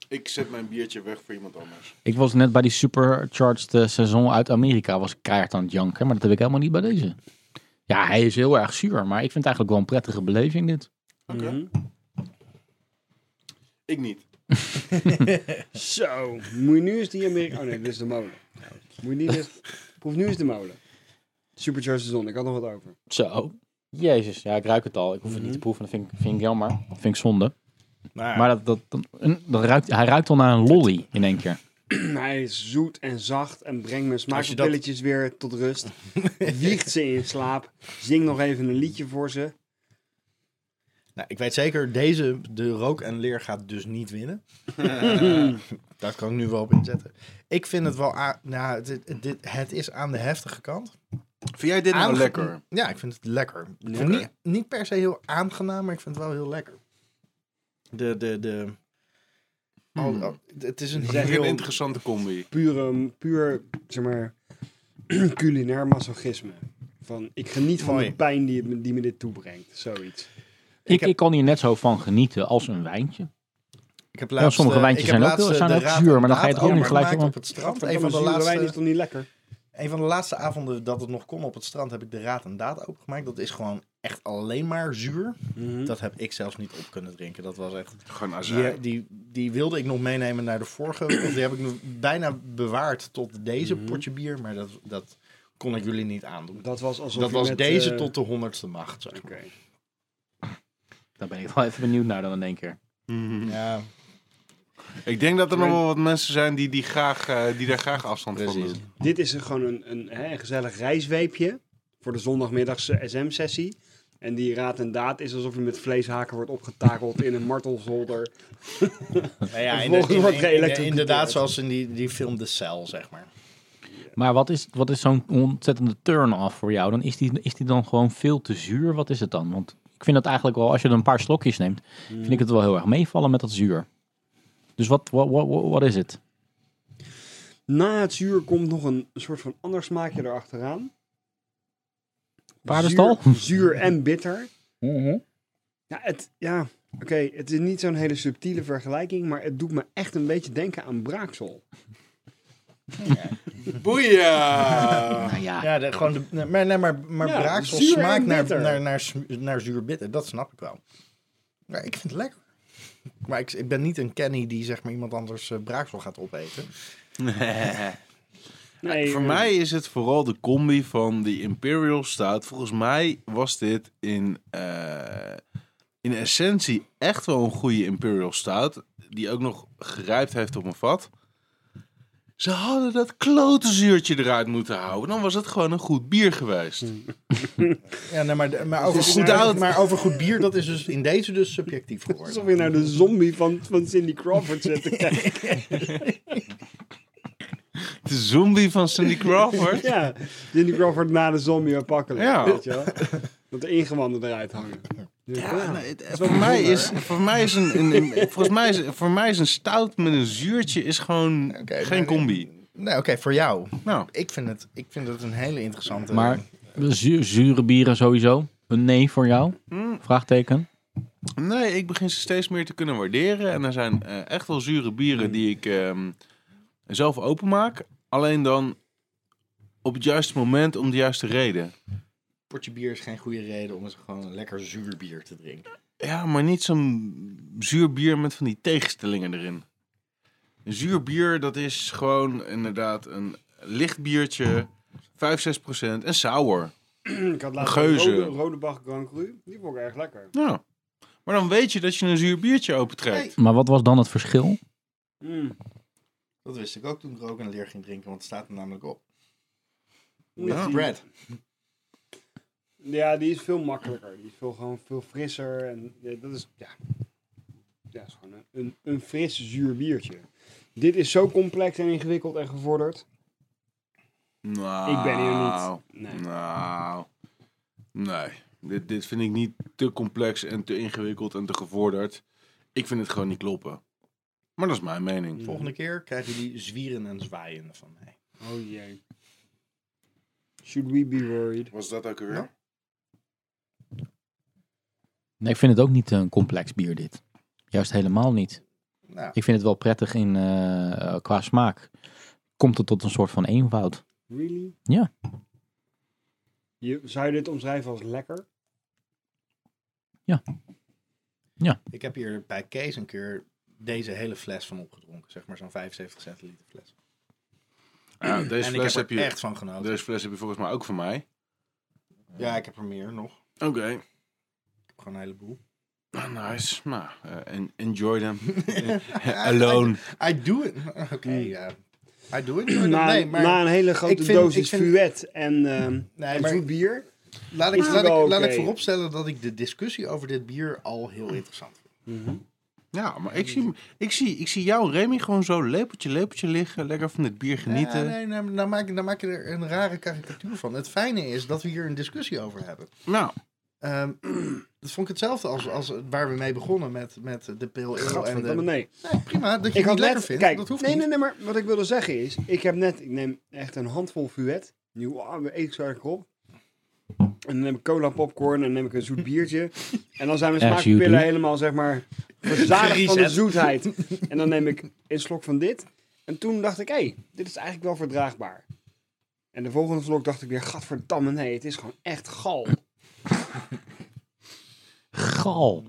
Ik zet mijn biertje weg voor iemand anders.
Ik was net bij die supercharged eh, saison uit Amerika, was ik keihard aan het janken, maar dat heb ik helemaal niet bij deze. Ja, hij is heel erg zuur, maar ik vind het eigenlijk wel een prettige beleving dit.
Oké.
Mhm.
Ik niet.
Zo, moet je nu eens die Amerika... Oh nee, dit is de molen. Moet je niet eens... Proef nu eens de molen. Supercharged zon, ik had nog wat over.
Zo. Jezus, ja, ik ruik het al. Ik hoef het niet te proeven, dat vind ik, vind ik jammer. Dat vind ik zonde.
Nou ja,
Maar dat, dat, dat, een- dat ruikt, hij ruikt al naar een lolly in één keer.
Hij is zoet en zacht en brengt mijn
Als je dat-
smaakpilletjes weer tot rust. Wiegt ze in slaap. Zing nog even een liedje voor ze.
nou, ik weet zeker, deze, de rook en leer gaat dus niet winnen. Daar kan ik nu wel op inzetten. Ik vind het wel, a- nou, het, het- dit, het is aan de heftige kant.
Vind jij dit nou
Aange-
lekker?
Ja, ik vind het lekker. Ik vind het niet, niet per se heel aangenaam, maar ik vind het wel heel lekker. De, de, de... al- al- het is een
Dat is
heel...
een interessante combi.
Pure, puur, zeg maar, culinair masochisme. Van, ik geniet van
Mooi.
de pijn die, het me- die me dit toebrengt. Zoiets.
Ik,
heb-
ik kan hier net zo van genieten als een wijntje.
Ik heb
Ja, sommige
eh,
wijntjes
ik heb
zijn ook
laatst,
heel-
eh,
zijn
de
ook
raad-
zuur, maar dan ga je het
raad
ook niet
over
gelijk
gemaakt
om-
op het strand.
Een
Een van, de
wijn is
laatste,
toch niet lekker?
een van de laatste avonden dat het nog kon op het strand heb ik de raad en daad opengemaakt. Dat is gewoon echt alleen maar zuur.
Mhm.
Dat heb ik zelfs niet op kunnen drinken. Dat was echt...
Gewoon eh, azijn.
Die, die, die wilde ik nog meenemen naar de vorige. want die heb ik nog bijna bewaard tot deze potje bier. Maar dat, dat kon ik jullie niet aandoen.
Mhm. Dat was alsof
Dat
je
was
met,
deze
eh,
tot de honderdste macht, zeg maar.
Oké.
Daar ben ik wel even benieuwd naar dan in één keer.
Ja,
Ik denk dat er nog wel wat mensen zijn die, die, graag, eh, die daar graag afstand van
Precies.
doen.
Dit is een- gewoon een, een, hè, een gezellig rijzweepje voor de zondagmiddagse SM-sessie. En die raad en daad is alsof je met vleeshaken wordt opgetakeld in een martelzolder.
nou ja
En vervolgens
in de- in-
wordt
in- in-
geëlektrocuteerd.
inderdaad zoals in die, die film The Cell, zeg maar.
Maar wat is, wat is zo'n ontzettende turn-off voor jou? Dan is, die, is die dan gewoon veel te zuur? Wat is het dan? Want ik vind dat eigenlijk wel, als je er een paar slokjes neemt, vind ik het wel heel erg meevallen met dat zuur. Dus wat, wat, wat, wat is het?
Na het zuur komt nog een soort van ander smaakje erachteraan.
Paardenstal?
Zuur, zuur en bitter. Ja, het, ja oké, het is niet zo'n hele subtiele vergelijking, maar het doet me echt een beetje denken aan braaksel.
Boeia!
Nou ja,
Ja, de, gewoon de, nee, maar, nee, maar, maar
Ja,
braaksel
zuur en
smaakt naar,
bitter.
naar, naar, sm- naar zuur bitter. Dat snap ik wel. Maar ik vind het lekker. Maar ik, ik ben niet een Kenny die zeg maar iemand anders eh, braaksel gaat opeten.
Nee,
Voor
eh,
mij is het vooral de combi van die Imperial Stout. Volgens mij was dit in, eh, in essentie echt wel een goede Imperial Stout. Die ook nog gerijpt heeft op een vat. Ze hadden dat klote zuurtje eruit moeten houden. Dan was het gewoon een goed bier geweest.
Ja, nee, maar, de- maar, over
is
goed,
goed oud.
Dus maar over goed bier, dat is dus in deze dus subjectief geworden.
eh, Alsof je naar de zombie van, van Cindy Crawford zit te kijken.
De zombie van Cindy Crawford.
Ja, Cindy Crawford na de zombie apocalypse.
Ja.
Weet je wel? Dat de ingewanden eruit hangen.
Ja, nee, het- voor, mij is, voor mij is een, een- een- volgens mij is, voor mij is een stout met een zuurtje is gewoon
Oké,
geen
maar-
combi.
Nee, oké, voor jou.
Nou,
Ik vind, het, ik vind het een hele interessante...
maar zu- zure bieren sowieso? Een nee voor jou? Vraagteken.
nee, ik begin ze steeds meer te kunnen waarderen. En er zijn eh, echt wel zure bieren die ik ehm, zelf openmaak. Alleen dan op het juiste moment om de juiste reden.
potje bier is geen goede reden om eens gewoon een lekker zuur bier te drinken.
Ja, maar niet zo'n zuur bier met van die tegenstellingen erin. Een zuur bier, dat is gewoon inderdaad een licht biertje, 5, 6 procent en sour.
Ik had laatst
Geuze.
een rode, rode Bach Grand Cru. Die vond ik erg lekker.
Ja. Nou, Maar dan weet je dat je een zuur biertje opentrekt.
Nee.
Maar wat was dan het verschil?
Mm.
Dat wist ik ook toen ik ook een leer ging drinken, want het staat er namelijk op. With
Ja.
bread.
Ja, die is veel makkelijker. Die is veel, gewoon veel frisser. En ja, dat is, ja. Ja, is gewoon een, een, een fris zuur biertje. Dit is zo complex en ingewikkeld en gevorderd.
Nou,
Ik ben hier niet. Nee.
Nou, nee. Dit, dit vind ik niet te complex en te ingewikkeld en te gevorderd. Ik vind het gewoon niet kloppen. Maar dat is mijn mening.
Volgende keer krijgen jullie zwieren en zwaaien van mij.
Oh jee. Should we be worried?
Was dat ook weer?
Ja.
Nee, ik vind het ook niet een complex bier dit. Juist helemaal niet.
Nou,
Ik vind het wel prettig in, eh, eh, qua smaak. Komt het tot een soort van eenvoud.
Really?
Ja.
Je, zou je dit omschrijven als lekker?
ik heb hier bij Kees een keer deze hele fles van opgedronken. Zeg maar zo'n 75 centiliter fles.
Ja, deze,
en ik heb
fles
er
heb je,
echt van genoten.
deze fles heb je volgens mij ook van mij.
Ja, ik heb er meer nog.
Oké.
Ik heb gewoon een heleboel.
Ah, nice. Nou, eh, en- enjoy them. Eh, Alone.
I do it. Oké, ja. I do it.
na,
nee, maar
na een hele grote
ik vind-
dosis
ik vind-
fuet en, ehm
Nee,
en
maar-
zoet bier.
laat, ik,
is
laat, ik,
wel
laat ik
oké.
vooropstellen dat ik de discussie over dit bier al heel interessant vind.
Ja, maar ik zie, ik, zie, ik zie jou, Remy, gewoon zo lepeltje, lepeltje liggen. Lekker van dit bier genieten.
Ja, nee, nee, maar dan maak, je- dan maak je er een rare karikatuur van. Het fijne is dat we hier een discussie over hebben.
Nou,
Ehm, dat vond ik hetzelfde als, als waar we mee begonnen met, met de pil en de...
Gadverdamme, nee.
Nee, prima, dat je
Ik
het
had
niet lekker
net,
vindt.
kijk,
dat hoeft
nee,
niet.
nee, nee, maar wat ik wilde zeggen is, ik heb net, ik neem echt een handvol fuet. Nu, ah, ik zo erg op. En dan neem ik cola popcorn en dan neem ik een zoet biertje. En dan zijn mijn
As you
smaakpillen
do.
helemaal, zeg maar, verzadigd van de
Gereset.
zoetheid. En dan neem ik een slok van dit. En toen dacht ik, hé, hey, dit is eigenlijk wel verdraagbaar. En de volgende slok dacht ik weer, gadverdamme, nee, het is gewoon echt gal.
Gal.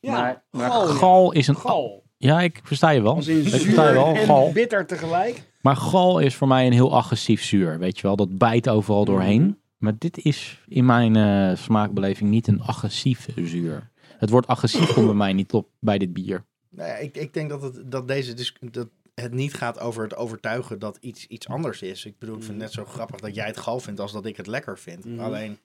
Ja,
maar, maar
gal.
gal,
ja.
is een...
Gal.
Ja, ik versta je wel.
Als in
Ik versta je
zuur
wel, gal.
en bitter tegelijk.
Maar gal is voor mij een heel agressief zuur, weet je wel. Dat bijt overal
Mhm.
doorheen. Maar dit is in mijn eh, smaakbeleving niet een agressief zuur. Het woord agressief komt bij mij niet op bij dit bier.
Nou ja, ik, ik denk dat, het, dat, deze dis- dat het niet gaat over het overtuigen dat iets, iets anders is. Ik bedoel, ik vind het net zo grappig dat jij het gal vindt als dat ik het lekker vind.
Mhm.
Alleen,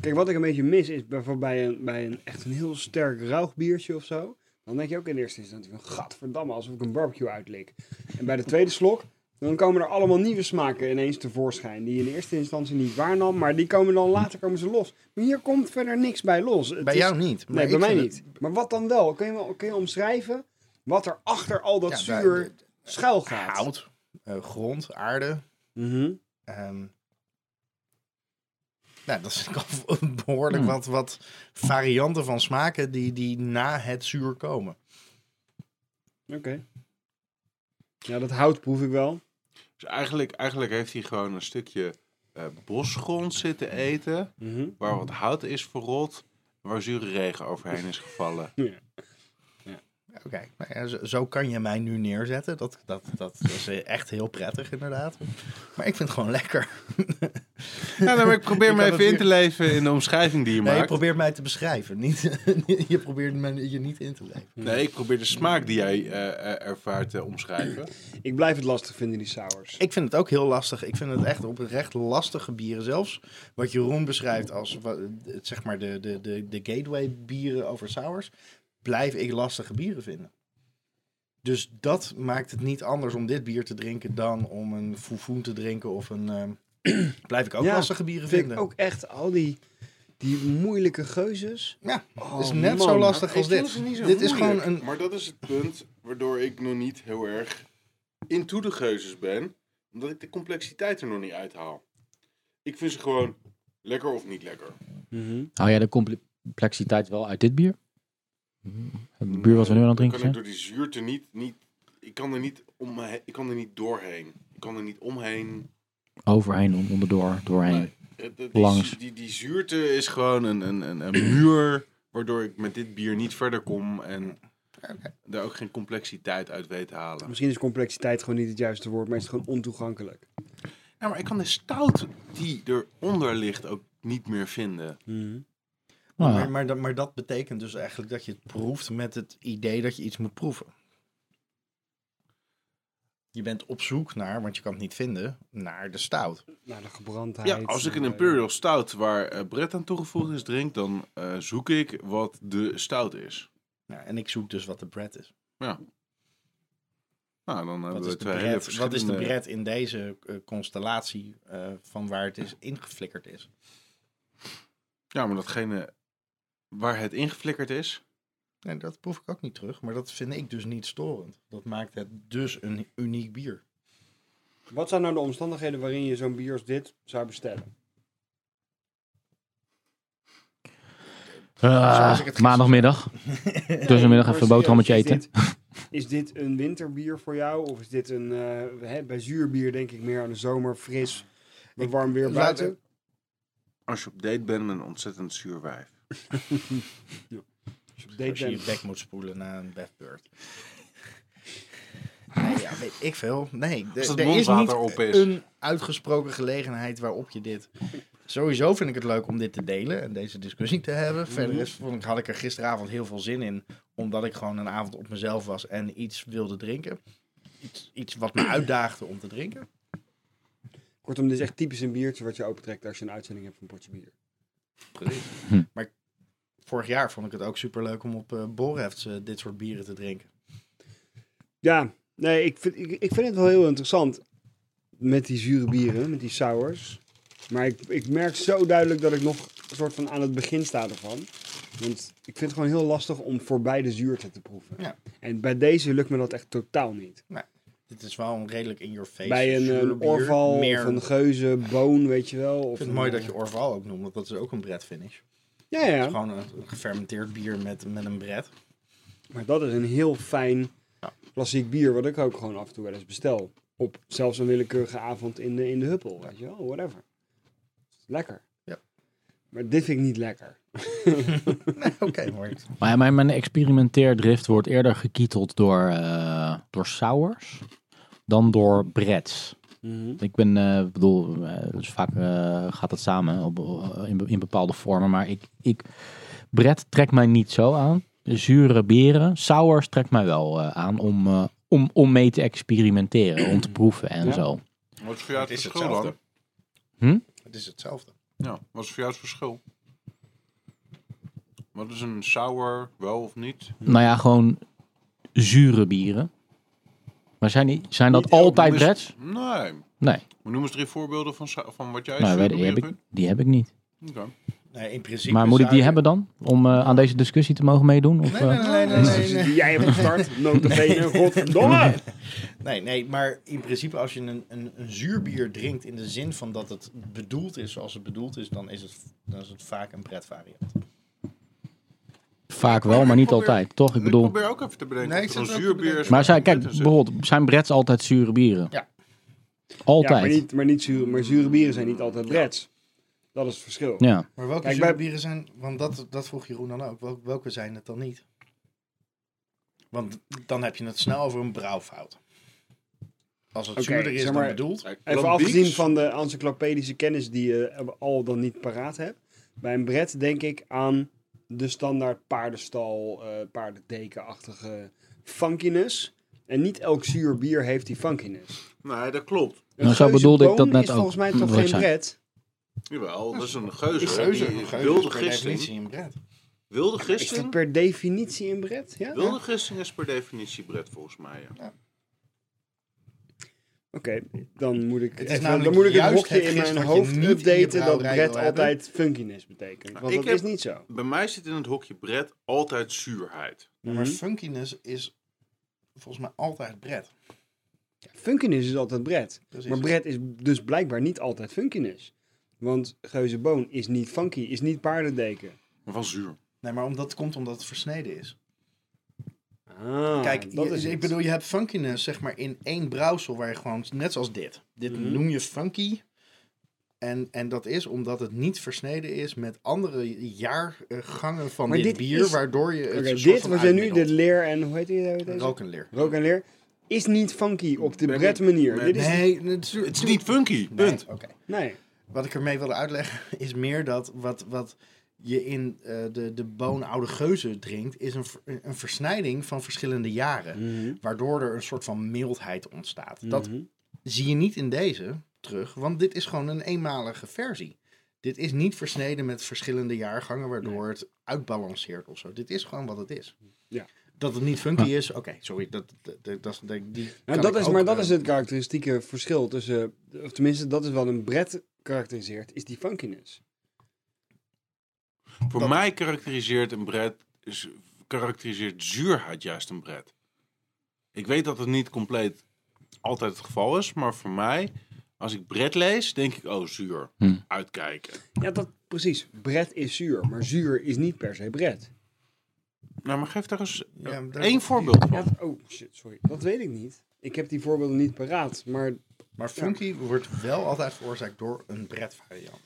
Kijk, wat ik een beetje mis is bijvoorbeeld bij een, bij een echt een heel sterk rauw biertje of zo. Dan denk je ook in eerste instantie van, gadverdamme, alsof ik een barbecue uitlik. En bij de tweede slok, dan komen er allemaal nieuwe smaken ineens tevoorschijn. Die je in eerste instantie niet waarnam, maar die komen dan later komen ze los. Maar hier komt verder niks bij los. Het
bij
is-
jou niet. maar
Nee, bij
ik
mij
vind
niet. Maar wat dan wel? Kun je, wel- kun je omschrijven wat er achter al dat
Ja, bij-
zuur schuil
het
gaat?
Hout, eh, grond, aarde.
Mhm.
ehm, nou, dat is al behoorlijk
Hmm.
wat, wat varianten van smaken die, die na het zuur komen.
Oké. Ja, dat hout proef ik wel.
Dus eigenlijk, eigenlijk heeft hij gewoon een stukje eh, bosgrond zitten eten.
Mhm.
Waar wat hout is verrot. Waar zure regen overheen is gevallen.
Oké, nou ja, zo, zo kan je mij nu neerzetten. Dat, dat, dat is eh, echt heel prettig, inderdaad. Maar ik vind het gewoon lekker.
Ja, nou, maar ik probeer
Ik
me
had
even
het
in te leven in de omschrijving die je
Nee, je
maakt.
probeert mij te beschrijven. Niet, je probeert me je niet in te leven.
Nee, ik probeer de smaak die jij eh, eh, ervaart te omschrijven.
Ik blijf het lastig vinden, die sours.
Ik vind het ook heel lastig. Ik vind het echt oprecht lastige bieren. Zelfs wat Jeroen beschrijft als wa- het- zeg maar de, de, de, de gateway bieren over sours, blijf ik lastige bieren vinden. Dus dat maakt het niet anders om dit bier te drinken dan om een foefoen te drinken of een... ehm, blijf ik ook
Ja,
lastige bieren
vind
vinden.
ik ook echt al die, die moeilijke geuzes.
Ja,
Oh,
het is net
man.
zo lastig als dit. Dit is gewoon een
Maar dat is het punt waardoor ik nog niet heel erg into de geuzes ben. Omdat ik de complexiteit er nog niet uithaal. Ik vind ze gewoon lekker of niet lekker.
Hou jij de complexiteit wel uit dit bier? Het bier wat we nu aan het drinken
kan
zijn?
ik door die zuurte niet, niet, ik kan er niet om, me he- ik kan er niet doorheen. Ik kan er niet omheen.
Overheen, om- onderdoor, doorheen.
Nee. Het- het- die,
Langs.
zu- die, die zuurte is gewoon een, een, een, een muur waardoor ik met dit bier niet verder kom en daar ook geen complexiteit uit weet te halen.
Misschien is complexiteit gewoon niet het juiste woord, maar is het gewoon ontoegankelijk.
Ja, maar ik kan de stout die eronder ligt ook niet meer vinden.
Nou,
Maar, maar, dat- maar dat betekent dus eigenlijk dat je het proeft met het idee dat je iets moet proeven. Je bent op zoek naar, want je kan het niet vinden, naar de stout.
Nou, de gebrandheid.
Ja, als ik een
eh,
Imperial Stout waar eh Brett aan toegevoegd is drink, dan eh, zoek ik wat de stout is.
Nou, en ik zoek dus wat de bread is.
Nou, dan hebben
Wat
we
is de
twee hele
bread, wat is de
verschillende...
bread in deze eh, constellatie eh, van waar het is ingeflikkerd is?
Ja, maar datgene waar het ingeflikkerd is.
Nee, dat proef ik ook niet terug, maar dat vind ik dus niet storend. Dat maakt het dus een uniek bier.
Wat zijn nou de omstandigheden waarin je zo'n bier als dit zou bestellen?
eh,
Ah,
zoals ik het
maandagmiddag. Tussenmiddag even een boterhammetje
Is
eten.
dit- Is dit een winterbier voor jou? Of is dit een... eh, hè, bij zuurbier denk ik meer aan de zomer, fris, met warm weer
laat-
buiten.
Als je op date bent met een ontzettend zuur wijf.
Als je op
Als
date
je je
bent.
bek moet spoelen na een bedbeurt. Nee, ja, weet ik veel. Nee, d-
Als het
er is
mondwater
niet
op is.
een uitgesproken gelegenheid waarop je dit... Sowieso vind ik het leuk om dit te delen en deze discussie te hebben.
Mhm.
Verder is, vond ik, had ik er gisteravond heel veel zin in, omdat ik gewoon een avond op mezelf was en iets wilde drinken. Iets, iets wat me uitdaagde om te drinken.
Kortom, dit is echt typisch een biertje wat je opentrekt als je een uitzending hebt van een potje bier.
Precies.
Hm.
Maar vorig jaar vond ik het ook superleuk om op eh Borrefts eh, dit soort bieren te drinken.
Ja, nee, ik vind, ik, ik vind het wel heel interessant met die zure bieren, met die sours. Maar ik, ik merk zo duidelijk dat ik nog een soort van aan het begin sta ervan. Want ik vind het gewoon heel lastig om voorbij de zuurte te proeven.
Ja.
En bij deze lukt me dat echt totaal niet.
Dit is wel een redelijk in your face.
Bij een,
zuur
een
bier.
Orval
Meer-
of een Geuze, Boon, weet je wel. Of
Ik vind het
een-
mooi dat je Orval ook noemt, want dat is ook een breadfinish.
Ja,
Het is
ja.
Gewoon een, een gefermenteerd bier met, met een bread.
Maar dat is een heel fijn
Ja.
klassiek bier, wat ik ook gewoon af en toe wel eens bestel. Op zelfs een willekeurige avond in de, in de huppel, weet je wel, whatever. Lekker.
Ja.
Maar dit vind ik niet lekker.
Nee, Oké, mooi.
Maar mijn, mijn experimenteerdrift wordt eerder gekieteld door, eh door sours dan door breads. Ik ben, eh, bedoel, eh, dus vaak eh, gaat dat samen op, eh, in, be- in bepaalde vormen, maar ik, ik bret trekt mij niet zo aan. Zure beren, sours trekt mij wel eh, aan om, eh, om, om mee te experimenteren, om te proeven en
Ja.
zo.
Wat is voor jou
Het
het
is
verschil dan?
hetzelfde.
Hm?
Het is hetzelfde.
Ja, wat is voor jou het verschil? Wat is een sour, wel of niet?
Nou ja, gewoon zure bieren. Maar zijn, die, zijn dat
Niet elk
altijd
Noem
breads?
eens- Nee.
Nee,
Maar noem eens drie voorbeelden van, sa- van wat jij
nou,
zuur
weet- die, heb
bier
ik, die heb ik niet.
vindt. Oké.
Nee, in principe
maar moet ik
zou
die
je-
hebben dan? Om eh, aan deze discussie te mogen meedoen? Of,
Nee, nee,
eh?
nee, nee, nee, nee,
Dus
nee.
die jij hebt gestart, notabene, godverdomme!
Nee, nee, maar in principe als je een, een, een zuurbier drinkt in de zin van dat het bedoeld is zoals het bedoeld is, dan is het, dan is het vaak een breadvariant.
Vaak wel, Oh, maar niet altijd, toch? Ik
Ik
bedoel.
probeer ook even te bedenken.
Nee,
of
ik
er een
zit ook te
zuurbier is.
bedenken.
Maar zijn, kijk,
Dit is het.
bijvoorbeeld, zijn brets altijd zure bieren?
Ja.
Ja, maar
Altijd. Ja,
niet, maar niet zuur, maar zure bieren zijn niet altijd reds. Dat is het verschil.
Maar welke
Kijk, bij-
zuurbieren zijn, want dat, dat vroeg Jeroen dan ook, wel- welke zijn het dan niet? Want dan heb je het snel over een brouwfout. Als het
Oké,
zuurder is
zeg maar-
dan bedoeld.
Kijk,
Even
Lambics.
afgezien van de encyclopedische kennis die je al dan niet paraat hebt. Bij een bret denk ik aan de standaard paardenstal, eh paardendekenachtige funkiness. En niet elk zuur bier heeft die funkiness.
Nee, dat klopt.
Een
Nou, zo
geuze
bedoelde ik
boon
dat net
is
ook,
volgens mij
moet
toch
ik
geen
zijn.
bret?
Jawel, dat is een geuze.
Geuze,
Die is
geuze
wilde
is per definitie
gisting.
een bread.
Wilde
Is dat
gisting.
per definitie een bret? Ja?
Wilde gisting is per definitie bret volgens mij. Ja.
Oké, dan moet ik,
is
even-
namelijk
dan moet ik het
juist
hokje
het
in
gist
mijn
wat je
hoofd
niet in je
updaten dat
brouwerij
bret
wil hebben.
altijd funkiness betekent. Want
ik
dat
heb-
is niet zo.
Bij mij zit in het hokje bret altijd zuurheid.
Ja, maar funkiness is volgens mij altijd bread.
Funkiness is altijd bret.
Precies.
Maar Brett is dus blijkbaar niet altijd funkiness. Want Geuzenboon is niet funky, is niet paardendeken.
Maar van zuur.
Nee, maar omdat, komt omdat het versneden is.
Ah,
Kijk, je- ik bedoel, je hebt funkiness zeg maar in één brouwsel waar je gewoon, net zoals dit. Dit
Mhm.
noem je funky. En, en dat is omdat het niet versneden is met andere jaargangen van
Maar
dit,
dit
bier,
is-
waardoor je het
Oké,
een soort
dit
van
wat jij nu, de
uitmiddelt.
leer en hoe heet die? hoe heet deze?
rook en leer.
Rook en leer. Is niet funky op de
Ben ik-
Brett manier.
nee.
Dit is,
Nee, het is,
Het is niet funky,
nee,
punt.
oké.
nee.
Wat ik ermee wilde uitleggen is meer dat wat, wat je in eh, de, de boonoude geuze drinkt, is een, ver- een versnijding van verschillende jaren.
Mhm.
Waardoor er een soort van mildheid ontstaat. Dat zie je niet in deze terug, want dit is gewoon een eenmalige versie. Dit is niet versneden met verschillende jaargangen, waardoor het uitbalanceert of zo. Dit is gewoon wat het is.
Ja.
Dat het niet funky is, oké, sorry. Dat, dat, dat, dat, die kan
Nou, dat
ik
is,
ook,
maar dat
eh,
is het karakteristieke verschil tussen... Of tenminste, dat is wat een Brett karakteriseert, is die funkiness.
Voor mij karakteriseert een bret, is, karakteriseert zuurheid juist een bret. Ik weet dat het niet compleet altijd het geval is, maar voor mij, als ik bret lees, denk ik, oh zuur,
Hm.
uitkijken.
Ja, dat precies. Brett is zuur, maar zuur is niet per se Brett.
Nou, maar geef daar eens
Ja,
eh,
daar-
één voorbeeld
Ja,
van.
dat- oh shit, sorry. Dat weet ik niet. Ik heb die voorbeelden niet paraat, maar
Maar funky wordt wel altijd veroorzaakt door een bread variant.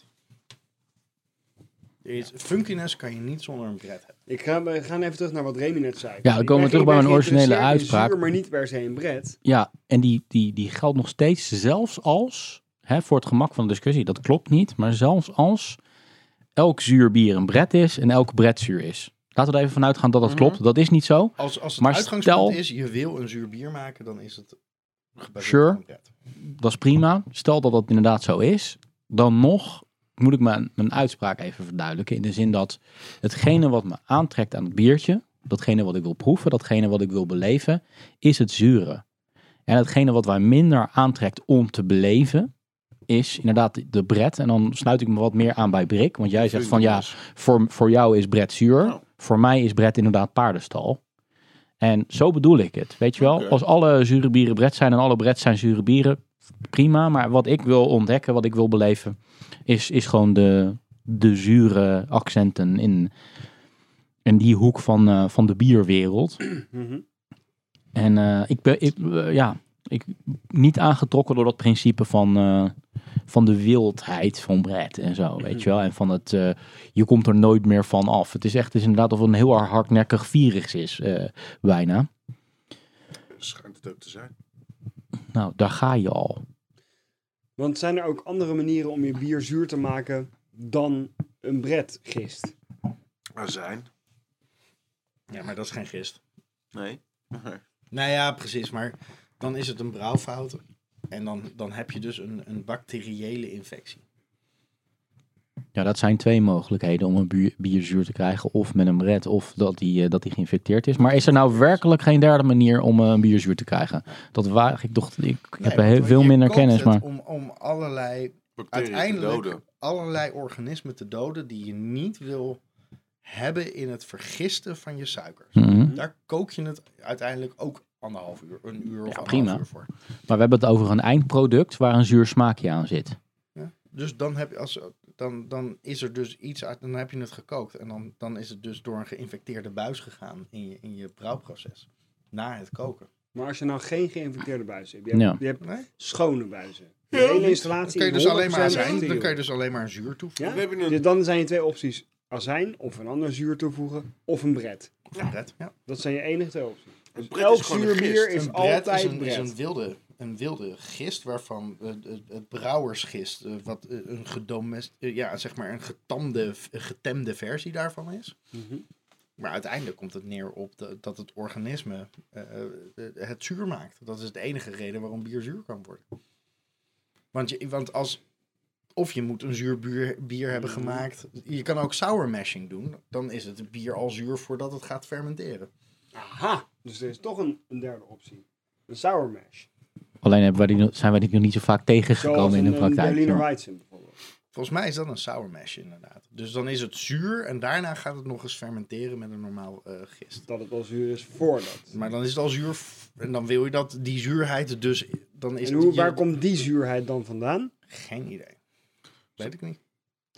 Er is, Funkiness kan je niet zonder een bread hebben.
ik ga, we gaan even terug naar wat Remy net zei.
dan komen we
Ik ben-
terug
ik
bij
ben
mijn originele
geïnteresseerd in
uitspraak.
Zuur, maar niet per se een bret.
Ja, en die, die, die geldt nog steeds, zelfs als, hè, voor het gemak van de discussie, dat klopt niet, maar zelfs als elk zuur bier een bret is en elk bret zuur is. Laten we er even vanuit gaan dat
Mhm.
dat klopt. Dat is niet zo.
Als, als het
Maar
uitgangspunt
stel-
is, je wil een zuur bier maken, dan is het gebaseerd
Sure.
op een bread.
Dat is prima. Stel dat dat inderdaad zo is, dan nog moet ik mijn, mijn uitspraak even verduidelijken. In de zin dat hetgene wat me aantrekt aan het biertje, datgene wat ik wil proeven, datgene wat ik wil beleven, is het zure. En hetgene wat mij minder aantrekt om te beleven, is inderdaad de bret. En dan sluit ik me wat meer aan bij Brik. Want jij zegt van ja, voor, voor jou is bret zuur.
Ja.
Voor mij is bret inderdaad paardenstal. En zo bedoel ik het. Weet je wel,
Oké.
als alle zure bieren bret zijn en alle bret zijn zure bieren, prima. Maar wat ik wil ontdekken, wat ik wil beleven, is, is gewoon de, de zure accenten in, in die hoek van, eh, van de bierwereld.
Mhm.
En eh, ik ben ik, eh, ja, ik, niet aangetrokken door dat principe van, eh, van de wildheid van Brett en zo, weet je wel. En van het, eh, je komt er nooit meer van af. Het is echt, het is inderdaad of het een heel erg hardnekkig virus is, eh, bijna.
Schijnt het ook te zijn.
Nou, daar ga je al.
Want zijn er ook andere manieren om je bier zuur te maken dan een bretgist?
Maar zijn?
Ja, maar dat is geen gist.
Nee.
Nou ja, precies. Maar dan is het een brouwfout. En dan, dan heb je dus een, een bacteriële infectie.
Ja, dat zijn twee mogelijkheden om een bier, bier zuur te krijgen. Of met een bret, of dat die, eh, dat die geïnfecteerd is. Maar is er nou werkelijk geen derde manier om eh, een bier zuur te krijgen? Dat waar ik dacht, ik heb er
Nee,
heel,
want
veel
je
minder
kookt
kennis,
het
maar...
Om, om allerlei,
Bacteriën
uiteindelijk allerlei organismen te doden die je niet wil hebben in het vergisten van je suikers.
Mhm.
Daar kook je het uiteindelijk ook anderhalf uur, een uur of
Ja,
anderhalf
prima.
uur voor.
Maar we hebben het over een eindproduct waar een zuur smaakje aan zit.
Dus dan, heb je als, dan, dan is er dus iets uit, dan heb je het gekookt. En dan, dan is het dus door een geïnfecteerde buis gegaan in je, in je brouwproces. Na het koken.
Maar als je nou geen geïnfecteerde buizen hebt, je hebt,
Ja.
je hebt
Nee?
schone buizen. De hele
Dan
installatie
kun je
is
dus alleen maar
100%
azijn, dan
ethereal.
kun je dus alleen maar een zuur toevoegen.
Ja?
We hebben een-
Dus dan zijn je twee opties. Azijn of een ander zuur toevoegen of een bret.
Of een bret. Ja.
Dat zijn je enige twee opties. Dus
Een bret
Elk
is gewoon een
zuur
gist.
bier is
een bret is
altijd
een, is
bret.
een, wilde, een wilde gist waarvan eh, het, het brouwersgist, eh, wat eh, een gedomest, eh, ja, zeg maar een getamde, een getemde versie daarvan is.
Mhm.
Maar uiteindelijk komt het neer op de- dat het organisme eh, eh, het zuur maakt. Dat is de enige reden waarom bier zuur kan worden. Want, je, want als, of je moet een zuur bier, bier hebben gemaakt. Je kan ook sour mashing doen. Dan is het bier al zuur voordat het gaat fermenteren.
Aha, dus er is toch een, een derde optie. Een sour mash.
Alleen hebben wij die, zijn wij die nog niet zo vaak
Zoals
tegengekomen in
een,
de
een
praktijk.
Berliner
ja.
Weizen bijvoorbeeld.
Volgens mij is dat een sour mash inderdaad. Dus dan is het zuur en daarna gaat het nog eens fermenteren met een normaal eh, gist.
Dat het wel zuur is voordat.
Maar dan is het al zuur f- en dan wil je dat die zuurheid dus dan is
En
het
hoe,
hier-
waar komt die zuurheid dan vandaan?
geen idee. Weet ik niet.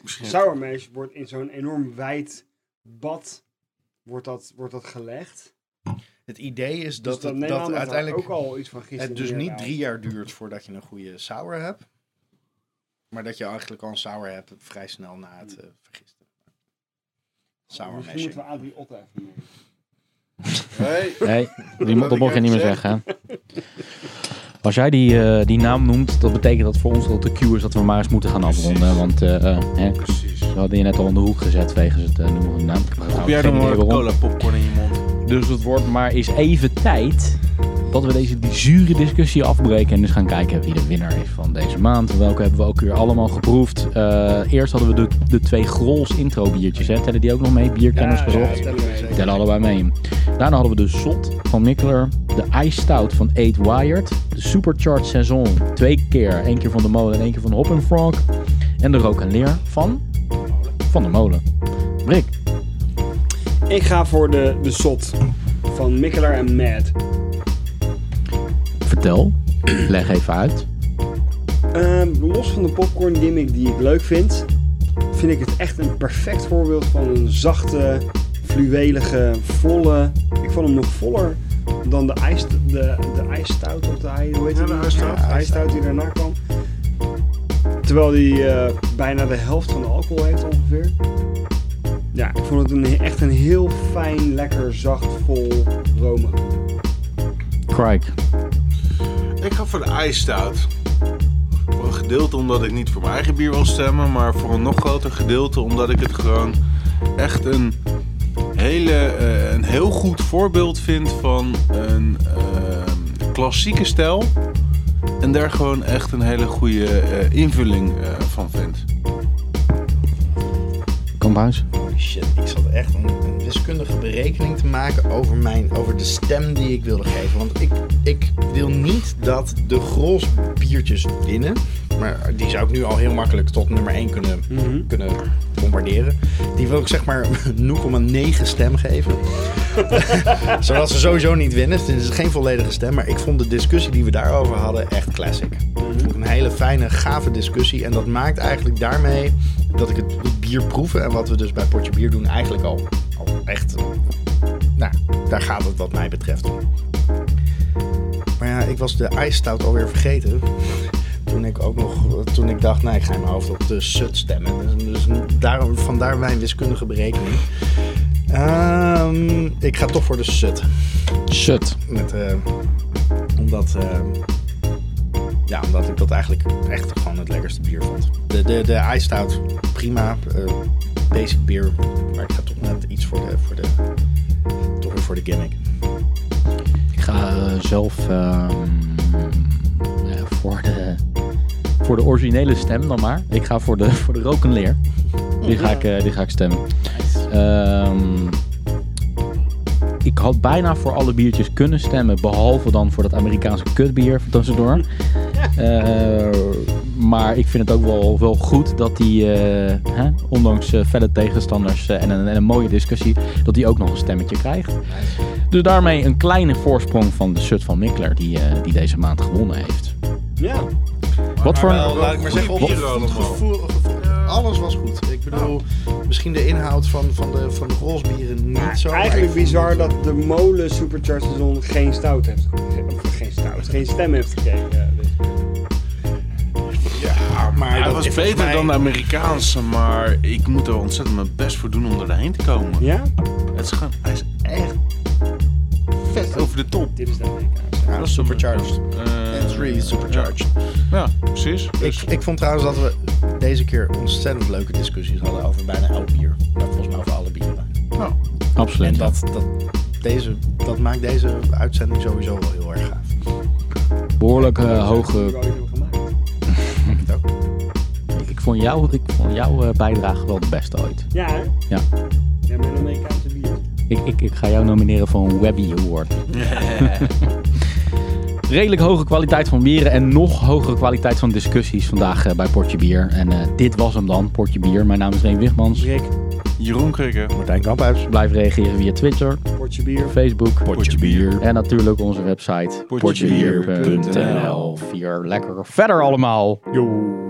Misschien
Sour mash wordt in zo'n enorm wijd bad wordt dat, wordt dat gelegd.
Het idee is
Dus
dat
dat
het-
neem
dat
aan dat uiteindelijk
uiteindelijk
ook al iets van gisteren.
het dus
weer
niet
bij
drie jaar duurt voordat je een goede sour hebt, maar dat je eigenlijk al een sour hebt vrij snel na het eh, vergisten.
haalt.
Sour
Misschien moeten
mashing.
we Adrie Otte even nemen.
Hey.
Nee, die mo- dat
ik
mocht je
heb
niet meer
gezegd.
zeggen. Als jij die, eh, die naam noemt, dat betekent dat voor ons dat de cue is dat we maar eens moeten gaan afronden. Want eh, eh, hè,
Precies.
we hadden je net al in de hoek gezet wegens het eh, noemen van de naam. Ik heb
Heb
trouwens
jij
geen
nog
idee
een
waarom.
cola popcorn in je mond?
Dus het wordt maar eens even tijd dat we deze die zure discussie afbreken. En dus gaan kijken wie de winnaar is van deze maand. Welke hebben we ook weer allemaal geproefd. Eh, eerst hadden we de, de twee Grols intro biertjes. Hè. Tellen die ook nog mee? Bierkennis gezocht.
ja, tellen we mee.
Die tellen allebei mee. Daarna hadden we de Zot van Mikkeler. De Ice Stout van 8 Wired. De Supercharged Saison. Twee keer. Eén keer van de molen en één keer van de Hop Frog. En de Rook en Leer van? Van de molen. Brik.
Ik ga voor de, de SOT van Mikkelaar en Mad.
Vertel. Leg even uit.
Ehm, los van de popcorn gimmick die ik leuk vind, vind ik het echt een perfect voorbeeld van een zachte, fluwelige, volle. Ik vond hem nog voller dan de ijs, de, de ijsstout op de ei. Hoe heet die?
de ijsstout.
Ja, de ijsstout die daarna kwam. Terwijl die eh, bijna de helft van de alcohol heeft ongeveer. Ja, ik vond het een, echt een heel fijn, lekker, zacht, vol Rome.
Crike.
Ik ga voor de ijsstout. Voor een gedeelte omdat ik niet voor mijn eigen bier wil stemmen, maar voor een nog groter gedeelte omdat ik het gewoon echt een, hele, eh, een heel goed voorbeeld vind van een ehm, klassieke stijl. En daar gewoon echt een hele goede eh, invulling eh, van vind.
Kamphuis.
Holy shit, ik zat echt een, een wiskundige berekening te maken over, mijn, over de stem die ik wilde geven. Want ik, ik wil niet dat de gros biertjes winnen. maar die zou ik nu al heel makkelijk tot nummer 1 kunnen, kunnen bombarderen. Die wil ik zeg maar 0,9 stem geven. Zodat ze sowieso niet winnen. Dus het is geen volledige stem. Maar ik vond de discussie die we daarover hadden echt classic. Ik vond het een hele fijne, gave discussie. En dat maakt eigenlijk daarmee dat ik het, het bier proeven en wat we dus bij Potje Bier doen eigenlijk al, al echt... Nou, daar gaat het wat mij betreft om. Maar ja, ik was de ijsstout alweer vergeten. Toen ik ook nog, toen ik dacht, nee, ik ga in mijn hoofd op de sut stemmen. Dus, dus daarom, vandaar mijn wiskundige berekening. Ehm, ik ga toch voor de sut.
Shut.
Met, eh, omdat, eh, ja, omdat ik dat eigenlijk echt gewoon het lekkerste bier vond. De, de, de ijsstout, prima. eh, basic bier. Maar ik ga toch net iets voor de, voor de, toch weer voor de gimmick.
Ik ga eh, zelf ehm, eh, voor, de, voor de originele stem dan maar. Ik ga voor de, voor de rokenleer. Die ga ik, eh, die ga ik stemmen. Ehm, ik had bijna voor alle biertjes kunnen stemmen, behalve dan voor dat Amerikaanse kutbier van tussendoor. Eh maar ik vind het ook wel, wel goed dat die, eh, hè, ondanks eh, felle tegenstanders eh, en, een, en een mooie discussie, dat die ook nog een stemmetje krijgt. Dus daarmee een kleine voorsprong van de Sut van Mikler, die, eh, die deze maand gewonnen heeft.
Ja.
Wat voor
Wel, Nou, eh, laat ik maar zeggen, op
Goeie
het
bieren allemaal.
gevoel, gevoel- alles was goed. Ik bedoel, misschien de inhoud van, van de, van de rolsbieren niet zo. maar
Eigenlijk
ik vond
bizar
het-
dat de molen Supercharged Zon geen stout heeft gekregen. Of geen stout, geen stem heeft gekregen. Ja, dus-
Ja, maar
Hij
dat
was
is volgens
beter
mij-
dan de Amerikaanse, maar ik moet er ontzettend mijn best voor doen om er doorheen te komen.
ja?
Het is gewoon, hij is echt vet over de top.
Dit is de Amerikaanse.
Ja, supercharged.
Eh,
It's really supercharged.
Ja, ja, precies. Dus,
Ik, ik vond trouwens dat we deze keer ontzettend leuke discussies hadden over bijna elk bier. Maar volgens mij over alle bieren.
nou,
En
Absoluut.
dat, dat, deze, dat maakt deze uitzending sowieso wel heel erg gaaf.
Behoorlijk eh,
Die we
hoge.
ooit hebben gemaakt.
Vind je het ook?
Ik vond, jou, ik vond jouw eh, bijdrage wel de beste ooit.
Ja, hè?
Ja.
Ja, met een Amerikaanse bier.
Ik, ik, ik ga jou nomineren voor een Webby Award. Redelijk hoge kwaliteit van bieren en nog hogere kwaliteit van discussies vandaag eh, bij Portje Bier. En eh, dit was hem dan, Portje Bier. Mijn naam is Reen Wigmans.
Rick,
Jeroen Krikker.
Martijn Kamphuis.
Blijf reageren via Twitter,
potje bier.
Facebook,
Potje Bier.
En natuurlijk onze website
Potjebier.nl.
Vier lekker verder allemaal.
Yo.